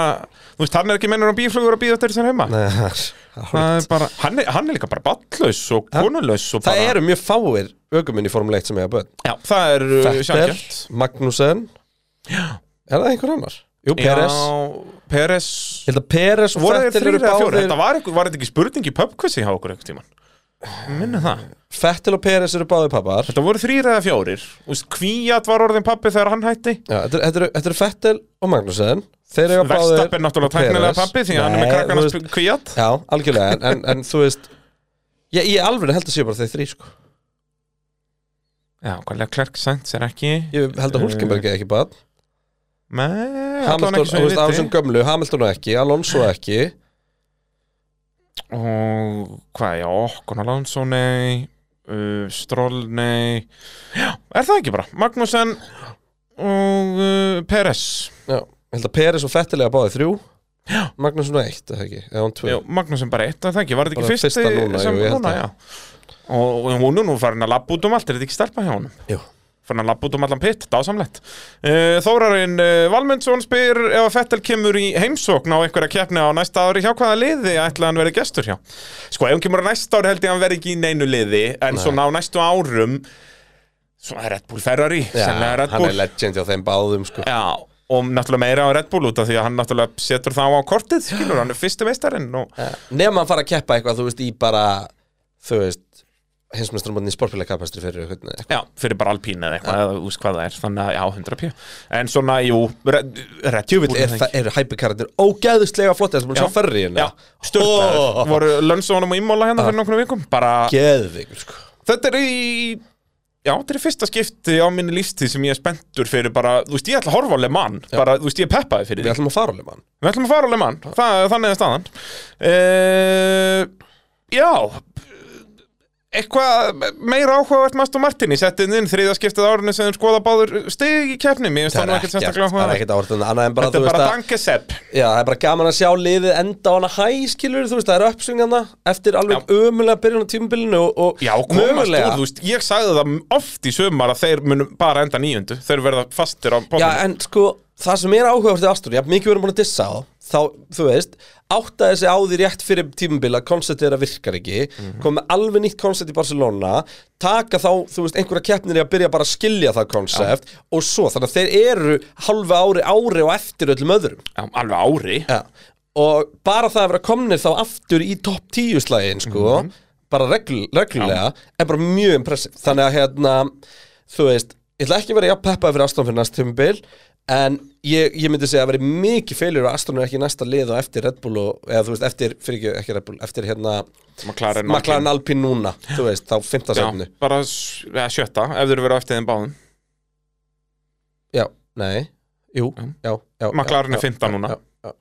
Speaker 2: þú veist, hann er ekki mennur á bíflugur að bíða eftir þessar heima
Speaker 4: Nei, það er-
Speaker 2: Það er bara, hann er, hann er líka bara ballaus og konulaus og
Speaker 4: Það
Speaker 2: bara,
Speaker 4: eru mjög fáir ökuminn í Formule 1 sem eiga börn
Speaker 2: Já, það er uh,
Speaker 4: Fettel,
Speaker 2: sjangjöld
Speaker 4: Magnussen Er það einhver annar? Jú, Peres Ég
Speaker 2: Peres
Speaker 4: held að Peres og
Speaker 2: Voru þeir
Speaker 4: Fettel
Speaker 2: þrýr
Speaker 4: eru
Speaker 2: eða fjórir? Þetta
Speaker 4: báðir
Speaker 2: var, eitthvað- var þetta ekki spurning í pubquizi hjá okkur einhvern tímann Minni það
Speaker 4: Fettel og Peres eru báðir pappar
Speaker 2: Þetta voru þrýr eða fjórir Þú veist, Kvíat var orðin pappi þegar hann hætti
Speaker 4: Já, Þetta eru- þetta eru- þetta eru Fettel og Magnussen Þeir eiga báðir
Speaker 2: Verstapp er náttúrulega
Speaker 4: Perez.
Speaker 2: tæknilega pappi Því að hann er með
Speaker 4: Nei,
Speaker 2: krakkana
Speaker 4: þú
Speaker 2: veist...
Speaker 4: veist-
Speaker 2: Kvíat
Speaker 4: Já, algjörlega, en, en, en þú veist Ég, ég alveg held að séu bara þeir þrý sko.
Speaker 2: Já, hvað Leclerc Sainz er ekki
Speaker 4: Ég held að Hulkenberg er ekki bad
Speaker 2: Nei, allan
Speaker 4: Hamilton,
Speaker 2: ekki
Speaker 4: þú
Speaker 2: sem
Speaker 4: veist, á
Speaker 2: ég
Speaker 4: þessum
Speaker 2: viti
Speaker 4: gömlu Hamilton og ekki, Alonso ekki
Speaker 2: Og hvað, já, Okkon Alonso, nei uh, Stroll, nei Já, er það ekki bara? Magnussen og uh, Peres
Speaker 4: Já, ég held að Peres og Fettel eiga báðir þrjú Magnússon og eitt, eða ekki, eða hann tvö
Speaker 2: Já, Magnussen bara eitt, er það ekki? Var þetta
Speaker 4: Bara
Speaker 2: ekki fyrsti
Speaker 4: fyrsta núna,
Speaker 2: sem
Speaker 4: jú, ég held
Speaker 2: núna,
Speaker 4: að.
Speaker 2: já Og, og hún er nú farin að labba út um allt, er þetta ekki stelpa hjá honum?
Speaker 4: Jú.
Speaker 2: Farin að labba út um allan pitt, dásamlegt uh, Þórarinn uh, Valmundsson spyr ef að Fettel kemur í heimsókn á einhverja keppni á næsta ári hjá hvaða liði ætla hann verið gestur hjá? Sko, ef hann kemur á næsta ári held ég að hann verið ekki í neinu liði en svona á næstu árum svona Red Bull Ferrari
Speaker 4: Já,
Speaker 2: sennilega Red
Speaker 4: hann
Speaker 2: Bull.
Speaker 4: er legend hjá þeim báðum sko.
Speaker 2: Já, og náttúrulega meira á Red Bull út af því að hann náttúrulega setur þá á kortið, skilur, hann er fyrsti meistarinn og
Speaker 4: Nefn að fara að keppa eitthvað, þú veist, í bara Þú veist hinsmestramótin í sportbílakapastri fyrir eitthvað eitthvað.
Speaker 2: Já, fyrir bara alpín eða eitthvað, eða úst hvað það er, þannig að já, 100 pjö. En svona, jú, Red Red Bull
Speaker 4: Djúvill er, það- eru hæpikararnir ógæðuslega flott þess að maður sjá ferri hérna
Speaker 2: Já, stjórnar,
Speaker 4: Ó,
Speaker 2: voru lönnsónum og ímóla
Speaker 4: Ah.
Speaker 2: hérna fyrir nokkrum vikum, bara,
Speaker 4: Geðveikur sko
Speaker 2: þetta er í, já, þetta er í fyrsta skipti á minni lífstíð sem ég er spenntur fyrir bara, þú veist, ég ætla að horfa á Le Mans, bara, þú veist, ég er peppaði fyrir
Speaker 4: Við
Speaker 2: því.
Speaker 4: ætlum að fara alveg mann
Speaker 2: Við ætlum að fara á Le Mans, það, þannig er staðan. Uh, já, eitthvað meira áhugavert Mastur Martini settið inn þriða skiptið á árinu sem þeir skoða báður stig í keppni, mér finnst það nú ekkert sérstaklega
Speaker 4: það er
Speaker 2: áhugavert.
Speaker 4: ekkert áhverðan annað en bara
Speaker 2: Þetta
Speaker 4: þú
Speaker 2: er
Speaker 4: veist
Speaker 2: bara
Speaker 4: að
Speaker 2: dankesepp
Speaker 4: já, það er bara gaman að sjá liðið enda á hana hæ skilur þú veist það er uppsvingin hana eftir alveg ömulega byrjun á tímabilinu og, og
Speaker 2: Já, komast úr, þú veist, ég sagði það oft í sömar að þeir munum bara enda nýjöndu Þeir verða fastir á
Speaker 4: Já,
Speaker 2: bóðinu
Speaker 4: en sko, það sem er áhugavert í Astur, já, mikið verðum búin að dissa á, þá, þú veist, áttaði sig á því rétt fyrir tímabila, konceptið þeirra virkar ekki, mm
Speaker 2: Mhm.
Speaker 4: með alveg nýtt koncept í Barcelona, taka þá, þú veist, einhverja keppnir í að byrja bara að skilja það koncept og svo, þannig að þeir eru halva ári, ári og eftir öllum öðrum.
Speaker 2: Já, alveg ári
Speaker 4: Ja. Og bara það að vera komnir þá aftur í topp 10 slægin sko,
Speaker 2: Mhm.
Speaker 4: bara regl, reglulega er bara mjög impressiv þannig að hérna, þú veist ég ætla ekki að vera jafn peppaði fyrir Aston fyrir næst tímubil en ég, ég myndi segja að veri mikið feilur að Aston er ekki í næsta lið og eftir Red Bull og, eða þú veist, eftir, fyrir ekki, ekki Red Bull eftir hérna,
Speaker 2: McLaren,
Speaker 4: McLaren Alpine núna þú veist, þá 15
Speaker 2: Já,
Speaker 4: setnu
Speaker 2: bara s- ja, sjötta, ef þeir verða á eftir þeim báðum
Speaker 4: já, nei, jú, já, já, já
Speaker 2: McLaren er
Speaker 4: já,
Speaker 2: 15
Speaker 4: já,
Speaker 2: núna.
Speaker 4: já, já,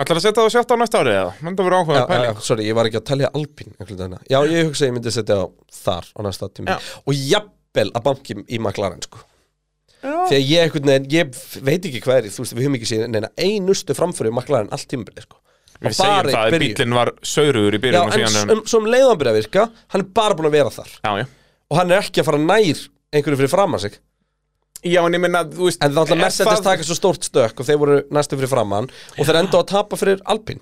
Speaker 2: Ætlar að setja það á sjötta á næsta ári eða? Menn það verður áhuga
Speaker 4: já,
Speaker 2: að
Speaker 4: já,
Speaker 2: pæli
Speaker 4: já, sorry, ég var ekki að telja Alpín Já, ég hugsa að ég myndi setja á þar á næsta tíma
Speaker 2: Já.
Speaker 4: og jafnvel að banki í McLaren sko. þegar ég, einhvern veginn, ég veit ekki hvað er í, þú veist, við höfum ekki séð neina einustu framfyrir McLaren allt tímabilið sko.
Speaker 2: Við segjum það að bílinn var saurugur í
Speaker 4: Já,
Speaker 2: byrjun og
Speaker 4: en
Speaker 2: síðan
Speaker 4: s- um, svo um leiðan byrja að virka hann er bara búin að vera þar
Speaker 2: Já, já
Speaker 4: og hann er ekki að fara nær einhverju fyrir framan sig
Speaker 2: Já, en ég minna, þú veist
Speaker 4: en þá ætla
Speaker 2: er
Speaker 4: Mercedes
Speaker 2: það-
Speaker 4: taka svo stórt stök og þeir voru næstu fyrir framan og þeir enda á að tapa fyrir Alpín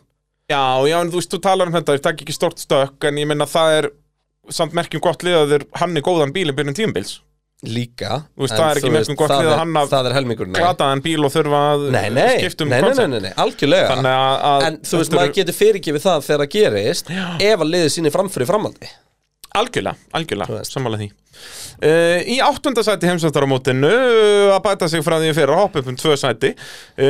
Speaker 2: Já, já, en þú veist, þú talar um þetta, þeir takk ekki stort stökk En ég minna, það er samt merkjum gott lið að þeir hann er góðan bíl í byrjun tímbils
Speaker 4: líka
Speaker 2: Þú veist,
Speaker 4: en
Speaker 2: það er ekki um merkjum gott
Speaker 4: það
Speaker 2: lið að
Speaker 4: er-
Speaker 2: hann að-
Speaker 4: það er helmingurinn
Speaker 2: Glataðan bíl og þurfa að
Speaker 4: nei, nei,
Speaker 2: skipta um
Speaker 4: nei, nei, nei,
Speaker 2: koncept.
Speaker 4: nei, nei, algjörlega
Speaker 2: Þannig að- að
Speaker 4: en þú veist,
Speaker 2: þetta
Speaker 4: maður
Speaker 2: eru-
Speaker 4: getur fyrirgefið það þegar það gerist ef að liðið síni framfyrir framhaldi
Speaker 2: Algjörlega, algjörlega,
Speaker 4: veist.
Speaker 2: sammála því uh, Í áttundasæti heimsvættaramótinu uh, að bæta sig frá því fyrir að hoppa upp um tvö sæti uh,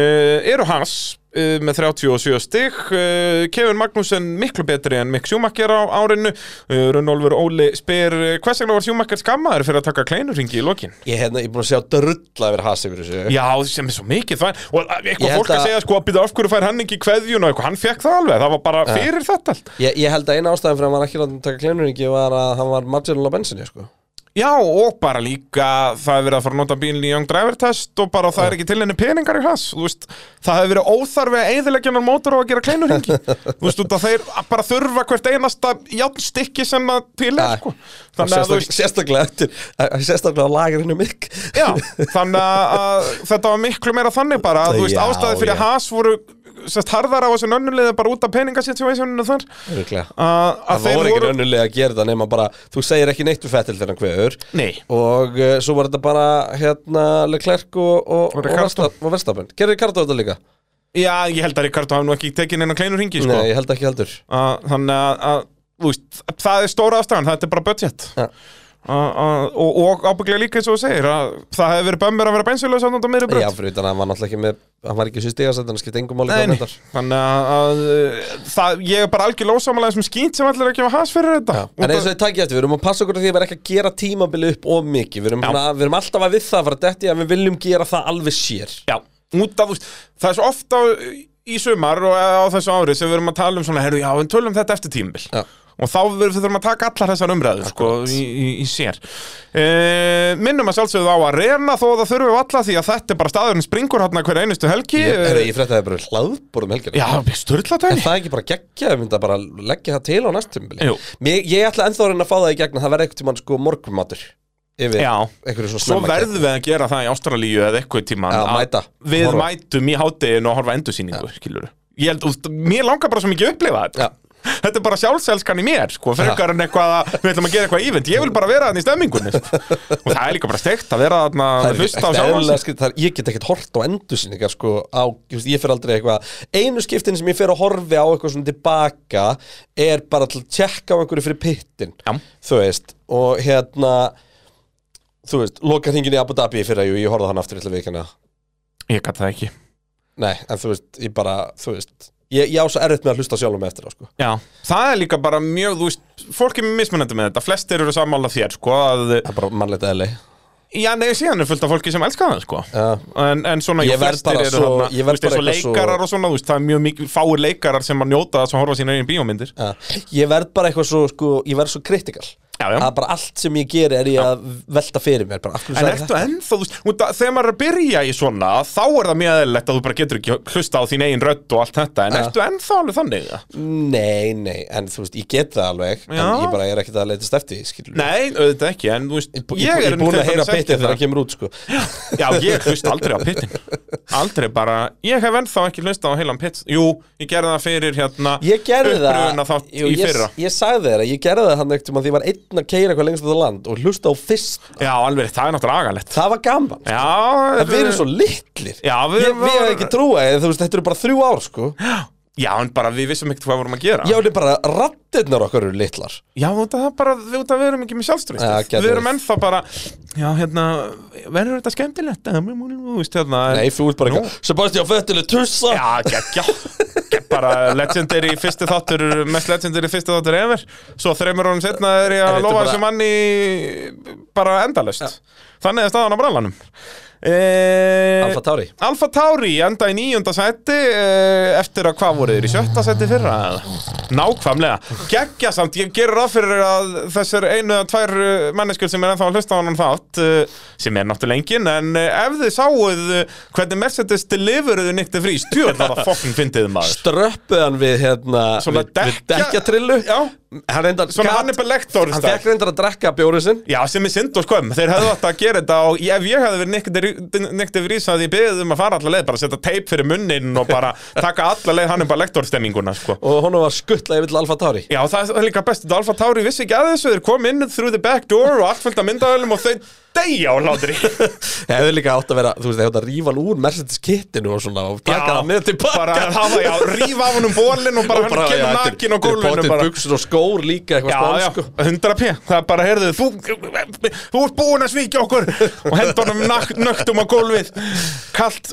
Speaker 2: eru hans uh, með 37 stig uh, Kevin Magnussen miklu betri en Mick Schumacher á árinu uh, Runnolfur Óli spyr uh, hvers vegna var Schumacher skammaður fyrir að taka kleinurringi í lokin
Speaker 4: ég hérna, ég er búin að sjá drulla yfir hasi fyrir þessu
Speaker 2: Já, sem er svo mikið það og uh,
Speaker 4: Ég
Speaker 2: eitthvað
Speaker 4: held
Speaker 2: fólk að
Speaker 4: að-
Speaker 2: segja sko að byrja af hverju fær hann ekki kveðjun og eitthvað, hann fekk það alveg, það var bara fyrir þetta allt
Speaker 4: ég, ég held að eina ástæðan fyrir að hann var ekki látið að taka kleinuringi var að hann var marginal á bensinni sko.
Speaker 2: Já, og bara líka það hefur verið að fara að nota bílinn í Young Driver Test og bara það er ekki til henni peningar í hans þú veist, það hefur verið óþarfi að eiðilegja hennar mótor og að gera kleinur hengi þú veist, út að þeir bara þurfa hvert einasta játnstykki sem að til er
Speaker 4: Já.
Speaker 2: sko.
Speaker 4: Og
Speaker 2: þannig að þú
Speaker 4: sérstak,
Speaker 2: veist
Speaker 4: sérstaklega eftir að- sérstaklega á lagirinu mikk
Speaker 2: Já, þannig að, að þetta var miklu meira þannig bara að, þú veist,
Speaker 4: Já,
Speaker 2: ástæði fyrir
Speaker 4: já.
Speaker 2: að Haas voru sest, harðar á þessu nönnulega bara út af peningasituationinu þar
Speaker 4: Örugglega.
Speaker 2: að, að
Speaker 4: það
Speaker 2: þeir
Speaker 4: voru ekki
Speaker 2: voru
Speaker 4: önnulega að gera það nema bara þú segir ekki neitt við fettil þegar hann hveður
Speaker 2: Nei.
Speaker 4: og uh, svo var þetta bara hérna Leclerc og, og,
Speaker 2: Og Sko.
Speaker 4: og,
Speaker 2: Ricardo.
Speaker 4: Versta- og Verstappen gerði Ricardo þetta líka?
Speaker 2: Já, ég held að Ricardo hafði nú ekki tekin inn á kleinur hengi sko.
Speaker 4: Nei, ég held ekki heldur
Speaker 2: að, þannig að, að þú veist, það er stóra ástæðan, þetta er bara budget
Speaker 4: Ja.
Speaker 2: Að- að- og, og ábygglega líka eins og þú segir að það hefur verið bömmur að vera bensinlega samt á miðri
Speaker 4: Já,
Speaker 2: brönd
Speaker 4: fyrir utan að hann var náttúrulega ekki með hann var ekki í sýstíðasætt, hann skipti engum máli hvað
Speaker 2: Nei,
Speaker 4: hann endar
Speaker 2: þannig að, að uh, það, ég er bara algjörlega ósámálega sem skýnt sem allir ekki hafa has fyrir þetta Út
Speaker 4: En eins og
Speaker 2: að-
Speaker 4: ég takk ég eftir, við erum að passa okkur á því að við erum ekki að gera tímabili upp of mikið Við erum,
Speaker 2: Já.
Speaker 4: svona, við erum alltaf að við það að fara detti að við viljum gera það alveg sér
Speaker 2: Já, út af, þú veist, það er svo ofta í sumar og á þessu ári sem við erum að tala um svona, herru, já, en tölum þetta eftir tímbil
Speaker 4: Já.
Speaker 2: og þá verður- þurfum að taka allar þessar umræður sko, í, í, í sér e, minnum að sjálfsögðu á að reyna þó að það þurfum alla því að þetta er bara staðurinn springur hérna hverja einustu helgi Eh,
Speaker 4: Ég, er, ég frétta það bara hlaðbórum helgina
Speaker 2: já, störla
Speaker 4: En
Speaker 2: dæmi
Speaker 4: það er ekki bara geggja, við myndum bara leggja það til á næst tímabili
Speaker 2: Jú.
Speaker 4: Mér- Ég ætla ennþá að reyna að fá það í gegn að það verði eitthvað tímann sko morgumatur Yfir
Speaker 2: Já.
Speaker 4: einhverju svona
Speaker 2: Svo
Speaker 4: snemma
Speaker 2: verðum við að gera það í Ástralíu eða eitthvað tíma
Speaker 4: Já, mæta.
Speaker 2: Við
Speaker 4: Horfa.
Speaker 2: mætum í hátteginu og horfa endursýningu, skilur Ég held, úst, mér langar bara svo mikið að upplifa þetta
Speaker 4: Já.
Speaker 2: Þetta er bara sjálfselskan í mér, sko Frekar en eitthvað að við ætlum að gera eitthvað ívent Ég vil bara vera þarna í stemmingunni, sko Og það er líka bara steikt að vera þarna
Speaker 4: Það
Speaker 2: að
Speaker 4: er
Speaker 2: Hlusta á
Speaker 4: ekkert
Speaker 2: sjálfan
Speaker 4: eðlilega
Speaker 2: sig.
Speaker 4: skrítið, það er- Ég get ekkert hort á endursýningar sko, á, ég, veist, ég fer aldrei eitthvað Einu skiptin sem ég fer að horfi á eitthvað svona tilbaka Er bara til að tjekka á einhverju fyrir pittin
Speaker 2: Já.
Speaker 4: Þú veist og hérna þú veist, loka hringin í Abu Dhabi fyrir að jú, ég horfði á hann aftur illa vikina
Speaker 2: Ég gat það ekki
Speaker 4: nei, en þú veist, ég bara, þú veist ég, ég á svo erfitt með að hlusta sjálfum eftir á sko.
Speaker 2: Já, það er líka bara mjög, þú veist, fólk er mismunandi með þetta, flestir eru sammála þér, sko, að,
Speaker 4: það er bara mannlegt eðli
Speaker 2: já, nei, síðan er fullt af fólki sem elskar það, sko,
Speaker 4: ja.
Speaker 2: en, en svona, jú,
Speaker 4: Ég verð
Speaker 2: flestir
Speaker 4: bara
Speaker 2: eru
Speaker 4: svo-
Speaker 2: þarna,
Speaker 4: ég
Speaker 2: þú
Speaker 4: verð
Speaker 2: veist, eins
Speaker 4: bara
Speaker 2: og
Speaker 4: eitthvað svo-
Speaker 2: leikarar og svona, þú veist, það er mjög mikið, fáir leikarar sem að njóta það sem horfa sína einu bíómyndir.
Speaker 4: Ja. Ég verð bara eitthvað svo, sko, ég verð svo kritikal
Speaker 2: Já, já.
Speaker 4: Að bara allt sem ég geri er ég að velta fyrir mér bara, af hverju
Speaker 2: En
Speaker 4: sagði
Speaker 2: ertu
Speaker 4: þetta?
Speaker 2: ennþá, þú veist, út að- þegar maður er að byrja í svona, þá er það mjög eðlilegt að þú bara getur ekki hlusta á þín eigin rödd og allt þetta, en
Speaker 4: Ja.
Speaker 2: ertu ennþá alveg þannig? Ja?
Speaker 4: Nei, nei, en þú veist, ég get það alveg En
Speaker 2: Já.
Speaker 4: ég bara er ekkert að leitast eftir, því, skilur
Speaker 2: Nei, auðvitað ekki, en þú veist,
Speaker 4: Ég, ég, ég er
Speaker 2: einmitt
Speaker 4: búin
Speaker 2: þeim
Speaker 4: að heyra
Speaker 2: sem ekki
Speaker 4: betið þegar
Speaker 2: það.
Speaker 4: hann kemur út, sko
Speaker 2: Já, ég hlusta aldrei á pittin Aldrei bara, ég hef ennþá ekki hlusta á heilan pitt Jú, ég gerði það fyrir hérna
Speaker 4: Ég gerði það
Speaker 2: uppruna þátt
Speaker 4: Jú,
Speaker 2: í
Speaker 4: ég,
Speaker 2: fyrra
Speaker 4: ég sagði þér að ég gerði það hann ekkert um að ég var einn að keira eitthvað lengst á það land og hlusta á fyrst
Speaker 2: Já, alveg, rétt, það er náttúrulega agalegt
Speaker 4: Það var gaman sko.
Speaker 2: Já,
Speaker 4: En við erum svo litlir
Speaker 2: Já, við
Speaker 4: Ég, við hefum
Speaker 2: var-
Speaker 4: ekki trúa, eða þú veist, þetta eru bara þrjú ár, sko
Speaker 2: Já, en bara við vissum ekkert hvað við vorum að gera
Speaker 4: Já, þetta er bara, rattirnar okkar eru litlar
Speaker 2: Já, út af það bara, við, út af við erum ekki með sjálfströst
Speaker 4: Já, gæti
Speaker 2: Við erum
Speaker 4: verið.
Speaker 2: ennþá bara, já, hérna Verður þetta skemmtilegt? eða, mú, mú, mú, Þú veist, hérna
Speaker 4: Nei, þú ert bara
Speaker 2: Nú.
Speaker 4: eitthvað Sebastian Vettel er tussa
Speaker 2: Já, geggja Gegg- Bara legendary fyrsti þáttur Mest legendary fyrsti þáttur ever Svo þreymur honum setna er ég
Speaker 4: Er
Speaker 2: að
Speaker 4: þetta
Speaker 2: lofa
Speaker 4: bara-
Speaker 2: þessu manni Bara endalaust Þannig er staðan á brallanum e...
Speaker 4: Alfa Tauri
Speaker 2: Alfa Tauri enda í nýjunda seti eh, eftir að hvað voru þeir í sjötta seti fyrra eða? nákvæmlega, geggja samt ég gerir ráð fyrir að þessar einu eða tvær eh, manneskjur sem er ennþá að hlusta á hann þátt eh, sem er náttúrulega engin en eh, ef þið sáuð eh, hvernig Mercedes deliveruðu Nick de Vries tjóð var það fokkin fyndið maður
Speaker 4: ströppuð hann við hérna
Speaker 2: Svona
Speaker 4: við, við
Speaker 2: dekkja-
Speaker 4: dekkjatrillu
Speaker 2: Já.
Speaker 4: hann reyndar
Speaker 2: Svona Hannibal Lecter
Speaker 4: hann
Speaker 2: style.
Speaker 4: fekk reyndar að drekka bjórið sinn
Speaker 2: Já, sem er synd og skömm, þeir hefðu átt að gera þetta og ég- ef ég hefði verið Nick de- Nick de Vries að ég beðið um að fara allar leið, bara setja teip fyrir munnin og bara taka allar leið hann um bara lektorstemminguna, sko.
Speaker 4: og honum var skuttla yfir til Alfa Tauri
Speaker 2: Já, það er líka best, Alfa Tauri vissi ekki að þessu, þeir kom inn through the back door og allt fullt af myndaðalum og þau deyja á hlátri.
Speaker 4: ég hefði líka átt að vera þú veist, ég átt að rífa hann úr Mercedes kittinu og svona og taka hann með tilbaka
Speaker 2: Bara hafa, já, rífa af honum bólinn og bara hann kemur nakin á gólfinu bara.
Speaker 4: buksur og skór
Speaker 2: Já,
Speaker 4: líka eitthvað
Speaker 2: já,
Speaker 4: spán sko
Speaker 2: 100 p, það er bara, heyrðu, þú, þú ert búin að svíkja okkur og henda honum nak- nögtum á gólfið, kallt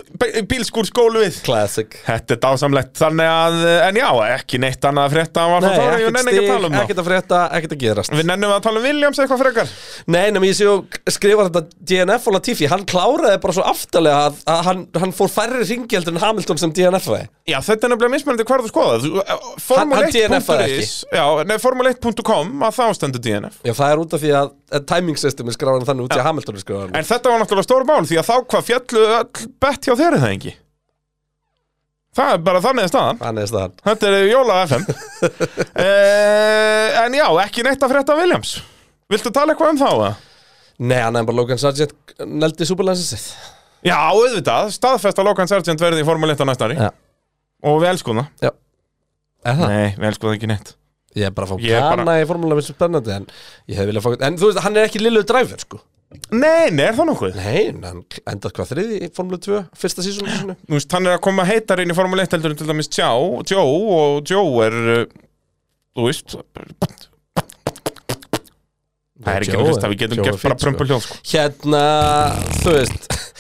Speaker 2: bílskúrsgólfið.
Speaker 4: classic
Speaker 2: Þetta er dásamlegt, þannig að, eh, en já, ekki neitt annað að frétta af Alfa
Speaker 4: Nei,
Speaker 2: Tauri og
Speaker 4: ekkert
Speaker 2: nenni ekki að
Speaker 4: stig,
Speaker 2: tala um það.
Speaker 4: ekkert að frétta, ekkert að gerast
Speaker 2: Við nennum að tala um Williams eitthvað frekar.
Speaker 4: Nei, nema ég sé og skrifar þetta DNF og Latifi, hann kláraði bara svo aftalega að, að hann, hann fór færri ringjaldur en Hamilton sem DNF-aði
Speaker 2: Já, þetta er nefnilega mismunandi hvar þú skoða Þú- eh,
Speaker 4: hann DNF-ar
Speaker 2: Formule1.is Já, nei, formule1.com að þá stendur DNF
Speaker 4: Já, það er út af því að að timing systemi skráði hann þannig út í að Hamilton skráði hann
Speaker 2: En þetta var náttúrulega stór mál því að þá hvað fjallu öll bett hjá þeirri það engi Það er bara þannig að staðan
Speaker 4: Hann er staðan
Speaker 2: Þetta er Jóla FM uh, En já, ekki neitt að frétta af Williams Viltu tala eitthvað um þá? eða?
Speaker 4: Nei, hann er bara Logan Sargent neldi superlænsins
Speaker 2: Já, auðvitað, staðfesta Logan Sargent verði í Formule 1 á næsta ári
Speaker 4: Já.
Speaker 2: Og við elskum það
Speaker 4: Já Er það?
Speaker 2: Nei, við elskum það ekki neitt
Speaker 4: Ég er bara að fá
Speaker 2: Ég er
Speaker 4: kana
Speaker 2: bara-
Speaker 4: í formúlega minn sem spennandi en ég hef viljað fá En þú veist, hann er ekki lilluð dræfur, sko
Speaker 2: Nei, nei, er það nokkuð?
Speaker 4: Nei, en hann endað hvað þriði í formúlega 2 fyrsta sísónu sinu
Speaker 2: þú veist, hann er að koma heitar inn í Formule 1 heldur en til dæmis Tjá, Joe og Joe er uh, þú veist það er ekki
Speaker 4: Joe
Speaker 2: að hlusta,
Speaker 4: er-
Speaker 2: við getum
Speaker 4: Joe er
Speaker 2: gert bara
Speaker 4: fínn, sko.
Speaker 2: prömpuljóð sko.
Speaker 4: Hérna, þú veist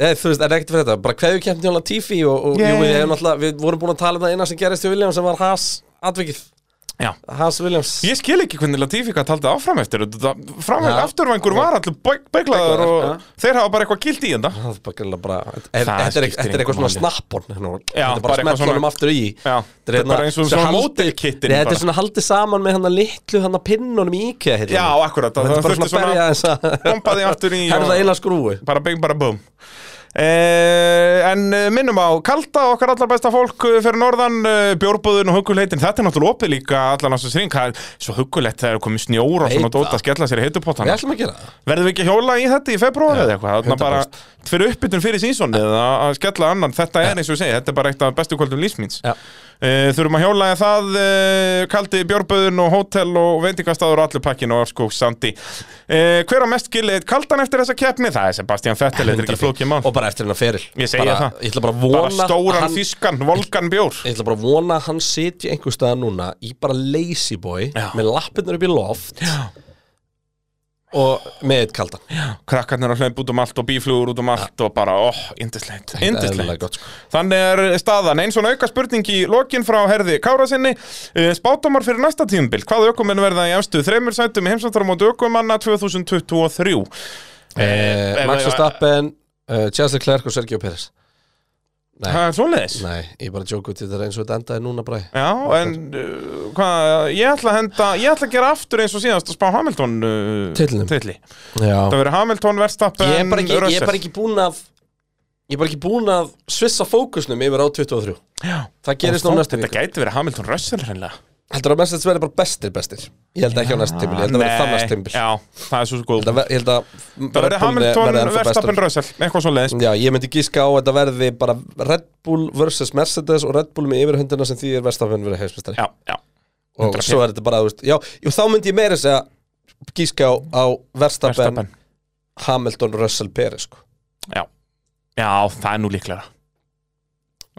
Speaker 4: Nei, þú veist, en ekkert fyrir þetta, bara hverju kemdi Jóla Tífi og, og
Speaker 2: Yeah.
Speaker 4: jú, við, hefum náttúrulega- við vorum búin að tala um það eina sem gerist í Williams sem var Haas atvikið
Speaker 2: Já.
Speaker 4: Haas Williams
Speaker 2: ég skil ekki hvernig Latifi gæti haldið áfram eftir þetta framhæg,
Speaker 4: Já.
Speaker 2: afturvængur var allir beiglaður og
Speaker 4: Beyglaður,
Speaker 2: þeir hafa bara eitthvað gilt í þetta
Speaker 4: Það er bara gæla bara Þetta er,
Speaker 2: Það
Speaker 4: þetta er,
Speaker 2: skiptir
Speaker 4: þetta er eitthvað
Speaker 2: engu
Speaker 4: svona
Speaker 2: máli.
Speaker 4: snappon Þetta er
Speaker 2: bara
Speaker 4: bara
Speaker 2: eitthvað
Speaker 4: smelt honum
Speaker 2: svona-
Speaker 4: aftur í
Speaker 2: Já, þetta er
Speaker 4: hérna-
Speaker 2: bara eins og
Speaker 4: sem
Speaker 2: svona
Speaker 4: haldi-
Speaker 2: módelkittin
Speaker 4: Nei, Þetta
Speaker 2: bara.
Speaker 4: er svona haldið saman með hann að litlu hann að pinnunum í IKEA hillunni.
Speaker 2: já, akkurat,
Speaker 4: Þetta
Speaker 2: það
Speaker 4: er bara
Speaker 2: þurfti
Speaker 4: svona að berja
Speaker 2: svona
Speaker 4: þess að
Speaker 2: bomba því aftur í
Speaker 4: Herða
Speaker 2: og-
Speaker 4: eila skrúi
Speaker 2: bara bing, bara boom Eh, en eh, minnum á kalda okkar allar besta fólk eh, fyrir norðan eh, bjórbúðin og hugguleitin, þetta er náttúrulega opið líka allar náttúrulega sring, það er svo huggulegt þegar er komið snjór og
Speaker 4: Veit
Speaker 2: svona
Speaker 4: það.
Speaker 2: dóta að skella sér í
Speaker 4: Við
Speaker 2: heitupotana
Speaker 4: ætlum að gera það
Speaker 2: verðum við ekki að hjóla í þetta í februar eða eitthvað, þannig bara
Speaker 4: 100%.
Speaker 2: fyrir uppbytun fyrir sísonið að að skella annan, þetta er eins og ég segi, þetta er bara eitt af bestu kvöldum lífsmýns
Speaker 4: Já.
Speaker 2: Eh, Þurfum að hjóla í það eh, kaldi bjórböðun og hótel og veitingastadur og allir pakkin og orskók sandi Eh, Hver á mest gilið kaldan eftir þessa keppni? Það er Sebastian Vettel, þetta er ekki
Speaker 4: 100%.
Speaker 2: flókið mann
Speaker 4: Og bara eftir hennar feril
Speaker 2: Ég segi
Speaker 4: bara,
Speaker 2: það.
Speaker 4: Ég ætla bara
Speaker 2: Bara
Speaker 4: að vona að
Speaker 2: stóran
Speaker 4: hann-
Speaker 2: þýskan, volkan bjór
Speaker 4: Ég ætla bara að vona að hann sitji einhver staðar núna í bara lazy boy
Speaker 2: Já.
Speaker 4: með lappirnar upp í loft og með eitt kaldan
Speaker 2: krakkarnir að hlaupa út um allt og bíflugur út um allt og bara, óh, oh, indislegt,
Speaker 4: eðlilega
Speaker 2: indislegt
Speaker 4: gott, sko.
Speaker 2: þannig er staðan, eins og auka spurning í lokin frá herði Kára sinni Eh, spádómar fyrir næsta tímabil, hvaða ökumenn verða í efstu þreymur sætum í heimsvættarum á ökumanna 2023
Speaker 4: eh,
Speaker 2: ef-
Speaker 4: Max
Speaker 2: ef-
Speaker 4: Verstappen, eh, Charles Leclerc og Sergio Pérez
Speaker 2: það er svoleiðis
Speaker 4: Nei, ég bara jóku til þetta er eins og þetta endaði núna bræ
Speaker 2: Já, en uh, hvað, ég ætla að henda, ég ætla að gera aftur eins og síðast að spá Hamilton uh,
Speaker 4: Titlinum.
Speaker 2: titli.
Speaker 4: Já
Speaker 2: Það verður Hamilton, Verstappen,
Speaker 4: Ég er bara ekki, ég er
Speaker 2: Russell.
Speaker 4: bara ekki búin að Ég er bara ekki búin að svissa fókusnum yfir á 23
Speaker 2: Já.
Speaker 4: Það gerist
Speaker 2: Og
Speaker 4: nú
Speaker 2: þó,
Speaker 4: næstu
Speaker 2: Þetta
Speaker 4: viku
Speaker 2: gæti verið Hamilton, Russell hreinlega.
Speaker 4: Heldur að mestins verði bara bestir bestir Ég held ekki á næstu tímbil, ég held að verði það
Speaker 2: Nei,
Speaker 4: næstu tímbil
Speaker 2: Já, það er svo góð.
Speaker 4: Ég held að
Speaker 2: Það verður Mm. Hamilton, Verstappen, Russell, eitthvað svo leiðis.
Speaker 4: Já, ég myndi gíska á að þetta verði bara Red Bull versus Mercedes og Red Bull með yfirhundina sem því er Verstappen verið heimsmestari
Speaker 2: Já, já.
Speaker 4: og
Speaker 2: 100%.
Speaker 4: svo er þetta bara, þú veist, já, jú, þá myndi ég meira þess að gíska á, á Verstappen,
Speaker 2: Verstappen.
Speaker 4: Hamilton, Russell, Pérez sko.
Speaker 2: Já. Já, það er nú líklega.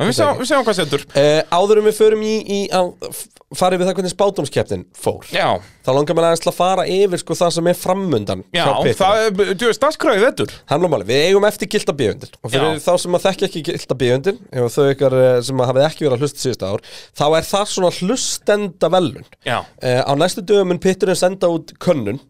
Speaker 2: En
Speaker 4: Ég
Speaker 2: við
Speaker 4: veit
Speaker 2: sjáum,
Speaker 4: ekki.
Speaker 2: við sjáum hvað setur.
Speaker 4: uh, Áður um við förum í, í að f- fara yfir það hvernig spátumskeppnin fór
Speaker 2: Já,
Speaker 4: þá langar mér aðeins til að fara yfir sko það sem er framundan
Speaker 2: já, það er, þú veist, dasgráðið vettur.
Speaker 4: Hamlamáli, við eigum eftir gilda bíundin og fyrir
Speaker 2: Já.
Speaker 4: þá sem að þekki ekki gilda bíundin og þau ykkar eh, sem að hafið ekki verið að hlusta síðustu ár þá er það svona hlustenda velun
Speaker 2: Já.
Speaker 4: Eh, á næstu dögum mun pitturinn senda út könnun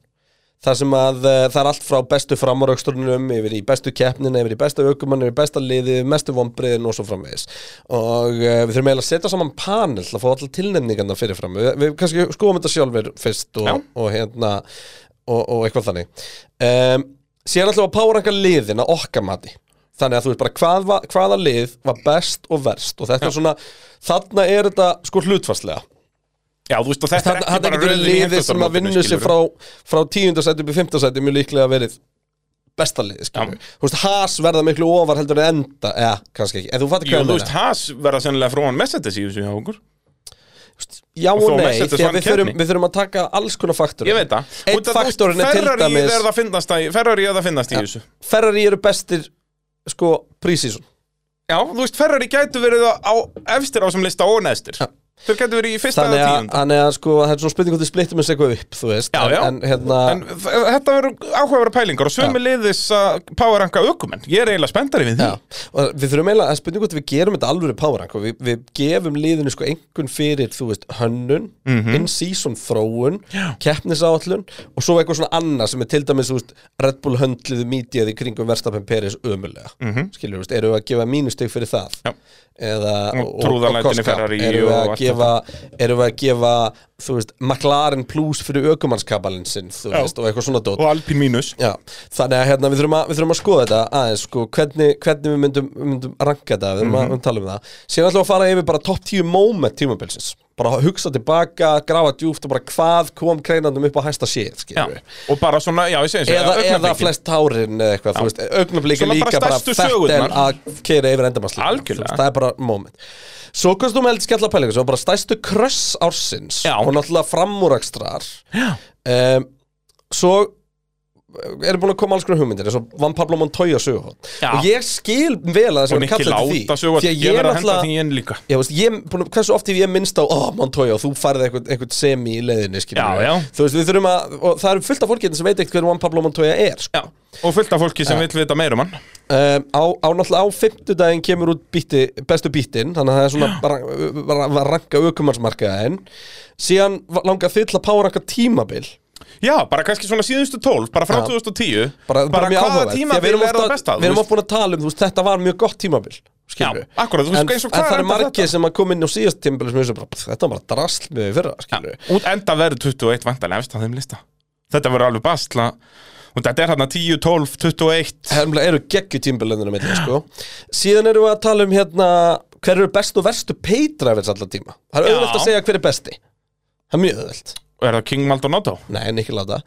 Speaker 4: þar sem að uh, það er allt frá bestu framarauksturnum yfir í bestu keppnin, yfir í bestu aukumann yfir í besta liði, mestu vombriðin og svo framvegis og uh, við þurfum eiginlega að setja saman panel til að fá allar tilnefningarna fyrirfram við, við kannski skoðum þetta sjálfur fyrst og,
Speaker 2: Já.
Speaker 4: og, hérna og, og eitthvað þannig um, síðan ætlum við að páranga liðin að okkar mati þannig að þú veist bara hvað, var- hvaða lið var best og verst og þetta er svona þarna er þetta sko hlutfarslega
Speaker 2: Já, þú veist, og þetta er
Speaker 4: Þarna
Speaker 2: ekki
Speaker 4: þarna
Speaker 2: bara
Speaker 4: getur
Speaker 2: röðin í
Speaker 4: liðið sem að
Speaker 2: heimsmeistaramótinu,
Speaker 4: vinnu sér
Speaker 2: skilurðu.
Speaker 4: frá, frá tíundasæti upp í fimmtasæti mjög líklega verið besta liðið, skilur við. Þú veist, Haas verða miklu ofar heldur en enda, eða, kannski ekki, en þú fattir
Speaker 2: Jú,
Speaker 4: hvað
Speaker 2: þú
Speaker 4: ég
Speaker 2: veist,
Speaker 4: meina.
Speaker 2: Haas verða sennilega frá hann Mercedes í þessu hjá okkur
Speaker 4: Já og
Speaker 2: þó
Speaker 4: nei,
Speaker 2: Mercedes
Speaker 4: því
Speaker 2: vann
Speaker 4: að við þurfum,
Speaker 2: keppni.
Speaker 4: við þurfum að taka alls konar faktor
Speaker 2: Ég veit það
Speaker 4: Einn faktorinn er til dæmis-
Speaker 2: Ferrari er það finnast að, Ferrari er það finnast í þessu
Speaker 4: Ferrari eru bestir, sko, prísísun
Speaker 2: Já, þú veist, Ferrari gætu verið á efstir á sem lista og neðstir
Speaker 4: Já.
Speaker 2: Þeir gætu verið í fyrsta
Speaker 4: Þannig
Speaker 2: eða
Speaker 4: að,
Speaker 2: tíunda
Speaker 4: þannig að, sko, það er svona spurning hvort þið splittum eins eitthvað upp, þú veist
Speaker 2: Já, já.
Speaker 4: En, en hérna,
Speaker 2: En þ- þetta verður áhugaverða pælingar og sömu liðis að powerranka aukumenn Ég er eiginlega spenntari við því
Speaker 4: Já, og við þurfum eiginlega að spurninga hvort við gerum þetta alvöru powerrank og við, við gefum liðinu sko einhvern fyrir, þú veist, hönnun
Speaker 2: Mhm.
Speaker 4: in-season þróun, keppnisáallun og svo eitthvað svona annað sem er til dæmis, þú veist, Red Bull höndlið mídjað í kringum Verstappen Peris ömulega skilur, þú veist, eru við að gefa mínusteg fyrir það
Speaker 2: Mhm. Já.
Speaker 4: eða
Speaker 2: Og trúðarlætin í
Speaker 4: kostgap.
Speaker 2: Ferrari
Speaker 4: eru
Speaker 2: og
Speaker 4: við að
Speaker 2: allt
Speaker 4: gefa eru við að gefa, þú veist, McLaren plus fyrir ökumannskabalinn sinn, þú
Speaker 2: Já.
Speaker 4: veist, og eitthvað svona dót
Speaker 2: Og Alpín mínus
Speaker 4: Já, þannig að hérna, við, þurfum að við þurfum að skoða þetta aðeins sko, hvernig, hvernig við myndum, við myndum ranka þetta, við þurfum
Speaker 2: Mhm.
Speaker 4: að að tala um það síðan ætlum við að fara yfir bara topp 10 moment tímabilsins bara að hugsa tilbaka, grafa djúft og bara hvað kom kreinandum upp á hæsta séð
Speaker 2: Já,
Speaker 4: skilur við
Speaker 2: og bara svona, já, ég segi eins og
Speaker 4: eða, eða
Speaker 2: augnablikin.
Speaker 4: flest tárin eða eitthvað, þú veist, augnablika
Speaker 2: Svona bara
Speaker 4: líka bara
Speaker 2: stærstu
Speaker 4: fettel
Speaker 2: sögurnar.
Speaker 4: að keira yfir endamannsleik
Speaker 2: Algjörlega.
Speaker 4: það er bara moment svo kannst þú með heldur skella pælingu sem var bara stærstu kröss ársins
Speaker 2: Já.
Speaker 4: og náttúrulega framúrakstrar um, svo erum búin að koma alls konar hugmyndir eins og Van Pablo Montoya sögur
Speaker 2: Já.
Speaker 4: og ég skil vel að það
Speaker 2: Og
Speaker 4: sem er
Speaker 2: Nikki
Speaker 4: kallað til því
Speaker 2: Láta sögur
Speaker 4: því að
Speaker 2: Ég
Speaker 4: ég
Speaker 2: verð að henda
Speaker 4: náttúrulega
Speaker 2: því inn líka
Speaker 4: Já, veist, ég, búin, að- hversu oft hef ég minnst á oh, Montoya og þú farið einhvern, einhvern semi í leiðinni skilur
Speaker 2: Já,
Speaker 4: við.
Speaker 2: já.
Speaker 4: Þú veist, við þurfum að, og það eru fullt af fólki hérna sem veit ekkert hver Juan Pablo Montoya er sko.
Speaker 2: Já, og fullt af fólki sem vill vita meira um hann
Speaker 4: um, á, á náttúrulega á fimmtudaginn kemur út bíti, bestu bítinn þannig að það er svona bara- bara bara ranka aukumarsmarkaðin síðan va- langar þið til að páranka tímabil
Speaker 2: Já, bara kannski svona síðustu 12, bara frá
Speaker 4: Já.
Speaker 2: 2010
Speaker 4: bara, bara, mjög
Speaker 2: hvaða
Speaker 4: áhugavert.
Speaker 2: tíma
Speaker 4: Því að
Speaker 2: við erum
Speaker 4: oft
Speaker 2: að
Speaker 4: að-
Speaker 2: besta
Speaker 4: við erum oft búin að tala um, þú veist, þetta var mjög gott tímabil skilur
Speaker 2: Já, akkurat, þú veist,
Speaker 4: en,
Speaker 2: eins og
Speaker 4: en
Speaker 2: hvar
Speaker 4: það er
Speaker 2: endar
Speaker 4: margir
Speaker 2: þetta?
Speaker 4: sem að koma inn á síðast tímabil sem er svo bara, pff, þetta var bara drasl með því fyrra skilur
Speaker 2: Út enda verður 21 vandalega efst á þeim lista Þetta verður alveg basla Og þetta er hérna 10, 12, 21
Speaker 4: Hermlega eru geggju tímbilöndinu milli, sko Síðan erum við að tala um hérna Hver eru bestu og verstu paydrafers allar tíma Það er
Speaker 2: Já.
Speaker 4: auðvelt að segja hver er besti Það er mjög auðvelt
Speaker 2: Og er það King Maldonado?
Speaker 4: Nei, en ekki láta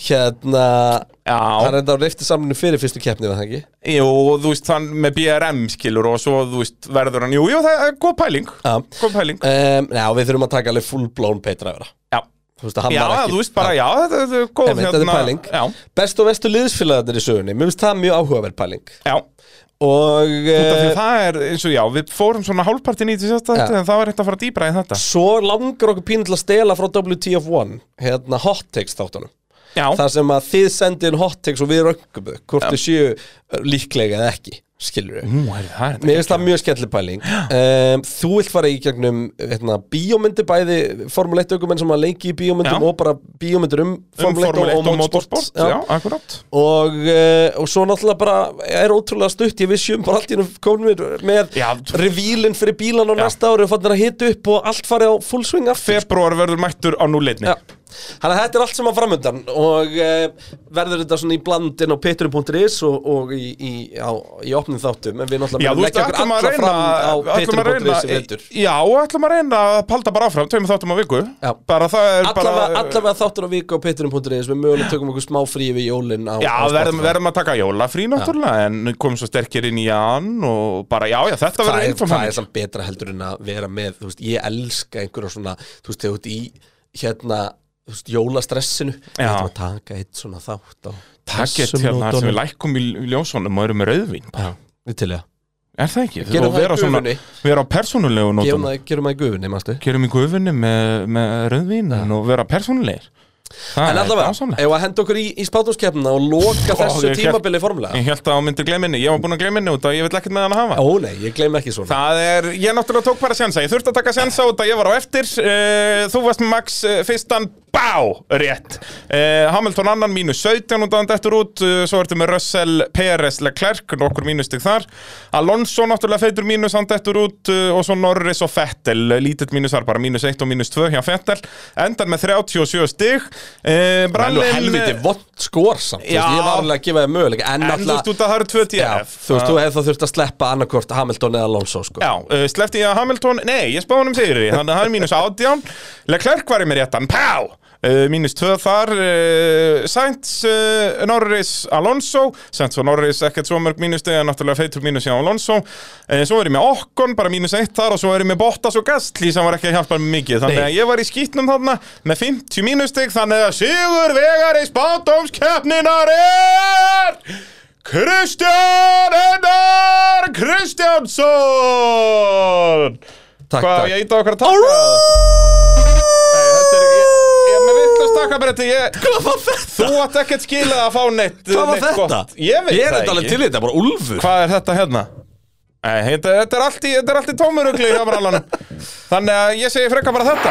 Speaker 4: Hérna Hann
Speaker 2: Já,
Speaker 4: er þetta á reifti samlinu fyrir fyrstu keppni var það ekki
Speaker 2: jú, og þú veist, hann með BRM skilur Og svo, þú veist, verður hann Jú, jú, það er góð pæling
Speaker 4: Já
Speaker 2: Góð pæling
Speaker 4: um, Já, við þurfum að taka alveg full blown paydrafera
Speaker 2: Já,
Speaker 4: Þú veist að hann
Speaker 2: já
Speaker 4: var ekki
Speaker 2: þú veist, bara, já, þetta þetta er góð hérna.
Speaker 4: Einmitt, þetta er pæling
Speaker 2: Já,
Speaker 4: Bestu og verstu liðsfélagarnir í sögunni Mér finnst það mjög áhugaverð pæling
Speaker 2: já
Speaker 4: Og
Speaker 2: Út af því
Speaker 4: eh,
Speaker 2: að það er eins og já, við fórum svona hálfpartin í því sérsta
Speaker 4: Já.
Speaker 2: þetta en það var hægt að fara dýbra í þetta
Speaker 4: svo langar okkur pínu til að stela frá WTF1 Hérna hot takes þáttunum
Speaker 2: Já.
Speaker 4: þar sem að þið sendið inn hot takes og við röngum þau hvort þið séu uh, líklega eða ekki skilur við
Speaker 2: Nú, er það er Mm, þetta
Speaker 4: Mér finnst það mjög skemmtileg pæling um, Þú vilt fara í gegnum hérna, bíómyndi bæði Formule 1 aukumenn sem að leiki í bíómyndum
Speaker 2: Já.
Speaker 4: og bara bíómyndir um
Speaker 2: um
Speaker 4: Formule 1 og, og motorsport
Speaker 2: já, akkurát
Speaker 4: Og, uh, og svo náttúrulega bara er ótrúlega stutt, ég vissi um bara allt í hennum komnir með
Speaker 2: Já.
Speaker 4: revílinn fyrir bílan á
Speaker 2: Já.
Speaker 4: næsta ári og fannir að hita upp og allt farið á full swing aftur
Speaker 2: Februar verður mættur á núleitni
Speaker 4: Já. Þannig að þetta er allt sem að framöndan og uh, verður þetta svona í blandin á pitturinn.is og, og í, í, á, í opnum þáttum en við
Speaker 2: Já,
Speaker 4: náttúrulega
Speaker 2: þú
Speaker 4: verðum
Speaker 2: veist,
Speaker 4: leggja okkur
Speaker 2: ætlum að
Speaker 4: alla
Speaker 2: reyna
Speaker 4: fram á
Speaker 2: ætlum að reyna
Speaker 4: pitturinn.is í veitur
Speaker 2: Já, ætlum að reyna að palda bara áfram Tveimur þáttum á viku
Speaker 4: Já.
Speaker 2: Bara það er
Speaker 4: Allavega,
Speaker 2: bara
Speaker 4: allavega þáttur á viku á pitturinn.is við mögulega tökum okkur smá frí við jólin á,
Speaker 2: Já,
Speaker 4: á
Speaker 2: verðum,
Speaker 4: Spotify.
Speaker 2: verðum að taka jólafrí náttúrulega En komum svo sterkir inn í jan Og bara, já, já, þetta
Speaker 4: það
Speaker 2: verður
Speaker 4: er,
Speaker 2: innfram
Speaker 4: það er samt betra heldur en að vera með þú veist, ég elska einhverja svona þú veist, þegar þú ert í hérna þú veist, jólastressinu
Speaker 2: Já.
Speaker 4: Við ætlum að taka eitt svona þátt á
Speaker 2: Takk til
Speaker 4: þessum
Speaker 2: það sem
Speaker 4: nótunum.
Speaker 2: við lækum hérna, í ljósunum og erum með rauðvín bara.
Speaker 4: Við til í það.
Speaker 2: Er það ekki? Og
Speaker 4: Gerum það í
Speaker 2: vera svona-
Speaker 4: gufunni.
Speaker 2: Vera á persónulegu
Speaker 4: Gefum
Speaker 2: nótum
Speaker 4: það- gerum það í gufunni, mástu
Speaker 2: Gerum í gufunni með, með rauðvín og vera persónulegir Það
Speaker 4: en
Speaker 2: er
Speaker 4: allavega,
Speaker 2: dásamlegt.
Speaker 4: ef að henda okkur í, í spátumskeppna og loka þessu
Speaker 2: ég hélt-
Speaker 4: tímabili formulega
Speaker 2: Ég held að hún myndir gleminni, ég var búinn að gleminni út að ég vill ekkert með hann að hafa
Speaker 4: ó nei, ég gleym ekki svona
Speaker 2: Það er, ég náttúrulega tók bara sjansa, ég þurfti að taka sjansa út að ég var á eftir uh, Þú varst með Max uh, fyrstan, bá, rétt uh, Hamilton annan mínus 17 út að hann dettur út uh, Svo ertu með Russell, Perez, Leclerc, nokkur mínustig þar Alonso náttúrulega feitur mínus, hann dettur út uh, Og svo Norris og Fettel, lítill mínus þar bara, mínus 1 og mínus 2 hjá Fettel Endar með 37 stig uh,
Speaker 4: Það er nú
Speaker 2: Brallinn
Speaker 4: helviti vond skor samt þú veist,
Speaker 2: Já.
Speaker 4: Ég var alveg að gefa þér möguleika En
Speaker 2: En þú veist
Speaker 4: alltaf
Speaker 2: út að það eru 2
Speaker 4: Já,
Speaker 2: TF
Speaker 4: þú veist, þú hefði þá þurft að sleppa annarkvort Hamilton eða Alonso sko.
Speaker 2: Já, uh, slefti ég að Hamilton, nei, ég spáði hann um sigri Þannig að hann er mínus 18 Leclerc var í mér réttan, pá uh, Mínus 2 þar uh, Sainz, uh, Norris, Alonso Sainz og Norris ekkert svo mörg mínus En náttúrulega feitur mínus í Alonso uh, Svo er ég með Okkon, bara mínus 1 þar Og svo er ég með Bottas og Gastli sem var ekki að hjálpa mér mikið Þannig
Speaker 4: Nei.
Speaker 2: að ég var í skýtnum þarna Með 50 mínustig, þannig að Sigur Vegari spátumskeppninar er Kristján Einar Kristjánsson
Speaker 4: Takk,
Speaker 2: Hvað,
Speaker 4: takk.
Speaker 2: ég íta okkar að taka Nei, þetta er ég, ég er með vittlust takkabretti ég,
Speaker 4: Hvað var þetta?
Speaker 2: Þú átt ekkert skilað að fá neitt
Speaker 4: Hvað var
Speaker 2: neitt
Speaker 4: þetta?
Speaker 2: gott. Ég veit
Speaker 4: er þetta
Speaker 2: það
Speaker 4: alveg til
Speaker 2: ekki
Speaker 4: í þetta, bara Ulfur
Speaker 2: Hvað er þetta hérna? Nei, þetta, þetta er allt í, þetta er allt í tómurugli hjá brallanum Þannig að ég segi frekar bara þetta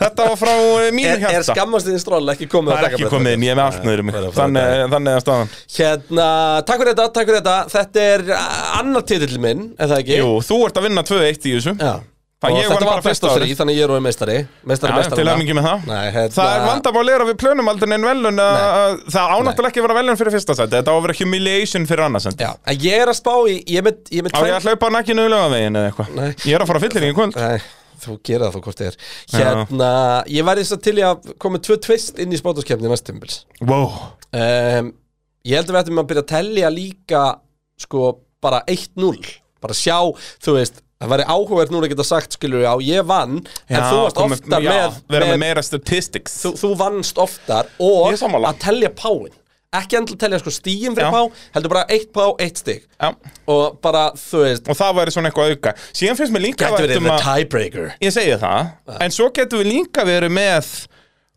Speaker 2: Þetta var frá eh, mínu
Speaker 4: Er, er
Speaker 2: hjarta
Speaker 4: skammastiðin stról ekki komið
Speaker 2: Það er ekki komið inn, ég er með allt nöður mig Þannig þannig er staðan
Speaker 4: Hérna, takk fyrir þetta, takk fyrir þetta Þetta er uh, annar titill minn, er það ekki?
Speaker 2: Jú, þú ert að vinna 2-1 í þessu
Speaker 4: Já
Speaker 2: Það
Speaker 4: Og
Speaker 2: ég vann
Speaker 4: þetta
Speaker 2: bara
Speaker 4: var best á
Speaker 2: fyrsta
Speaker 4: þrý,
Speaker 2: árið.
Speaker 4: þannig að ég er orðinn meistari Meistari
Speaker 2: Já, til
Speaker 4: meistarana.
Speaker 2: aðmingi með það
Speaker 4: Nei, hérna-
Speaker 2: Það er vandamál er að við plönum aldrei en velun að,
Speaker 4: Nei.
Speaker 2: að það ánáttúrulega ekki að vera velun fyrir fyrsta sæti Þetta á að vera humiliation fyrir annars sæti
Speaker 4: Já, en ég er að spá í, ég er með, ég er með
Speaker 2: Á ég
Speaker 4: tvenn-
Speaker 2: að hlaupa nakkinu í lögavegin eða
Speaker 4: Nei.
Speaker 2: eitthvað Ég er að fara að fyllir í kvöld
Speaker 4: Nei, þú gera það þó hvort þið er Hérna, ég væri þess að til í að koma með tvö tvist inn í spátumskefni næst tímbils
Speaker 2: Wow
Speaker 4: um, Ég held að við ættum að byrja að tellja líka sko bara 1-0 bara sjá, þú veist það væri áhugavert núna að geta sagt skilur já, ég vann en þú varst
Speaker 2: komum-
Speaker 4: oftar
Speaker 2: já,
Speaker 4: með,
Speaker 2: Vera
Speaker 4: með,
Speaker 2: með meira statistics
Speaker 4: þú, þú vannst oftar
Speaker 2: Ég
Speaker 4: og
Speaker 2: er sammála.
Speaker 4: að tellja páin ekki endilega að tellja sko stíin fyrir
Speaker 2: Já.
Speaker 4: pá heldur bara 1 pá, 1 stig
Speaker 2: Já
Speaker 4: og bara, þú veist,
Speaker 2: Og það væri svona eitthvað auka Síðan finnst mér líka
Speaker 4: gæti
Speaker 2: vænt
Speaker 4: verið
Speaker 2: um
Speaker 4: the
Speaker 2: að-
Speaker 4: tiebreaker
Speaker 2: Ég segi það
Speaker 4: Ah.
Speaker 2: En svo getum við líka verið með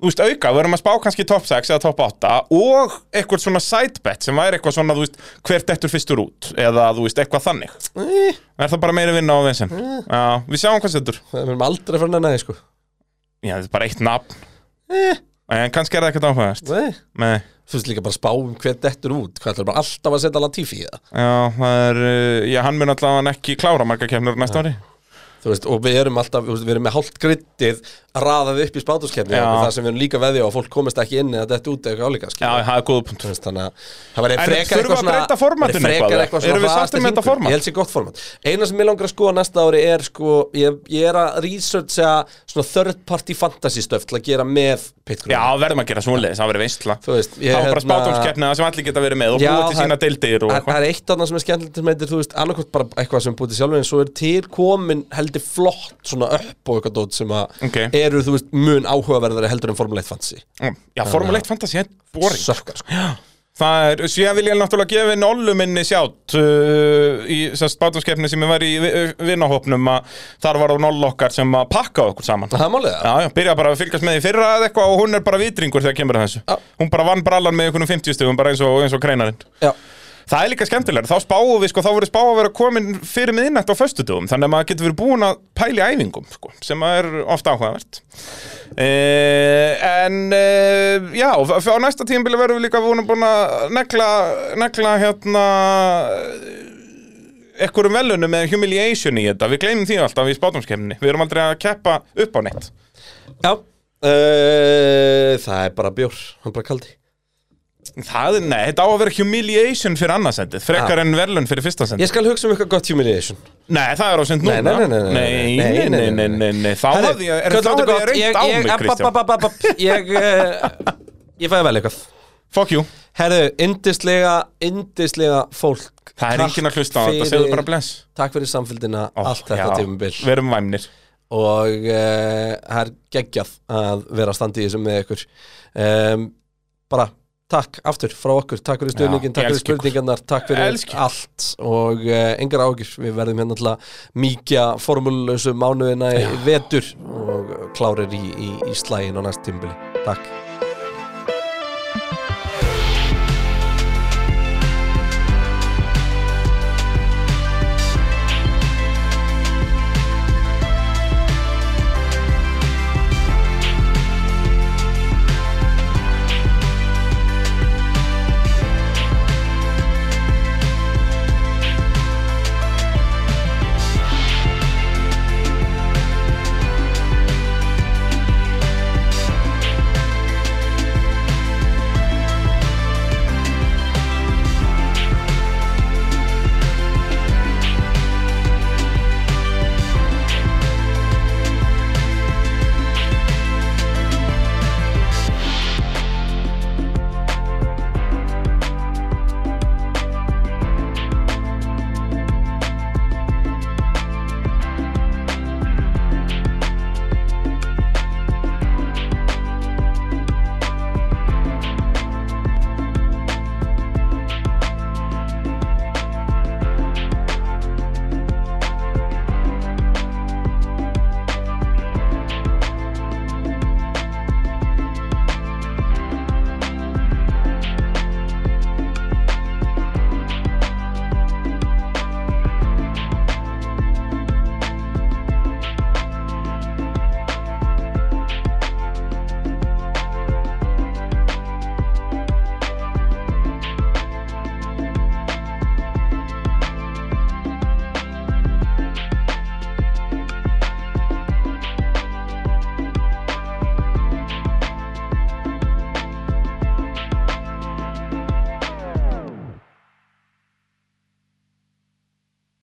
Speaker 2: Þú veist, auka, við erum að spá kannski top 6 eða top 8 og eitthvað svona side bet sem væri eitthvað svona, þú veist, hvert eftir fyrstur út eða, þú veist, eitthvað þannig
Speaker 4: Eh,
Speaker 2: Er það bara meiri vinna á vesen? Já, við sjáum hvað setur
Speaker 4: við erum aldrei fyrir næði sko
Speaker 2: Já, þetta er bara eitt nafn
Speaker 4: Eh,
Speaker 2: En kannski er það ekkert áhugavert
Speaker 4: nei.
Speaker 2: Nei,
Speaker 4: Eh, þú veist líka bara spáum hver dettur út hvað ætlar bara alltaf að setja Latifi í það
Speaker 2: já, það er uh, Já, hann mun allavega ekki klára marga kemnur næsta
Speaker 4: Ah.
Speaker 2: ári
Speaker 4: Þú veist, og við erum alltaf, þú veist, við erum með hálft kryttið raðað upp í spátumskefni
Speaker 2: Já.
Speaker 4: þar sem við erum líka veðja og fólk komist ekki inn eða þetta út eða eitthvað álíka
Speaker 2: Já,
Speaker 4: skilur.
Speaker 2: það er góða punktur
Speaker 4: Þú veist, þannig að það væri
Speaker 2: En
Speaker 4: frekar
Speaker 2: þurfum við að breyta formatinu
Speaker 4: væri
Speaker 2: eitthvað, eða?
Speaker 4: frekar eitthvað svona
Speaker 2: Erum við
Speaker 4: hraðasti
Speaker 2: sáttir með þetta
Speaker 4: hringur.
Speaker 2: format?
Speaker 4: Ég held sér gott format Eina sem ég langar að skoða næsta ári er sko, ég, ég er að researcha svona third party fantasy stöf til að gera með
Speaker 2: Já,
Speaker 4: pitgrúna
Speaker 2: verðum að gera svoleiðis, það verður veistla
Speaker 4: Þú veist, ég
Speaker 2: Það var bara
Speaker 4: hérna-
Speaker 2: spátumskeppna sem allir geta verið með og búið til sína deildir og
Speaker 4: það, það
Speaker 2: eitthvað
Speaker 4: er eitt annað sem er skemmtilegt sem heitir, þú veist, annarkvort bara eitthvað sem er búið til sjálfur en svo er til komin heldur flott svona upp og eitthvað dót sem að
Speaker 2: Ok.
Speaker 4: eru, þú veist, mun áhugaverðari heldur en Formule 1 fantasy
Speaker 2: Já, Formule 1 Fantasy er boring
Speaker 4: Sökkar, sko
Speaker 2: Já, Það er, síðan vil ég náttúrulega gefa Nollu minni sjátt uh, í sérst bátumskeppni sem ég var í vi- uh, vinahópnum að þar var á Nollu okkar sem að pakka okkur saman.
Speaker 4: Það er málið það
Speaker 2: Já, já, byrja bara að fylgjast með því fyrra eða eitthvað og hún er bara vitringur þegar kemur að þessu.
Speaker 4: Já.
Speaker 2: Hún bara vann brallan með einhvernum 50 stugum, bara eins og, eins og kreinarinn.
Speaker 4: Já,
Speaker 2: Það er líka skemmtilega, þá spáum við, sko, þá verður spá að vera komin fyrir miðinætt á föstudugum, þannig að maður getur verið búin að pæli æfingum, sko, sem að er ofta áhugavert. Uh, en, uh, já, f- á næsta tímbili verðum við líka búin að búin að negla, negla hérna, ekkurum velunum eða humiliation í þetta, við gleymum því alltaf í spátumskemni, við erum aldrei að keppa upp á neitt.
Speaker 4: já uh, Það er bara bjór, hann er bara kaldi
Speaker 2: Það er, nei, þetta á að vera humiliation fyrir annarsendið, frekar en velun fyrir fyrsta sendið.
Speaker 4: Ég skal hugsa um eitthvað gott humiliation
Speaker 2: Nei, það er á sent núna
Speaker 4: Nei, nei, nei, nei, nei,
Speaker 2: nei, nei, nei, nei, nei. Þá
Speaker 4: Herri,
Speaker 2: hafði ég, er
Speaker 4: köllum
Speaker 2: þá
Speaker 4: þetta
Speaker 2: hafði ég
Speaker 4: gott.
Speaker 2: reynd á mig,
Speaker 4: ég, eh,
Speaker 2: Kristján
Speaker 4: Kristján Ég, eh, ég fæði vel eitthvað
Speaker 2: Fuck you,
Speaker 4: Herðu, yndislega, yndislega fólk
Speaker 2: það er
Speaker 4: Takk
Speaker 2: enginn að hlusta á þetta, segðu bara bless
Speaker 4: Takk fyrir samfélgina,
Speaker 2: Ó,
Speaker 4: allt þetta
Speaker 2: já,
Speaker 4: tímubil
Speaker 2: Verum væmnir
Speaker 4: og eh, það er geggjað að vera að standa í þessum með ykkur um, bara takk aftur frá okkur, takk fyrir
Speaker 2: Já,
Speaker 4: stöðningin takk
Speaker 2: ég
Speaker 4: fyrir
Speaker 2: elska ykkur.
Speaker 4: spurningarnar, takk fyrir
Speaker 2: Elska ykkur.
Speaker 4: allt og uh, engar ágjur, við verðum hérna alltaf mikja formúllösu mánuðina í vetur og klárir í, í, í slægin á næst tímbili, takk